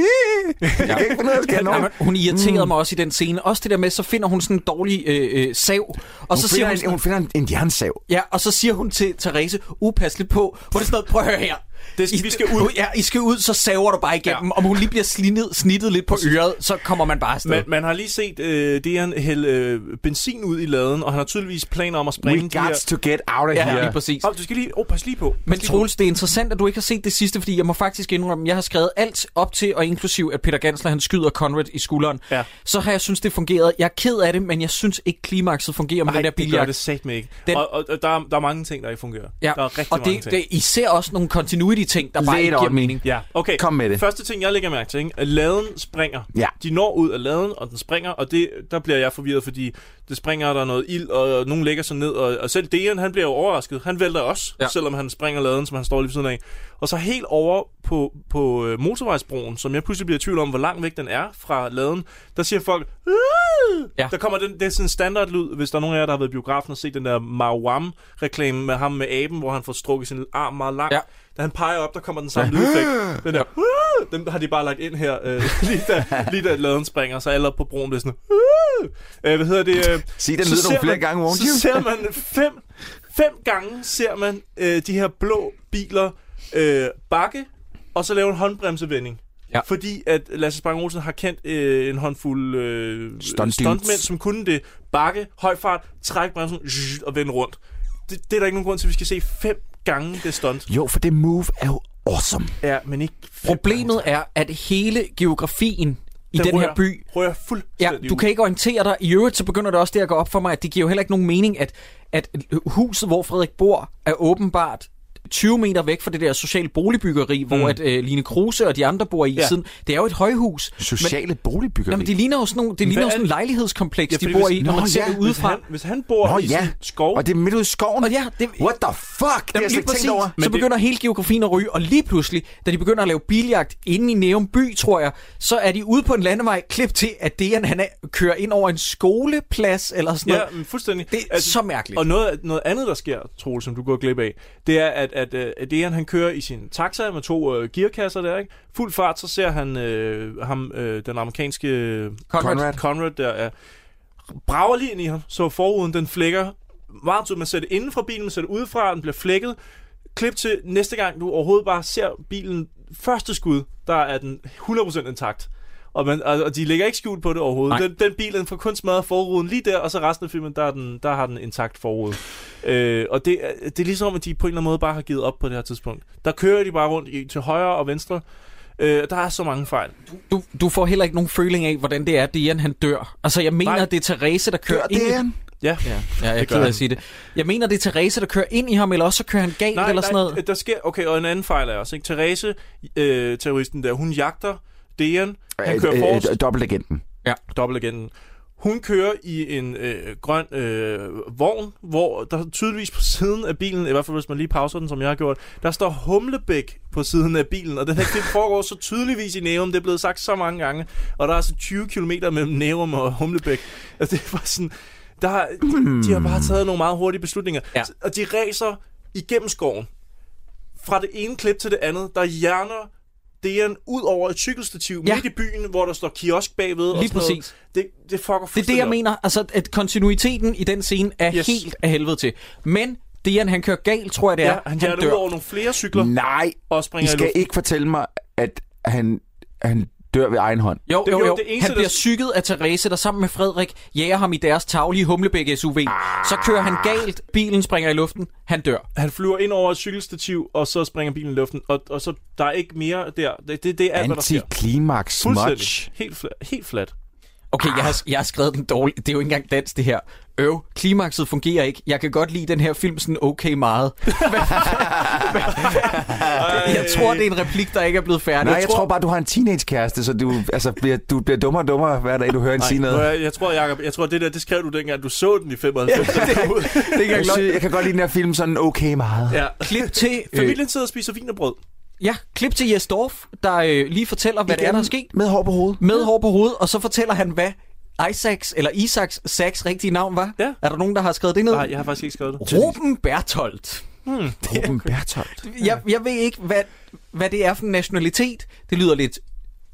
Jeg kan ikke finde ud af, at skære den over.
Jamen, hun irriterede mm. mig også i den scene. Også det der med, så finder hun sådan en dårlig øh, øh, sav. Og
Og hun,
så
så
siger hun,
finder hun,
sådan,
en, hun finder en, en jernsav.
Ja, og så siger hun til Therese, upas lidt på, hvor det er sådan noget, prøv at høre her.
Det,
I, vi skal ud. Ja, I skal ud, så saver du bare igennem. Ja. Om hun lige bliver slindet, snittet lidt på øret, så kommer man bare afsted.
Man, man har lige set øh, det, han hælde øh, benzin ud i laden, og han har tydeligvis planer om
We
at sprænge de
got
her...
to get out of
Ja,
here.
lige præcis.
Oh, du skal lige... Oh, pas lige på. Pas
Men
lige
Troels, det er interessant, at du ikke har set det sidste, fordi jeg må faktisk indrømme, jeg har skrevet alt op til, og inklusiv, at Peter Gansler han skyder Conrad i skulderen.
Ja.
Så har jeg synes det fungerede. Jeg er ked af det, men jeg synes ikke, klimakset fungerer med
Nej,
den der
det gør
biljagt.
det satme ikke.
Den-
Og, og, og der, er, der er mange ting, der ikke fungerer.
Ja.
Der er rigtig
og det,
mange ting.
det er især også nogle continuity-ting, der bare
Lay it
ikke giver
on me.
mening.
Ja, okay.
Kom med det.
Første ting, jeg lægger mærke til, ikke? at laden springer.
Ja.
De når ud af laden, og den springer, og det, der bliver jeg forvirret, fordi det springer, og der er noget ild, og, og nogen lægger sig ned, og, og selv Dejan, han bliver jo overrasket. Han vælter også, ja.
Ja.
selvom han springer laden, som han står lige ved siden af. Og så helt over på, på øh, motorvejsbroen, som jeg pludselig bliver i tvivl om, hvor langt væk den er fra laden, der siger folk, "Aah!"
Ja.
der kommer den, det er sådan en standardlyd, hvis der er nogen af jer, der har været i biografen og set den der Marwam-reklame med ham med aben, hvor han får strukket sin arm meget langt. Ja. Da han peger op, der kommer den
Ja.
samme lydeffekt. Den der, "Ah!" den har de bare lagt ind her, øh, lige, da, lige da laden springer, så alle oppe på broen bliver sådan, "Ah!" øh, hvad hedder det? Øh,
Sig den
så
lyd nogle
ser
flere
man-
gange, won't
Så
you?
ser man fem, fem gange, ser man øh, de her blå biler øh, bakke, og så lave en håndbremsevending. Ja. Fordi at Lasse Spang Olsen har kendt øh, en håndfuld øh,
Stunt
stuntmænd,
dudes.
som kunne det. Bakke, høj fart, træk bremsen zzz, og vende rundt. Det, det er der ikke nogen grund til, at vi skal se fem gange det stunt.
Jo, for det move er jo awesome.
Ja, men ikke
Problemet er, at hele geografien i den,
Den
den her
rører-
by...
rører
Ja,
fuldstændig
du
ud.
kan ikke orientere dig. I øvrigt, så begynder det også der at gå op for mig, at det giver jo heller ikke nogen mening, at, at huset, hvor Frederik bor, er åbenbart 20 meter væk fra det der sociale boligbyggeri, mm. hvor at øh, Line Kruse og de andre bor i ja.
Ja.
siden. Det er jo et højhus.
Sociale
men,
boligbyggeri?
Jamen, det ligner jo sådan, nogle, det ligner jo
Hvad
sådan en
er-
lejlighedskompleks, ja, de
fordi
bor
hvis-
i, når
Nå,
man ser
ja,
det udefra.
hvis han- hvis han bor Nå, i ja. sådan en skov-
Og det er midt ude i skoven?
Og ja, det,
What the fuck? Det har jeg slet
lige
ikke tænkt over.
Så begynder hele geografien at ryge, og lige pludselig, da de begynder at lave biljagt inde i Nærum by, tror jeg, så er de ude på en landevej, klip til, at Dejan han er, kører ind over en skoleplads eller sådan
Ja,
noget.
men fuldstændig.
Det er altså, så mærkeligt.
Og noget, noget andet, der sker, Troel, som du går glip af, det er, at, at, øh, at Dejan, han kører i sin taxa med to øh, gearkasser der, ikke? Fuld fart, så ser han øh, ham, øh, den amerikanske...
Conrad. Conrad.
Conrad der er... Brager lige ind i ham, så forruden, den flækker meget tydeligt. Man ser det inden fra bilen, man ser det udefra, den bliver flækket. Klip til næste gang, du overhovedet bare ser bilen første skud, der er den 100% intakt. Og, man, og, og de ligger ikke skjult på det overhovedet.
Nej.
Den, den bil, den får kun smadret forruden lige der, og så resten af filmen, der, er den, der har den intakt forrude. Øh, og det, er- det er ligesom, at de på en eller anden måde bare har givet op på det her tidspunkt. Der kører de bare rundt i, til højre og venstre. Øh, der er så mange fejl.
Du, du får heller ikke nogen føling af, hvordan det er, at Dejan han dør. Altså, jeg mener, Nej. det er Therese, der kører
Dør
ind i...
Dejan? Ja, ja,
Ja, jeg er ked af at sige det. Jeg mener, det er Therese, der kører ind i ham, eller også så kører han galt
Nej,
eller sådan
der,
noget.
Der sker, okay, og en anden fejl er også, ikke? Therese, øh, terroristen der, hun jagter Dejan. Han kører forrest.
øh, Dobbeltagenten.
Ja.
Dobbeltagenten. Hun kører i en øh, grøn øh, vogn, hvor der tydeligvis på siden af bilen, i hvert fald hvis man lige pauser den, som jeg har gjort, der står Humlebæk på siden af bilen, og den her klip foregår så tydeligvis i Nærum, det er blevet sagt så mange gange, og der er altså 20 km mellem Nærum og Humlebæk. Altså det var sådan, der, har- de, de har bare taget nogle meget hurtige beslutninger, ja. og de ræser igennem skoven, fra det ene klip til det andet, der hjerner DN ud over et cykelstativ ja. midt i byen, hvor der står kiosk bagved.
Lige
og sådan
præcis.
Noget. Det, det fucker
Det er det,
fuldstændig
jeg
op.
mener. Altså, at kontinuiteten i den scene er yes.
Yes.
helt af helvede til. Men Dejan, han kører galt, tror jeg, det er.
Ja, han, han ud over nogle flere cykler.
Nej,
og
I
springer i
skal
luften.
ikke fortælle mig, at han, han dør ved egen hånd.
Jo,
Det
jo,
var
jo.
det eneste,
Han
der-
bliver psyket af Therese, der sammen med Frederik jager ham i deres taglige Humlebæk SUV. Så kører han galt, bilen springer i luften, han dør.
Han flyver ind over et cykelstativ, og så springer bilen i luften, og, og så der er ikke mere der. Det, det, det er alt, hvad der sker.
Antiklimaks
Fuldstændig.
much.
Helt, flat, helt flat.
Okay, jeg har, jeg har skrevet den dårligt. Det er jo ikke engang dansk, det her. Øv, klimakset fungerer ikke. Jeg kan godt lide den her film sådan okay meget. jeg tror, det er en replik, der ikke er blevet færdig.
Nej, jeg tror bare, du har en teenage-kæreste, så du, altså, bliver, du bliver dummere og dummere, hver dag du hører hende sige noget.
prøv at- Jeg, tror, Jacob, jeg tror, det der, det skrev du dengang, du så den i 95. Ja,
Det kan jeg, synes, Altså, jeg kan godt lide den her film sådan okay meget.
ja.
Klip til...
Familien sidder og spiser vinerbrød.
Øh, Ja, klip til Jes Dorf, der øh, lige fortæller, hvad Igen. det er,
Igen
der er sket.
Med hår på hovedet.
Med hår på hovedet, og så fortæller han, hvad Isaacs, eller Isaacs, Sachs rigtige navn var.
Ja.
Er der nogen, der har skrevet det ned?
Nej, jeg har faktisk ikke skrevet det.
Ruben Bertolt.
Hmm.
Ruben Bertolt.
Jeg, jeg ved ikke, hvad, hvad det er for en nationalitet. Det lyder lidt,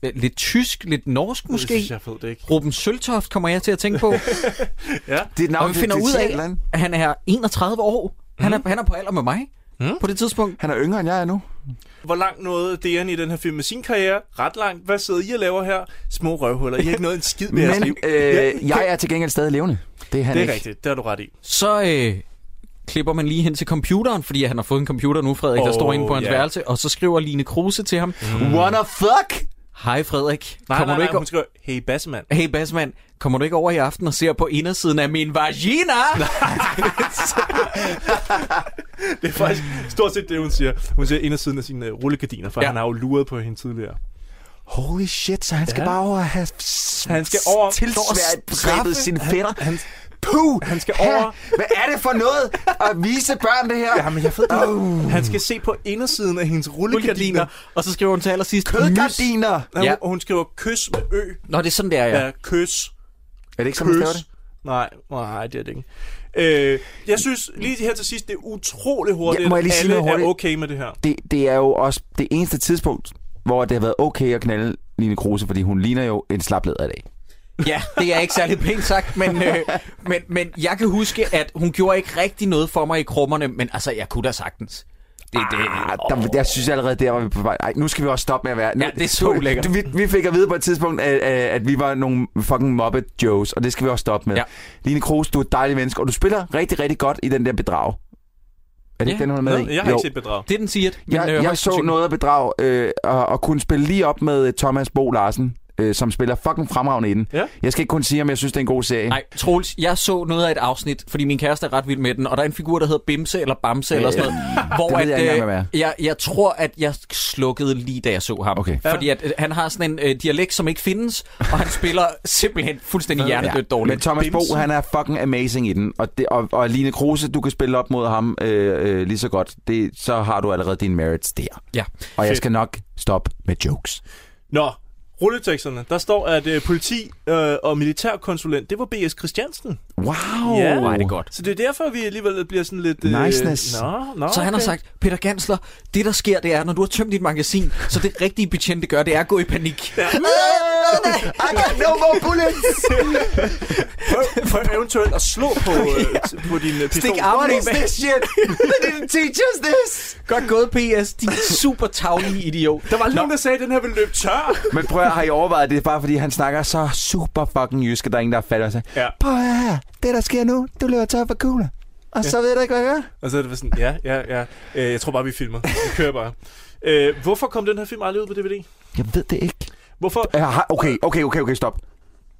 øh, lidt tysk, lidt norsk måske.
synes jeg, jeg ved det ikke.
Ruben Søltoft kommer jeg til at tænke på.
Ja.
Det er et
og
navn,
vi finder
det, det
ud
siger et
af,
eller andet.
at han er 31 år. Han er, han er på alder med mig mm. på det tidspunkt.
Han er yngre, end jeg er nu.
Hvor langt nåede DN i den her film med sin karriere? Ret langt. Hvad sidder I og laver her? Små røvhuller. I har ikke nået en skid med jeres
Men
liv.
øh, jeg er til gengæld stadig levende. Det er han
Det
ikke.
er rigtigt. Det har du ret i.
Så øh, klipper man lige hen til computeren, fordi han har fået en computer nu, Frederik, oh, der
Åh,
står inde på hans
ja.
yeah. værelse. Og så skriver Line Kruse til ham.
Mm. What the fuck?
Hej Frederik,
Nej,
kommer
nej, nej.
du ikke...
Hun skriver, hey Bassemand.
Hey Basman, kommer du ikke over i aften og ser på indersiden af min vagina?
Det er faktisk stort set det, hun siger. Hun siger indersiden af sine øh, rullegardiner, for ja. han har jo luret på hende tidligere.
Holy shit, så han skal
Ja.
bare over at have
Han skal over- straffe-
tilsværet sin
han-
fætter.
han-
Puh, han
skal over-
Hvad er det for noget at vise børn det her?
Jamen, jeg ved det. Oh. Han skal se på indersiden af hendes rullegardiner.
og så skriver hun til allersidst...
Kødgardiner!
Ja.
Ja.
Hun, hun skriver kys med ø.
Nå, det er sådan, det er, ja.
Ja, kys.
Er det ikke sådan, man
Køs.
staver det?
Nej, nej, det er det ikke. Øh, jeg synes lige her til sidst, det er utrolig hurtigt,
Ja, må jeg lige
at
sige
alle
noget
er
hurtigt?
okay med det her.
det, det er jo også det eneste tidspunkt, hvor det har været okay at knalde Line Kruse, fordi hun ligner jo en slapleder i dag.
Ja, det er ikke særlig pænt sagt, men, øh, men, men jeg kan huske, at hun gjorde ikke rigtig noget for mig i krummerne, men altså, jeg kunne da sagtens. Det, det,
Ah, der, der synes jeg allerede, der var vi på vej. Ej, nu skal vi også stoppe med at være... Nu,
Ja, det er så
du-
ulækkert.
du- Vi, vi fik at vide på et tidspunkt, at, at at vi var nogle fucking mobbet joes, og det skal vi også stoppe med.
Ja.
Line Kruse, du er et dejligt menneske, og du spiller rigtig, rigtig godt i den der bedrag. Er det
Ja.
ikke den, hun er med
Nå,
i?
jeg har
Jo.
ikke set bedrag.
det er den siger. øh,
Jeg, jeg så noget af bedrag, øh, og, og kunne spille lige op med øh, Thomas Bo Larsen, øh, som spiller fucking fremragende i den. Ja. Jeg skal ikke kun sige, om jeg synes, det er en god serie.
Nej, Troels, jeg så noget af et afsnit, fordi min kæreste er ret vild med den, og der er en figur, der hedder Bimse eller Bamse eller sådan noget. øh,
Øh, det ved jeg ikke engang, hvad
jeg, jeg tror, at jeg slukkede lige, da jeg så ham. Okay. Fordi at, øh, han har sådan en øh, dialekt, som ikke findes, og han spiller simpelthen fuldstændig hjernedødt dårligt.
Men Thomas Bo,
Bimsen.
han er fucking amazing i den. Og, det, og, og Line Kruse, du kan spille op mod ham øh, øh, lige så godt. Det, så har du allerede dine merits der.
Ja.
Og jeg
Fedt.
skal nok stoppe med jokes.
Nå, rulleteksterne. Der står, at øh, politi øh, og militærkonsulent, det var B.S. Christiansen.
Wow, hvor er det godt.
Så det er derfor, vi alligevel bliver sådan lidt... øh,
Niceness.
Nå, nå,
så han har
okay.
sagt, Peter Gansler, det der sker, det er, når du har tømt dit magasin, så det rigtige betjente gør, det er at gå i panik. Ja.
I got no more bullets!
prøv, prøv eventuelt at slå på, øh, t- på din øh, pistol.
Stik armen i bag-
They didn't teach us this!
Godt gået, PS, din super tavlige idiot.
Der var nogen, der sagde, at den her ville løbe tør.
Men prøv at har I overvejet, at det er bare fordi, han snakker så super fucking jysk, at der er ingen, der fatter sig.
Ja.
Prøv at høre her. Det, der sker nu, du løber tør for kugler. Og
Ja.
så ved jeg ikke, hvad jeg gør.
Og så er det bare sådan, ja, ja, ja. Øh, jeg tror bare, vi filmer. Vi kører bare. Øh, hvorfor kom den her film aldrig ud på DVD?
Jeg ved det ikke.
Hvorfor?
Jeg har- Okay, okay, okay, okay, stop.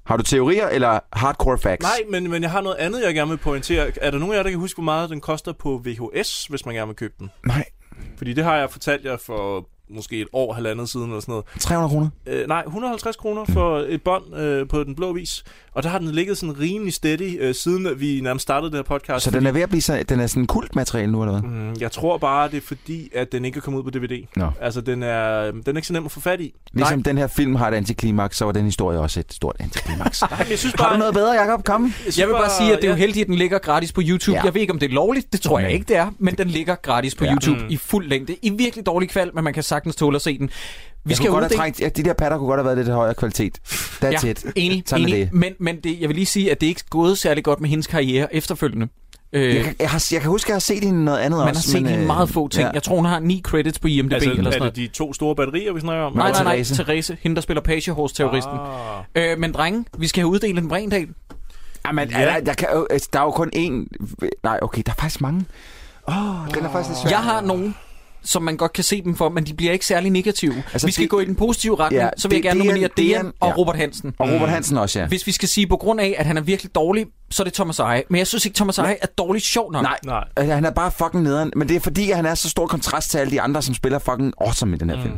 Har du teorier eller hardcore facts?
Nej, men, men jeg har noget andet, jeg gerne vil pointere. Er der nogen af jer, der kan huske, hvor meget den koster på VHS, hvis man gerne vil købe den?
Nej.
Fordi det har jeg fortalt jer for måske et år, halvandet siden eller sådan noget.
300 kroner?
Øh, nej, 150 kroner for et bånd øh, på den blå vis. Og der har den ligget sådan rimelig steady, øh, siden at vi nærmest startede det her podcast.
Så den er ved at blive så, den er sådan kultmateriale nu, eller hvad?
Mm, Jeg tror bare, det er fordi, at den ikke er kommet ud på DVD.
Nå.
Altså, den er, den er ikke så nem at få fat i.
Ligesom den her film har et antiklimaks, så var den historie også et stort antiklimaks.
Nej, men jeg synes
Har
bare...
du noget bedre, Jacob? Kom.
synes
Jeg vil bare
bare-
sige, at det er jo
ja.
heldigt, at den ligger gratis på YouTube.
Ja.
Ja. Jeg ved ikke, om det er lovligt. Det tror jeg
Nej.
ikke, det er. Men den ligger gratis på
Ja.
ja. YouTube
Mm.
mm. i fuld længde. I virkelig dårlig kval, men man kan sagtens tåle at se den. Vi
Vi
skal
skal godt have
uddele-
trængt, ja, de der patter kunne godt have været lidt højere kvalitet. That's
ja,
it.
Enig,
Sådan er
enig.
det.
Men, men det, jeg vil lige sige, at det ikke er gået særlig godt med hendes karriere efterfølgende. Øh,
Jeg kan, jeg, har, jeg kan huske, at jeg har set hende i noget andet
man har
også.
set hende
øh,
i meget få ting.
ja.
Ja. Jeg tror, hun har ni credits på IMDb
Altså,
eller sådan
er
noget.
det de to store batterier, vi snakker om?
Nej, nej,
Eller-
nej. Therese, Therese hende der spiller Pagehorse-terroristen.
Ah.
Øh, men drenge, vi skal have uddelt en Brindal.
Jamen, ja. der, der, kan, jo- altså, der er jo kun én... Nej, okay, der er faktisk mange. Åh, oh, den er faktisk lidt svær.
Jeg har nogen, som man godt kan se dem for, men de bliver ikke særlig negative.
Altså,
Altså, vi skal
det-
gå i den positive retning,
Ja,
ja, så vil jeg
det-
gerne
det er-
nominere
det er-
Dejan og
ja.
Robert Hansen.
Og Robert
Mm.
Hansen også, ja.
Hvis vi skal sige, på grund af, at han er virkelig dårlig, så er det Thomas Eje. Men jeg synes ikke, Thomas Eje er dårligt sjov nok.
Nej,
Nej.
Altså, han er bare fucking nederen. Men det er fordi, at han er så stor kontrast til alle de andre, som spiller fucking awesome i den
Mm.
her film.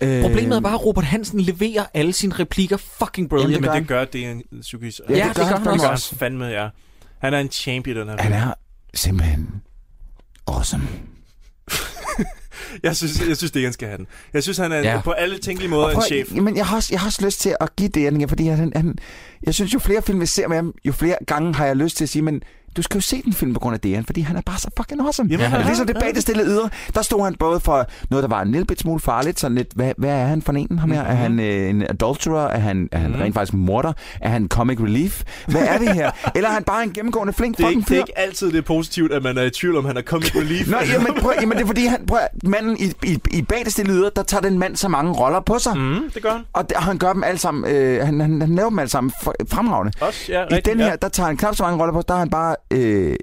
Øh,
Problemet er bare, at Robert Hansen leverer alle sine replikker fucking brilliant.
Jamen, det gør det er en psykisk...
Ja, det gør han
fandme
også.
fandme, ja. Han er en champion, den her.
Han
film.
er simpelthen awesome.
Jeg synes, jeg synes det han skal have den. Jeg synes, han er ja.
Ja.
på alle tænkelige
Og
måder en
prøv at-
chef.
Jamen, jeg har, også, jeg har også lyst til at give det, Erling, fordi han, han, jeg synes, jo flere film vi ser med ham, jo flere gange har jeg lyst til at sige, men du skal jo se den film på grund af det, fordi han er bare så fucking awesome.
Jamen,
Jamen,
han er-
ligesom det bag det stille yder, der stod han både for noget, der var en lille bit smule farligt, sådan lidt, hvad, hvad er han for en, ham her? Er han øh, en adulterer? Er han, er han
Mhm.
rent faktisk morder? Er han comic relief? Hvad er det her? Eller er han bare en gennemgående flink
Det er, ikke,
fucking
det er
fyr?
ikke altid det er positivt, at man er i tvivl om, han er kommet på liv.
Nå, jamen, prøv, jamen, det er fordi, han, prøv, at- manden i, i, i bag det stille yder, der tager den mand så mange roller på sig.
Mm, det gør han.
Og, det, og han gør dem alle sammen, øh, han, han, han laver dem alle sammen for, fremragende.
Også, ja,
I
rigtig,
den her,
ja.
der tager han knap så mange roller på, der er han bare øh,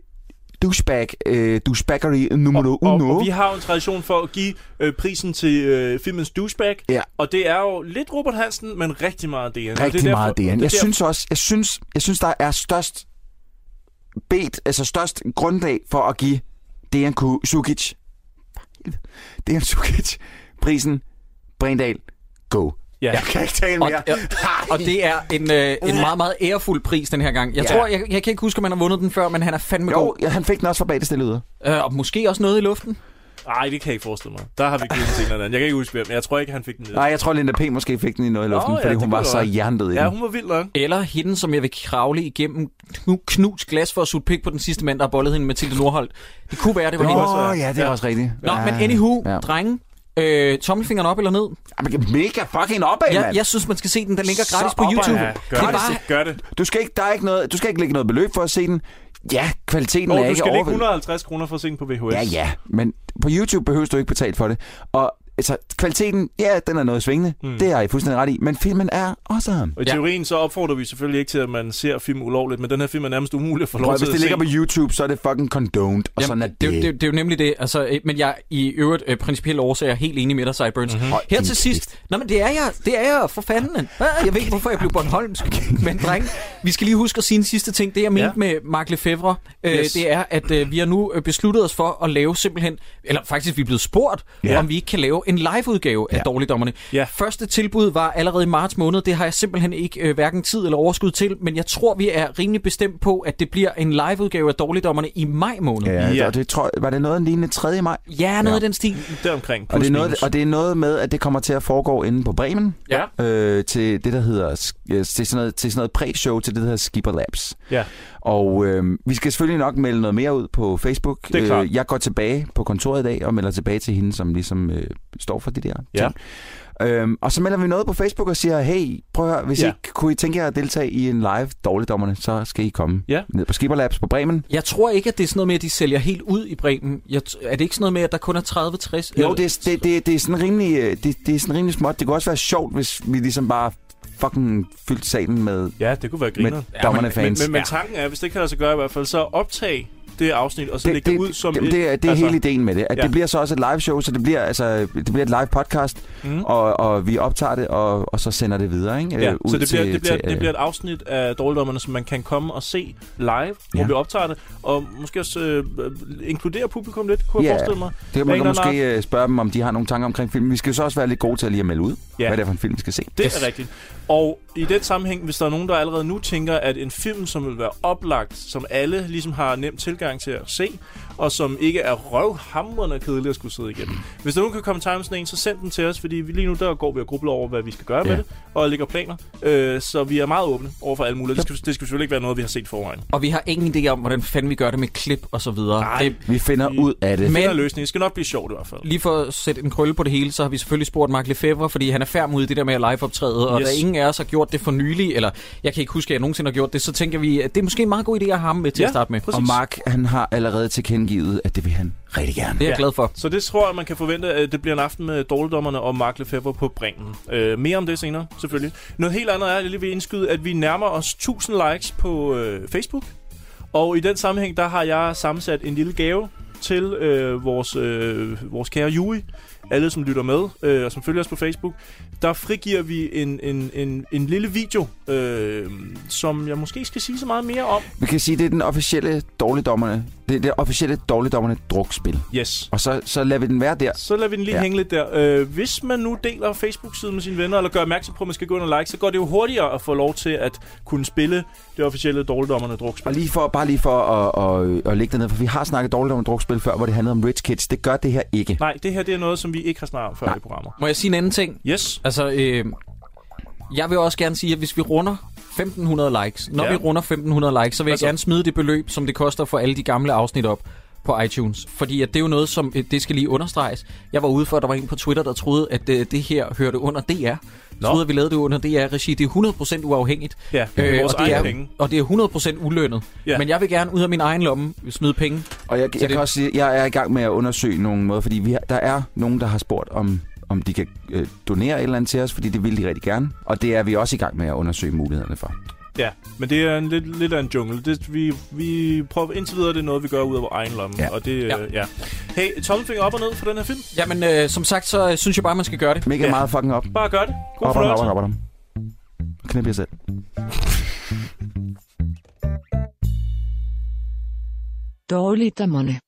douchebag, øh, douchebaggery numero
Og,
uno.
og vi har jo en tradition for at give øh, prisen til øh, filmens douchebag.
Ja.
Og det er jo lidt Robert Hansen, men rigtig meget DN. Og det er
Rigtig
derfor-
meget det, han. Jeg
derfor-
synes også, jeg synes, jeg synes, der er størst bet, altså størst grundlag for at give Dejan Ku- Sukic, For helvede. Dejan Sukic, prisen Brindal, go.
Ja.
Jeg kan ikke tale mere.
Og, og, og det er en, øh, en meget, meget ærefuld pris den her gang. Jeg
Ja.
tror, jeg, jeg kan ikke huske, om han har vundet den før, men han er fandme
Jo,
god.
ja, han fik den også fra bag det stille yder.
Øh, og måske også noget i luften.
Nej, det kan jeg ikke forestille mig. Der har vi givet den til en eller anden. Jeg kan ikke huske, hvem. men Jeg tror ikke, han fik den.
Nej, jeg tror, Linda P. måske fik den i noget i
Nå,
luften,
ja,
fordi
det
hun
kunne
var
det
så
være.
jerndet i
Ja,
den.
hun var vild nok.
Eller hende, som jeg vil kravle igennem knu, knus glas for at suge pik på den sidste mand, der har bollet hende med Tilde Nordholt. Det kunne være, det var
Åh,
hende.
ja, det er også rigtigt.
Nå,
ja.
men anywho,
Ja.
ja. drenge, øh, tommelfingeren op eller ned?
Jamen, mega fucking opad,
jeg,
mand.
jeg synes, man skal se den. Den ligger
Så
gratis på
opad.
YouTube.
Ja, gør
det
det.
er bare,
Gør det.
Du skal ikke, der er ikke noget, du skal ikke lægge noget beløb for at se den. Ja, kvaliteten er
Og du
ikke
skal lægge
overvældende.
150 kroner for at se den på VHS.
Ja, ja, men på YouTube behøver du ikke betale for det. Og altså, kvaliteten, ja, den er noget svingende. Mm. Det har I fuldstændig ret i. Men filmen er awesome.
Hmm. Og i teorien så opfordrer vi selvfølgelig ikke til, at man ser film ulovligt, men den her film er nærmest umulig at få lov
Prøv,
til
hvis
at
det ligger
se.
på YouTube, så er det fucking condoned, og sådan er det.
Det, det, det er jo nemlig det, altså, øh, men jeg i øvrigt øh, principielle årsager er helt enig med dig, Cyburns. Mm-hmm.
Og
Her
Mhm. din
til sidst, nå, men det er jeg, det er jeg for fanden. Ah, Jeg ved ikke, hvorfor jeg blev Bornholmsk, men dreng, vi skal lige huske at sige en sidste ting. Det jeg mente med Mark Lefebvre, øh,
Yes.
det er, at øh, vi har nu øh, besluttet os for at lave simpelthen, eller faktisk vi er blevet spurgt,
Ja.
om vi ikke kan lave en live-udgave af Dårligdommerne. Første tilbud var allerede i marts måned, det har jeg simpelthen ikke øh, hverken tid eller overskud til, men jeg tror, vi er rimelig bestemt på, at det bliver en live-udgave af Dårligdommerne i maj måned.
Ja, ja. Og det tror, var det noget lignende 3. maj?
Ja, noget ja. af den stil.
Deromkring.
Og det, er
plus
noget,
minus.
og det er noget med, at det kommer til at foregå inde på Bremen.
Ja.
Øh, til det, der hedder... sk- øh, Til sådan noget, til sådan noget præ-show til det, der hedder Skipper Labs.
Ja.
Og øh, vi skal selvfølgelig nok melde noget mere ud på Facebook. Øh,
Det er klart.
jeg går tilbage på kontoret i dag og melder tilbage til hende, som ligesom øh, står for det der
Ja.
ting. Øhm, og så melder vi noget på Facebook og siger, hey, prøv at høre, hvis
Ja.
ja. I ikke kunne I tænke jer at deltage i en live dårligdommerne, så skal I komme
ja.
ned på Skipper Labs på Bremen.
Jeg tror ikke, at det er sådan noget med, at de sælger helt ud i Bremen. Jeg, t- er det ikke sådan noget med, at der kun er 30-60?
Jo, det er, det, det, det er sådan rimelig, øh, det, det er sådan rimelig småt. Det kunne også være sjovt, hvis vi ligesom bare fucking fyldte salen med
Ja, det kunne være
med
griner.
dommerne
men,
fans.
Men, men, men tanken er, hvis det ikke kan lade sig gøre i hvert fald, så optag det afsnit, og så lægge det ud som
det,
et...
det, er, det er altså, hele ideen med det. At
Ja.
ja. Det bliver så også et live show, så det bliver, altså, det bliver et live podcast,
Mm.
mm. og, og vi optager det, og, og så sender det videre ikke?
Ja,
Øh,
så det bliver, det, bliver,
til,
det bliver et afsnit af Dårligdommerne, som man kan komme og se live, ja. hvor
Ja.
vi optager det, og måske også øh, inkludere publikum lidt, kunne jeg forestille mig.
Det kan
Af
man
en
kan
eller anden
måske øh, spørge dem, om de har nogle tanker omkring filmen. Vi skal jo så også være lidt gode til at lige at melde ud,
Ja.
ja. hvad det er for en film, vi skal se.
Det yes. er rigtigt. Og i den sammenhæng, hvis der er nogen, der allerede nu tænker, at en film, som vil være oplagt, som alle ligesom har nem tilgang til at se, og som ikke er røvhamrende kedelig at skulle sidde igennem. Hvis der nogen kan komme i tanke om sådan en, så send den til os, fordi vi lige nu der går vi og grubler over, hvad vi skal gøre ja.
Ja.
med det, og lægger planer. Øh, så vi er meget åbne over for alle mulige. Det skal, det skal selvfølgelig ikke være noget, vi har set i forvejen.
Og vi har ingen idé om, hvordan fanden vi gør det med klip og så videre.
Nej,
det,
vi finder ud af
Det
det.
finder
Men-
løsning. Det skal nok blive sjovt i hvert fald.
lige for at sætte en krølle på det hele, så har vi selvfølgelig spurgt Mark Lefebvre, fordi han er færdig ude i det der med at live-optræde, og
Yes.
yes. da ingen af os har gjort det for nylig, eller jeg kan ikke huske, at jeg nogensinde har gjort det, så tænker vi, at det er måske en meget god idé at have ham med til at starte med.
Og Mark, han har allerede tilkendegivet, at det vil han rigtig gerne.
Det er jeg glad for.
Så det tror jeg, man kan forvente, at det bliver en aften med dårligdommerne og Mark Lefebvre på Bremen. Øh, mere om det senere, selvfølgelig. Noget helt andet er, at jeg lige vil indskyde, at vi nærmer os 1000 likes på øh, Facebook. Og i den sammenhæng, der har jeg sammensat en lille gave til øh, vores, øh, vores kære Juri. Alle, som lytter med øh, og som følger os på Facebook. Der frigiver vi en, en, en, en lille video, øh, som jeg måske ikke skal sige så meget mere om.
Vi kan sige, det er den officielle dårligdommerne, det er det officielle dårligdommerne drukspil.
Yes.
Og så, så lader vi den være der.
Så lader vi den lige ja.
Ja.
hænge lidt der. Øh, hvis man nu deler Facebook-siden med sine venner, eller gør opmærksom på, at man skal gå ind og like, så går det jo hurtigere at få lov til at kunne spille det officielle dårligdommerne drukspil.
Og lige for, bare lige for at, at, at lægge det ned, for vi har snakket dårligt om drukspil før, hvor det handlede om rich kids. Det gør det her ikke.
Nej, det her det er noget, som vi ikke har snakket om før i programmet.
Må jeg sige en anden ting?
Yes.
Altså, øh, jeg vil også gerne sige, at hvis vi runder 1.500 likes, når
Ja.
ja. vi runder 1.500 likes, så vil altså. jeg gerne smide det beløb, som det koster for alle de gamle afsnit op på iTunes. Fordi at det er jo noget, som øh, det skal lige understreges. Jeg var ude for, at der var en på Twitter, der troede, at øh, det her hørte under DR. Nå. Troede, at vi lavede det under DR-regi. Det er 100% uafhængigt. Øh,
Ja, det er vores
og, det
egne
er,
penge.
og det er 100% ulønnet.
Ja.
Ja. Men jeg vil gerne ud af min egen lomme smide penge.
Og jeg,
Så
jeg kan
det-
også sige, jeg er i gang med at undersøge nogle måder, fordi vi har, der er nogen, der har spurgt om om de kan øh, donere et eller andet til os, fordi det vil de rigtig gerne. Og det er vi også i gang med at undersøge mulighederne for.
Ja, men det er en lidt, lidt af en jungle. Det, vi, vi prøver indtil videre, det er noget, vi gør ud af vores egen lomme. Ja. Og det, ja. Øh, ja. Hey, tommelfinger op og ned for den her film.
Jamen, øh, som sagt, så øh, synes jeg bare, man skal gøre det.
Mega
Ja.
ja. meget fucking op.
Bare gør det. God
op, og ned, op,
fornøjelse.
og ned, op, og ned. Knip jer selv.
Dårligdommerne.